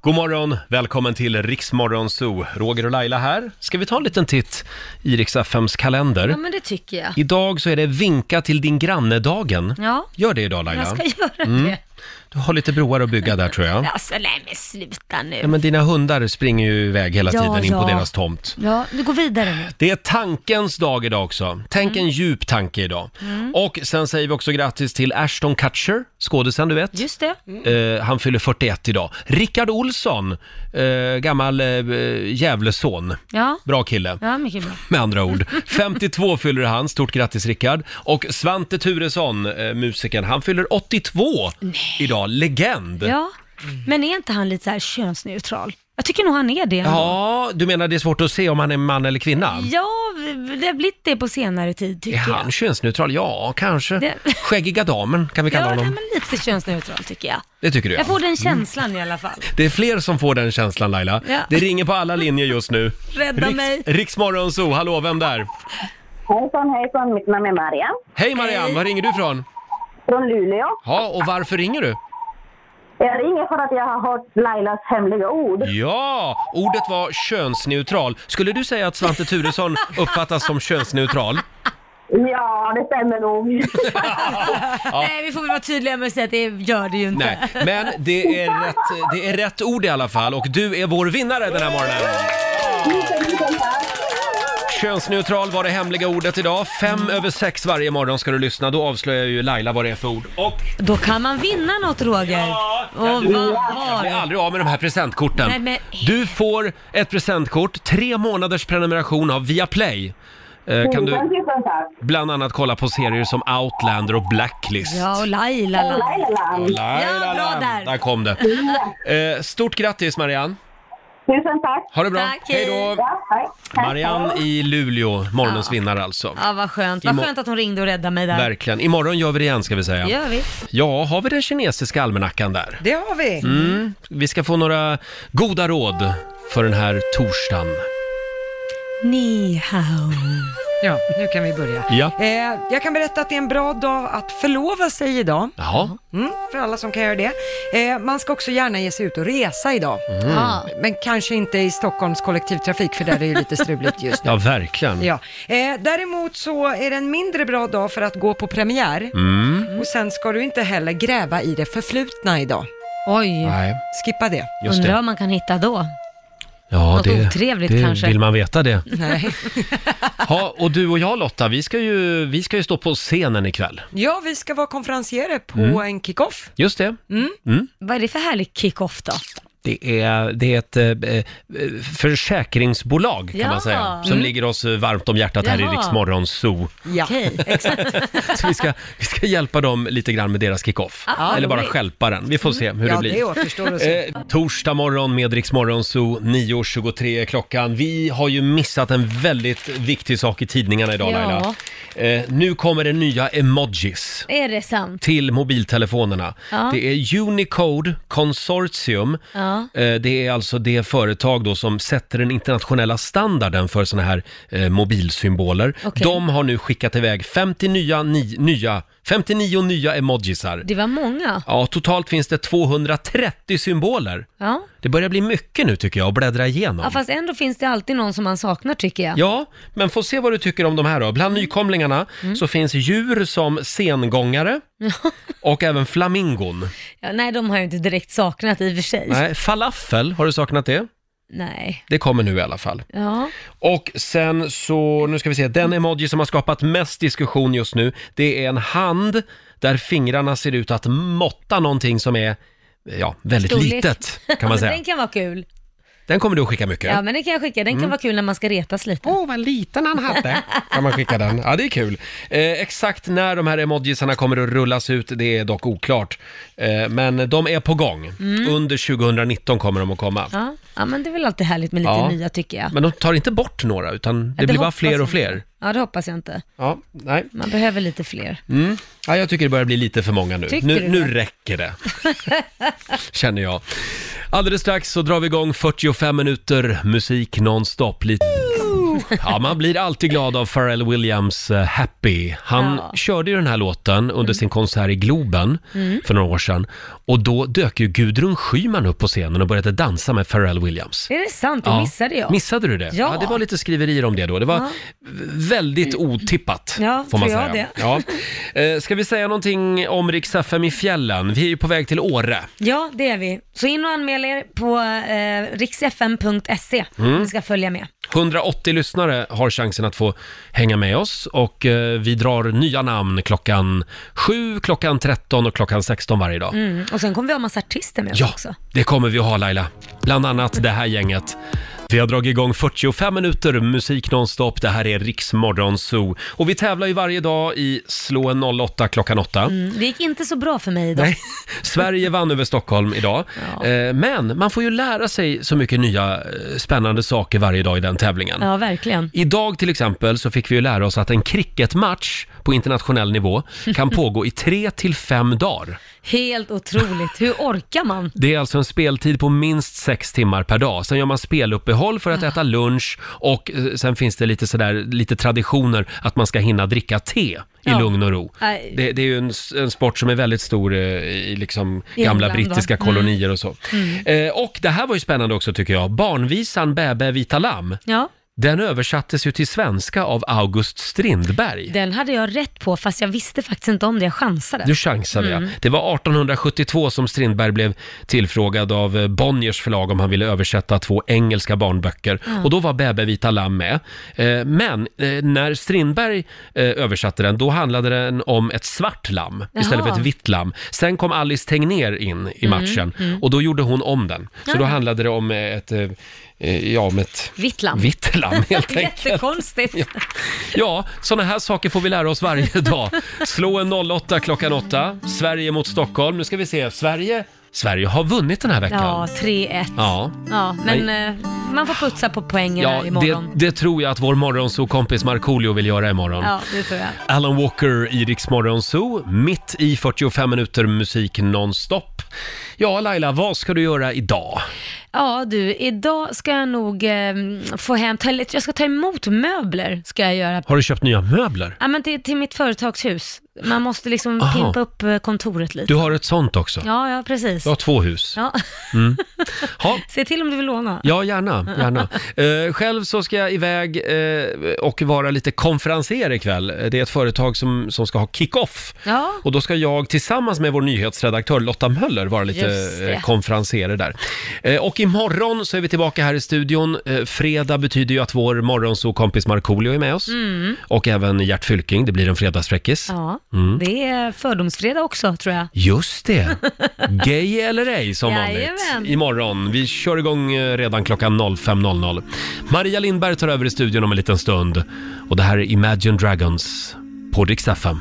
[SPEAKER 1] God morgon, välkommen till Riksmorgon Zoo. Roger och Laila här. Ska vi ta en liten titt i Rix FMs kalender?
[SPEAKER 2] Ja, men det tycker jag.
[SPEAKER 1] Idag så är det vinka till din granne-dagen.
[SPEAKER 2] Ja.
[SPEAKER 1] Gör det idag Laila. Mm.
[SPEAKER 2] Jag ska göra det.
[SPEAKER 1] Du har lite broar att bygga där tror jag.
[SPEAKER 2] Alltså, nej men sluta nu.
[SPEAKER 1] Ja, men dina hundar springer ju iväg hela
[SPEAKER 2] Ja,
[SPEAKER 1] tiden in på
[SPEAKER 2] ja.
[SPEAKER 1] deras tomt.
[SPEAKER 2] Ja, du går vidare nu.
[SPEAKER 1] Det är tankens dag idag också. Tänk en djup tanke idag.
[SPEAKER 2] Mm.
[SPEAKER 1] Och sen säger vi också grattis till Ashton Kutcher, skådisen du vet.
[SPEAKER 2] Just det. Mm.
[SPEAKER 1] Eh, han fyller 41 idag. Rickard Olsson, eh, gammal eh, Gävleson.
[SPEAKER 2] Ja.
[SPEAKER 1] Bra kille.
[SPEAKER 2] Ja, mycket bra.
[SPEAKER 1] Med andra ord. 52 fyller han, stort grattis Rickard. Och Svante Thuresson, eh, musikern, han fyller 82 idag. Legend!
[SPEAKER 2] Ja, men är inte han lite så här könsneutral? Jag tycker nog han är det.
[SPEAKER 1] Ja, du menar det är svårt att se om han är man eller kvinna?
[SPEAKER 2] Ja, det har blivit det på senare tid
[SPEAKER 1] Är
[SPEAKER 2] tycker jag.
[SPEAKER 1] han könsneutral? Ja, kanske.
[SPEAKER 2] Det-
[SPEAKER 1] Skäggiga damen kan vi kalla
[SPEAKER 2] ja, nej,
[SPEAKER 1] honom.
[SPEAKER 2] men lite könsneutral tycker jag.
[SPEAKER 1] Det tycker du ja. Mm.
[SPEAKER 2] Jag får den känslan i alla fall.
[SPEAKER 1] Det är fler som får den känslan Laila.
[SPEAKER 2] Ja.
[SPEAKER 1] Det ringer på alla linjer just nu.
[SPEAKER 2] Rädda mig.
[SPEAKER 1] Riksmorgon Zoo, hallå, vem där?
[SPEAKER 5] Hejsan, hejsan. Mitt namn är Marianne
[SPEAKER 1] Hej Marianne, var ringer du ifrån?
[SPEAKER 5] från Luleå.
[SPEAKER 1] Ja, och varför ringer du?
[SPEAKER 5] Jag ringer för att jag har hört Lailas hemliga ord.
[SPEAKER 1] Ja, ordet var könsneutral. Skulle du säga att Svante Thuresson uppfattas som könsneutral?
[SPEAKER 5] Ja, det stämmer nog.
[SPEAKER 2] Nej, vi får väl vara tydliga med att säga att det gör det ju inte.
[SPEAKER 1] Nej, men det är, rätt, det är rätt ord i alla fall och du är vår vinnare den här morgonen. Könsneutral var det hemliga ordet idag. Fem
[SPEAKER 2] Mm.
[SPEAKER 1] över sex varje morgon ska du lyssna. Då avslöjar ju Laila vad det är för ord. Och
[SPEAKER 2] Då kan man vinna något Roger. Ja, och vad
[SPEAKER 1] jag
[SPEAKER 2] har
[SPEAKER 1] blir
[SPEAKER 2] du?
[SPEAKER 1] aldrig av med de här presentkorten.
[SPEAKER 2] Nej, men-
[SPEAKER 1] Du får ett presentkort, tre månaders prenumeration av Viaplay. Eh, kan du bland annat kolla på serier som Outlander och Blacklist.
[SPEAKER 2] Ja, och Laila.
[SPEAKER 1] Laila,
[SPEAKER 2] Ja, bra där.
[SPEAKER 1] Där kom det. Eh, stort grattis Marianne!
[SPEAKER 5] Tusen tack.
[SPEAKER 1] Ha det bra. Tack, hej. Hej då.
[SPEAKER 5] Ja, hej.
[SPEAKER 1] Marianne i Luleå, morgonens vinnare alltså.
[SPEAKER 2] Ja, vad skönt. Vad
[SPEAKER 1] Imo-
[SPEAKER 2] skönt att hon ringde och räddade mig där.
[SPEAKER 1] Verkligen. Imorgon gör vi det igen ska vi säga.
[SPEAKER 2] gör vi.
[SPEAKER 1] Ja, har vi den kinesiska almanackan där?
[SPEAKER 4] Det har vi.
[SPEAKER 1] Mm. Vi ska få några goda råd för den här torsdagen.
[SPEAKER 2] Ni hao.
[SPEAKER 4] Ja, nu kan vi börja.
[SPEAKER 1] Ja.
[SPEAKER 4] Eh, jag kan berätta att det är en bra dag att förlova sig idag.
[SPEAKER 1] Jaha.
[SPEAKER 4] Mm, för alla som kan göra det. Eh, man ska också gärna ge sig ut och resa idag.
[SPEAKER 1] Mm. Ah.
[SPEAKER 4] Men kanske inte i Stockholms kollektivtrafik, för där är det ju lite struligt just nu.
[SPEAKER 1] Ja, verkligen.
[SPEAKER 4] Ja. Eh, däremot så är det en mindre bra dag för att gå på premiär.
[SPEAKER 1] Mm.
[SPEAKER 4] Och sen ska du inte heller gräva i det förflutna idag.
[SPEAKER 2] Oj.
[SPEAKER 1] Nej.
[SPEAKER 4] Skippa det.
[SPEAKER 1] Just
[SPEAKER 2] Undrar
[SPEAKER 1] det.
[SPEAKER 2] vad man kan hitta då.
[SPEAKER 1] Ja,
[SPEAKER 2] Något otrevligt
[SPEAKER 1] det
[SPEAKER 2] kanske.
[SPEAKER 1] Vill man veta det?
[SPEAKER 4] Nej.
[SPEAKER 1] Ja, och du och jag Lotta, vi ska ju, vi ska ju stå på scenen ikväll.
[SPEAKER 4] Ja, vi ska vara konferencierer på
[SPEAKER 1] Mm.
[SPEAKER 4] en kick-off.
[SPEAKER 1] Just det. Mm.
[SPEAKER 2] Vad är det för härlig kick-off då?
[SPEAKER 1] Det är, det är ett eh, eh, försäkringsbolag kan
[SPEAKER 2] Ja.
[SPEAKER 1] man säga, som
[SPEAKER 2] Mm.
[SPEAKER 1] ligger oss eh, varmt om hjärtat här i
[SPEAKER 2] Jaha.
[SPEAKER 1] Riksmorgon Zoo.
[SPEAKER 4] Ja, exakt.
[SPEAKER 1] Så vi ska, vi ska hjälpa dem lite grann med deras kick-off.
[SPEAKER 4] Ah,
[SPEAKER 1] Eller bara
[SPEAKER 4] roligt.
[SPEAKER 1] stjälpa den. Vi får se hur
[SPEAKER 4] Ja,
[SPEAKER 1] det blir.
[SPEAKER 4] det återstår att se.
[SPEAKER 1] Eh, torsdag morgon med Rix Morgon Zoo, 9.23 är klockan. Vi har ju missat en väldigt viktig sak i tidningarna idag
[SPEAKER 2] Ja.
[SPEAKER 1] Laila. Eh, nu kommer det nya emojis
[SPEAKER 2] Är det sant?
[SPEAKER 1] till mobiltelefonerna.
[SPEAKER 2] Ja.
[SPEAKER 1] Det är Unicode Consortium.
[SPEAKER 2] Ja.
[SPEAKER 1] Eh, Det är alltså det företag då som sätter den internationella standarden för såna här eh, mobilsymboler.
[SPEAKER 2] Okej.
[SPEAKER 1] De har nu skickat iväg 50 nya, ni, nya, 59 nya emojisar.
[SPEAKER 2] Det var många.
[SPEAKER 1] Ja, totalt finns det 230 symboler.
[SPEAKER 2] Ja.
[SPEAKER 1] Det börjar bli mycket nu tycker jag att bläddra igenom.
[SPEAKER 2] ja, fast ändå finns det alltid någon som man saknar tycker jag.
[SPEAKER 1] Ja, men få se vad du tycker om de här då. Bland nykomlingarna
[SPEAKER 2] Mm.
[SPEAKER 1] så finns djur som sengångare och även flamingon.
[SPEAKER 2] Ja, nej, de har jag inte direkt saknat i och för sig.
[SPEAKER 1] Nej, falafel, har du saknat det?
[SPEAKER 2] Nej.
[SPEAKER 1] Det kommer nu i alla fall.
[SPEAKER 2] Ja.
[SPEAKER 1] Och sen så, nu ska vi se, den emoji som har skapat mest diskussion just nu, det är en hand där fingrarna ser ut att måtta någonting som är, ja, väldigt
[SPEAKER 2] Storlek.
[SPEAKER 1] litet
[SPEAKER 2] Ja,
[SPEAKER 1] kan man
[SPEAKER 2] men
[SPEAKER 1] säga.
[SPEAKER 2] Den kan vara kul.
[SPEAKER 1] Den kommer du att skicka mycket.
[SPEAKER 2] Ja, men den kan jag skicka. Den
[SPEAKER 1] Mm.
[SPEAKER 2] kan vara kul när man ska retas lite.
[SPEAKER 1] Åh, oh, vad liten han hade. Kan man skicka den? Ja, det är kul. Eh, exakt när de här emojisarna kommer att rullas ut, det är dock oklart. Eh, men de är på gång.
[SPEAKER 2] Mm.
[SPEAKER 1] Under 2019 kommer de att komma.
[SPEAKER 2] ja. ja, men det är väl alltid härligt med lite
[SPEAKER 1] Ja.
[SPEAKER 2] nya tycker jag.
[SPEAKER 1] Men de tar inte bort några, utan det,
[SPEAKER 2] det
[SPEAKER 1] blir bara
[SPEAKER 2] hoppas
[SPEAKER 1] fler
[SPEAKER 2] jag.
[SPEAKER 1] och fler.
[SPEAKER 2] Ja, det hoppas jag inte.
[SPEAKER 1] Ja, nej.
[SPEAKER 2] Man behöver lite fler.
[SPEAKER 1] Mm. Ja, jag tycker det börjar bli lite för många nu.
[SPEAKER 2] Tycker
[SPEAKER 1] Nu,
[SPEAKER 2] du
[SPEAKER 1] nu
[SPEAKER 2] det?
[SPEAKER 1] räcker det, känner jag. Alldeles strax så drar vi igång 45 minuter musik nonstop. Lite... Ja, man blir alltid glad av Pharrell Williams eh, Happy. Han
[SPEAKER 7] Ja.
[SPEAKER 1] körde ju den här låten under sin konsert i Globen
[SPEAKER 7] Mm.
[SPEAKER 1] för några år sedan. Och då dök ju Gudrun Schyman upp på scenen och började dansa med Pharrell Williams.
[SPEAKER 2] Är det sant? Det missade jag.
[SPEAKER 1] Missade du det?
[SPEAKER 2] Ja.
[SPEAKER 1] det var lite skriverier om det då. Det var
[SPEAKER 2] Ja.
[SPEAKER 1] väldigt otippat,
[SPEAKER 2] Ja,
[SPEAKER 1] får man
[SPEAKER 2] tror
[SPEAKER 1] säga.
[SPEAKER 2] jag
[SPEAKER 1] Ja. Eh, Ska vi säga någonting om Rix FM i fjällen? Vi är ju på väg till Åre.
[SPEAKER 2] Ja, det är vi. Så in och anmäl er på eh, riksfm.se
[SPEAKER 1] Mm.
[SPEAKER 2] om ni ska följa med.
[SPEAKER 1] 180 lyssnare har chansen att få hänga med oss och eh, vi drar nya namn klockan 7, klockan 13 och klockan 16 varje dag.
[SPEAKER 2] Mm. Och sen kommer vi ha massa artister med oss
[SPEAKER 1] Ja,
[SPEAKER 2] också.
[SPEAKER 1] det kommer vi att ha Laila. Bland annat det här gänget. Vi har dragit igång 45 minuter musik nonstop. Det här är Riksmorgon Zoo. Och vi tävlar ju varje dag i Slå en 08 klockan 8.
[SPEAKER 2] Mm. Det gick inte så bra för mig idag.
[SPEAKER 1] Nej, Sverige vann över Stockholm idag. Eh, Men man får ju lära sig så mycket nya eh, spännande saker varje dag i den tävlingen.
[SPEAKER 2] Ja, verkligen.
[SPEAKER 1] Idag till exempel så fick vi ju lära oss att en cricketmatch på internationell nivå kan pågå i 3 till 5 dagar.
[SPEAKER 2] Helt otroligt. Hur orkar man?
[SPEAKER 1] Det är alltså en speltid på minst sex timmar per dag. Sen gör man speluppehåll för att äta lunch och eh, sen finns det lite, sådär, lite traditioner att man ska hinna dricka te i
[SPEAKER 2] Ja.
[SPEAKER 1] lugn och ro.
[SPEAKER 2] Nej.
[SPEAKER 1] Det, det är ju en, s- en sport som är väldigt stor eh, i liksom
[SPEAKER 2] I
[SPEAKER 1] gamla
[SPEAKER 2] England,
[SPEAKER 1] brittiska
[SPEAKER 2] va? Mm.
[SPEAKER 1] kolonier och så. Eh, och det här var ju spännande också tycker jag. Barnvisan Bä bä vita lamm,
[SPEAKER 2] Ja,
[SPEAKER 1] den översattes ju till svenska av August Strindberg.
[SPEAKER 2] den hade jag rätt på fast jag visste faktiskt inte om det. Jag chansade.
[SPEAKER 1] Du chansade
[SPEAKER 2] Mm.
[SPEAKER 1] ja. Det var 1872 som Strindberg blev tillfrågad av eh, Bonniers förlag om han ville översätta två engelska barnböcker.
[SPEAKER 7] Ja.
[SPEAKER 1] Och då var Bäbe vita lamm med. Eh, Men eh, när Strindberg eh, översatte den, då handlade den om ett svart lamm istället för
[SPEAKER 7] Jaha.
[SPEAKER 1] ett vitt lamm. Sen kom Alice Tegnér in i
[SPEAKER 2] Mm,
[SPEAKER 1] matchen
[SPEAKER 2] mm.
[SPEAKER 1] och då gjorde hon om den. Så då
[SPEAKER 2] Ja.
[SPEAKER 1] handlade det om eh, ett, eh, eh, ja, om ett
[SPEAKER 2] Vitt lamm.
[SPEAKER 1] Vitt lamm, helt enkelt.
[SPEAKER 2] Jättekonstigt.
[SPEAKER 1] Ja, sådana här saker får vi lära oss varje dag. Slå en 08 klockan 8. Sverige mot Stockholm. Nu ska vi se. Sverige, Sverige har vunnit den här veckan.
[SPEAKER 2] Ja, 3-1.
[SPEAKER 1] Ja.
[SPEAKER 2] Ja, men
[SPEAKER 1] Nej.
[SPEAKER 2] eh, man får putsa på poängen
[SPEAKER 1] Ja,
[SPEAKER 2] här
[SPEAKER 1] det,
[SPEAKER 2] imorgon.
[SPEAKER 1] det tror jag att vår morgonsokompis Markoolio vill göra imorgon.
[SPEAKER 2] Ja, det tror jag.
[SPEAKER 1] Alan Walker i Rix Morgon Zoo, mitt i 45 minuter musik nonstop. Ja, Laila, vad ska du göra idag?
[SPEAKER 2] Ja du, idag ska jag nog eh, få hem, ta, eller jag ska ta emot möbler ska jag göra.
[SPEAKER 1] Har du köpt nya möbler?
[SPEAKER 2] Ja men till, till mitt företagshus. Man måste liksom
[SPEAKER 1] Aha.
[SPEAKER 2] pimpa upp eh, kontoret lite.
[SPEAKER 1] Du har ett sånt också?
[SPEAKER 2] Ja, ja precis.
[SPEAKER 1] Jag har två hus.
[SPEAKER 2] Ja.
[SPEAKER 1] Mm. Ha,
[SPEAKER 2] Se till om du vill låna.
[SPEAKER 1] Ja, gärna. gärna. Eh, själv så ska jag iväg eh, och vara lite konferenser ikväll. Det är ett företag som, som ska ha kick-off.
[SPEAKER 2] Ja.
[SPEAKER 1] Och då ska jag tillsammans med vår nyhetsredaktör Lotta Möller vara lite
[SPEAKER 7] Just det.
[SPEAKER 1] eh, konferenserer där. Eh, och imorgon så är vi tillbaka här i studion. Eh, fredag betyder ju att vår morgonsokompis Markoolio är med oss.
[SPEAKER 2] Mm.
[SPEAKER 1] Och även Gert Fylking, det blir en fredagsfräckis.
[SPEAKER 2] Ja,
[SPEAKER 1] Mm.
[SPEAKER 2] det är fördomsfredag också tror jag.
[SPEAKER 1] Just det! Gay eller ej som
[SPEAKER 2] Jajamän.
[SPEAKER 1] vanligt. Imorgon. Vi kör igång eh, redan klockan 05.00. Maria Lindberg tar över i studion om en liten stund. Och det här är Imagine Dragons på Rix FM.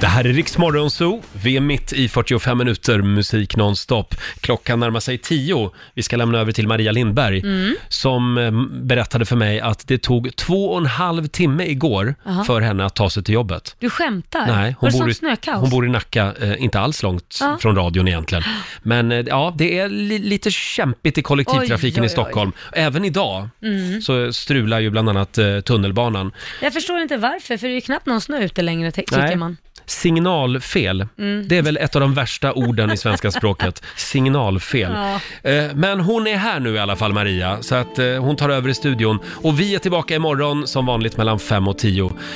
[SPEAKER 1] Det här är Rix Morgon Zoo. Vi är mitt i 45 minuter musik nonstop. Klockan närmar sig 10. Vi ska lämna över till Maria Lindberg
[SPEAKER 2] Mm.
[SPEAKER 1] som eh, berättade för mig att det tog två och en halv timme igår
[SPEAKER 2] Jaha.
[SPEAKER 1] för henne att ta sig till jobbet.
[SPEAKER 2] Du skämtar?
[SPEAKER 1] Nej,
[SPEAKER 2] Var
[SPEAKER 1] hon, bor
[SPEAKER 2] det sånt
[SPEAKER 1] i,
[SPEAKER 2] snökaos?
[SPEAKER 1] hon bor i Nacka, eh, inte alls långt
[SPEAKER 2] Ja.
[SPEAKER 1] från radion egentligen. Men eh, ja, det är li, lite kämpigt i kollektivtrafiken
[SPEAKER 2] Oj, oj,
[SPEAKER 1] i Stockholm. Även idag
[SPEAKER 2] Mm.
[SPEAKER 1] så strular ju bland annat eh, tunnelbanan.
[SPEAKER 2] Jag förstår inte varför, för det är ju knappt någon snö ute längre, ty- tycker man.
[SPEAKER 1] Signalfel,
[SPEAKER 2] Mm.
[SPEAKER 1] det är väl ett av de värsta orden i svenska språket. Signalfel.
[SPEAKER 2] Ja.
[SPEAKER 1] Eh, Men hon är här nu i alla fall, Maria, så att eh, hon tar över i studion. Och vi är tillbaka imorgon som vanligt mellan 5 och 10.